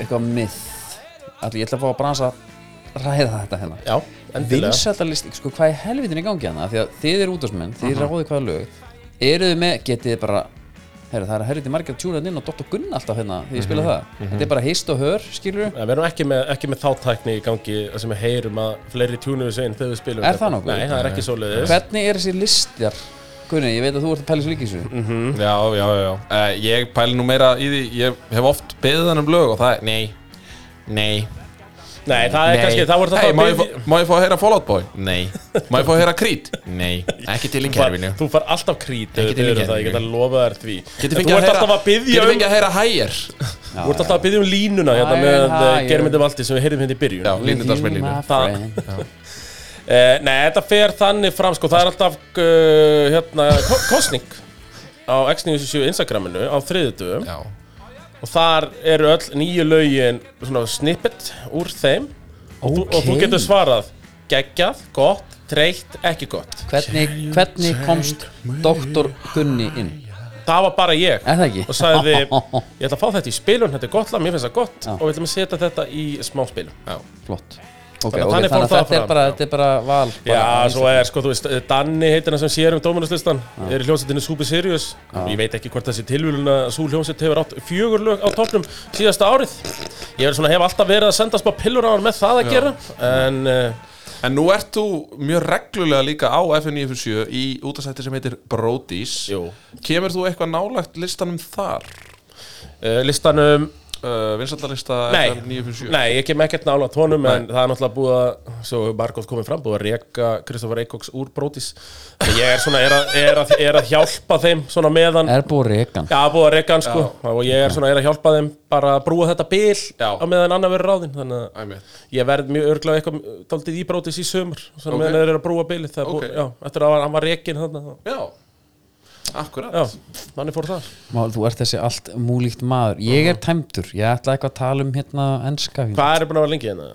A: Eitthvað myth Allir, ég ætla að fá að bransa að ræða þetta hérna
C: já, endilega
A: Vinsaldalist, sko, hvað er helvitin í gangi hana? Því að þið eru útvarsmenn,
C: Mhm.
A: þið eru ráðið hvaða lög Eruðu með, getið þið bara Herra, það er að herrið margir að tjúna inn og Dr. Gunn alltaf hérna þegar ég
C: Mhm.
A: spila það Þetta er bara heist og hör, skilur
C: En við erum ekki með, ekki með þáttækni í gangi þar sem við heyrum að fleiri tjúnum við svein þegar við spilum
A: Er
C: þetta.
A: það nokkuð?
C: Nei, það er ekki svo leiðis
A: Hvernig er þessi listar? Gunni, ég veit að þú ert að pæla svo líka í þessu
C: Mm,
B: Mhm. Já, já, já, já Eh, Ég pæli nú meira í því Ég hef oft beðið hann um lög og það er Nei Nei
C: Nei, það er kannski, það voru það
B: Hey,
C: að
B: má ég
C: biðja-
B: fá- má ég fá að heyra Fallout Boy? Nei Má ég fá að heyra Creed? Nei Ekki til í
C: Þú far- Þú far alltaf krít
B: Ekki
C: Ekki
B: til
C: til
B: í
C: það,
B: gervinu.
C: ég get að lofa þér því
B: Geti
C: En
B: fengið að
C: Þú ert
B: heyra
C: alltaf að byggja
B: Geti
C: um
B: fengið að heyra Higher
C: Þú ert alltaf að byggja um línuna hérna
A: Hæ,
C: með
A: hæ,
C: eh, Gerum þetta valdi sem við heyrðum hérna í byrjun
B: Já, línudalsmilinu
A: My
C: Það-
A: friend.
C: Eh, Nei, þetta fer þannig fram sko Það er alltaf uh, hérna, ko- kosning á X97 Instagraminu á þriðutum
B: Já
C: og þar eru öll nýju lögin svona snippet úr þeim og, þú, og þú
A: Ókei.
C: getur svarað geggjað, gott, treytt, ekki gott
A: Hvernig, hvernig komst Dr. Gunni inn?
C: það var bara ég
A: Er það ekki?
C: og sagði ég ætla að fá þetta í spilun, þetta er gott lag, mér finnst það gott
A: Já.
C: og við ætlum að setja þetta í smá spilun já,
A: Flott Ok,
C: Þannig að
A: ok,
C: þannig
A: þannig
C: fór
A: að
C: það
A: þetta er
C: fram.
A: bara, þetta er bara val bara-
C: svo er sko, þú veist, Danni heitir hann sem sér um dóminuslistan er í hljómsettinu Super Serious ég veit ekki hvort þessi tilvílun að sú hljómsett hefur átt fjögur lög á toppnum síðasta árið ég er svona, hef alltaf verið að senda smá pillur á hann með það að gera en uh,
B: En nú ert þú mjög reglulega líka á FN957 í útastætti sem heitir Brody's
C: Jú.
B: Kemur þú eitthvað nálagt listanum þar?
C: uh, listanum
B: Uh, Vinsaldalista
C: Nei,
B: FN957
C: nei, ég kem ekkert nála tónum en það er náttúrulega búið að, svo hefur Margot komið fram, búið að reka Kristoffer Eikóks úr brótis Þannig ég er svona, er að, er að, er að hjálpa þeim svona meðan
A: Er búið rekan
C: Já, búið að reka hann sko og ég er svona, er að hjálpa þeim bara að brúa þetta bil
B: Já.
C: á meðan annar verður ráðinn þannig að
B: Æmið
C: ég verð mjög örglega eitthvað daldið í brótis í sömur svona
B: Ok.
C: meðan þeir eru að brúa bilið það er
B: Ok.
C: búið, já, eftir að hann var rekin þannig að,
B: Já, akkurat
C: já, þannig fór það
A: Mál, þú ert þessi allt múlíkt maður Ég
C: Mm.
A: er tæmdur, ég ætla eitthvað að tala um hérna enska hérna.
C: Hvað er búin að vera lengi hérna?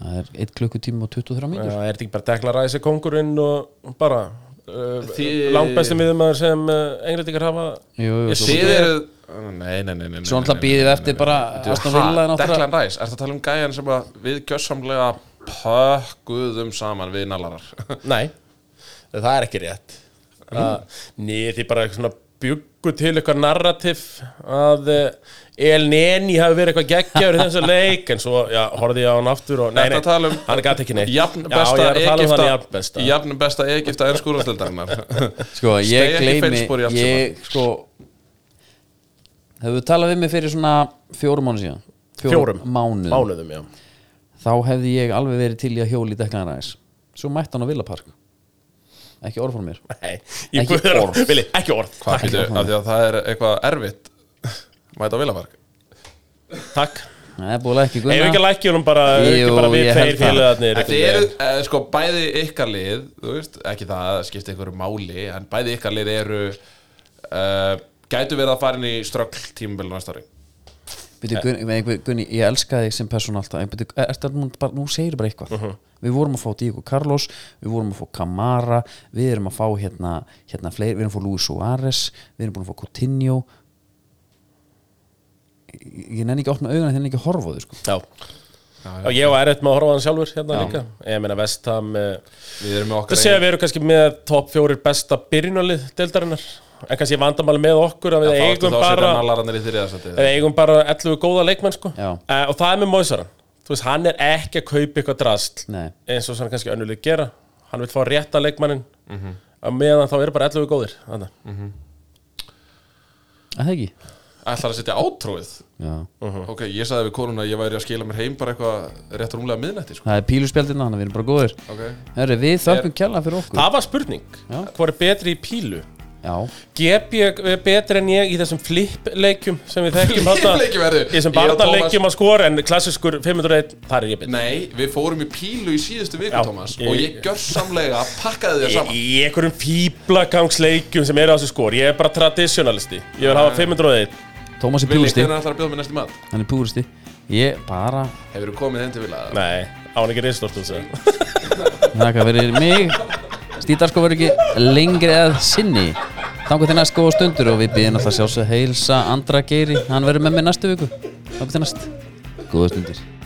A: Það er 1 klukkutíma og 23
C: Já,
A: mínútur
C: er þetta ekki bara deklaræsi kongurinn og bara uh,
B: Þið-
C: langbæsti miðumæður sem uh, englendingar hafa
A: Jú, jú,
C: Ég
A: þú-
C: sé-
B: Þið eru Nei, nei, nei, nei
A: Svo náttúrulega býðið eftir bara Aston Villa náttúrulega
B: Deklan Ræs, ertu að tala um gæjan sem að við gjössamlega pökkuðum saman við nalarar
C: Nei, það er ekki rétt
B: Hm?
C: mm. Ný, því bara svona bjuggu til eitthvað narrativ að uh, El Neni hafi verið eitthvað geggjaður í þessu leik en svo, já, horfði ég á hann aftur og, nei,
B: Ertu
C: nei,
B: að tala um-
C: hann gæti ekki neitt
B: Jafn
C: Já,
B: besta
C: ég er að tala um þann jafn
B: Egipta
C: besta
B: Jafn besta Egipta er skúrastildarinnar
A: Sko,
B: Stay
A: ég
B: ekki
A: gleymi
B: feilspor í allt
A: Ég, sko Hefur þú talað við mig fyrir svona fjórum mánu síðan
C: Fjórum
A: mánuðum.
C: Mánuðum, já
A: Þá hefði ég alveg verið til í að hjóli dekkan ræs Svo mætti hann á Villapark Ekki orð frá mér
C: Nei,
A: Ekki
C: ég búið
A: orð.
C: orð Vili, ekki orð
B: Hvað býtu, af því að það er eitthvað erfitt Mæta á Vilapark
C: Takk
A: Það er búið að ekki
C: Ef ekki
A: gunna
C: að lækja honum bara, ekki
A: Jú,
C: bara við
A: ég held
C: tveir
A: það.
C: félagarnir
B: Þið eru, eh, sko, bæði ykkar lið Þú veist, ekki það að skipta einhverju máli En bæði ykkar lið eru uh, Gætu verið að fara inn í ströggl tímabil næsta ári Eh.
A: Byrju, Gunni, nei, Gunni, Gunni, ég elska þig sem persón alltaf en eh, byrju, er, er, nú, bara, nú segir bara eitthvað
B: Mhm.
A: við vorum að fá Diego Carlos við vorum að fá Camara við erum að fá hérna, hérna fleiri, við erum að fá Luis Suárez við erum búin að fá Coutinho ég, ég nenni ekki að opna auguna þenni ekki að horfa á þau sko.
C: Já Já, ég var erfitt með að horfa á hann sjálfur hérna líka Ég meina eh, Vestham
B: Við erum með
C: Það
B: okkar
C: segja við eru kannski með topp fjórir besta byrjunalið deildarinnar En kannski vandamáli með okkur að við
B: Þá ertu
C: eigum
B: þá að
C: bara Eh.
B: setja nalararnir í þriðasæti
C: Við eigum bara 11 góða leikmenn sko
A: Já.
C: Eh, Og það er með Móisaran Þú veist, hann er ekki að kaupa eitthvað drast
A: Nei.
C: Eins og svona kannski önnulið gera Hann vil fá rétta leikmannin mm
B: Mhm.
C: Meðan þá eru bara 11 góðir Þannig
A: að það ekki
B: Ætlar að setja átróið
A: Já.
C: Uh-huh.
B: Ok, ég sagði við konuna að ég væri að skila mér heim bara eitthvað rétt rúmlega miðnætti sko.
A: það er píluspjaldina, þannig að við erum bara góðir
B: Ok
A: Herri, við þökkum kjalla fyrir okkur
C: Það var spurning
A: Já.
C: Hvað er betri í pílu?
A: Já,
C: GB er betri en ég í þessum flip-leikjum sem við þekkjum
B: Flip-leikjum, herðu.
C: Í þessum
B: Ég og Tómas-
C: barnaleikjum að skora en klassiskur 501, þar er ég betri
B: Nei, við fórum í pílu í síðustu viku,
C: Já,
B: Thomas
C: ég-
B: Og ég gjör samlega að pakkaði þér
C: Í
B: saman
C: í einhverjum fíblagangsleikjum sem eru á þessu skor Ég er bara traditionalisti Ég vil hafa 501
A: Tómas er
B: Vili,
A: púristi
B: hvernig ætlar að bjóða mér næstu mat?
A: Hann er púristi Ég bara
B: Hefur þú komið heim til vilja?
C: Nei, á hann ekki um reynstort Það
A: Þakka fyrir mig Stítarsko verður ekki lengri að sinni Þangu til næst góða stundur og við býðum alltaf sjálfsög heilsa Andra Geiri, hann verður með mér næstu viku Þangu til næst Góða stundir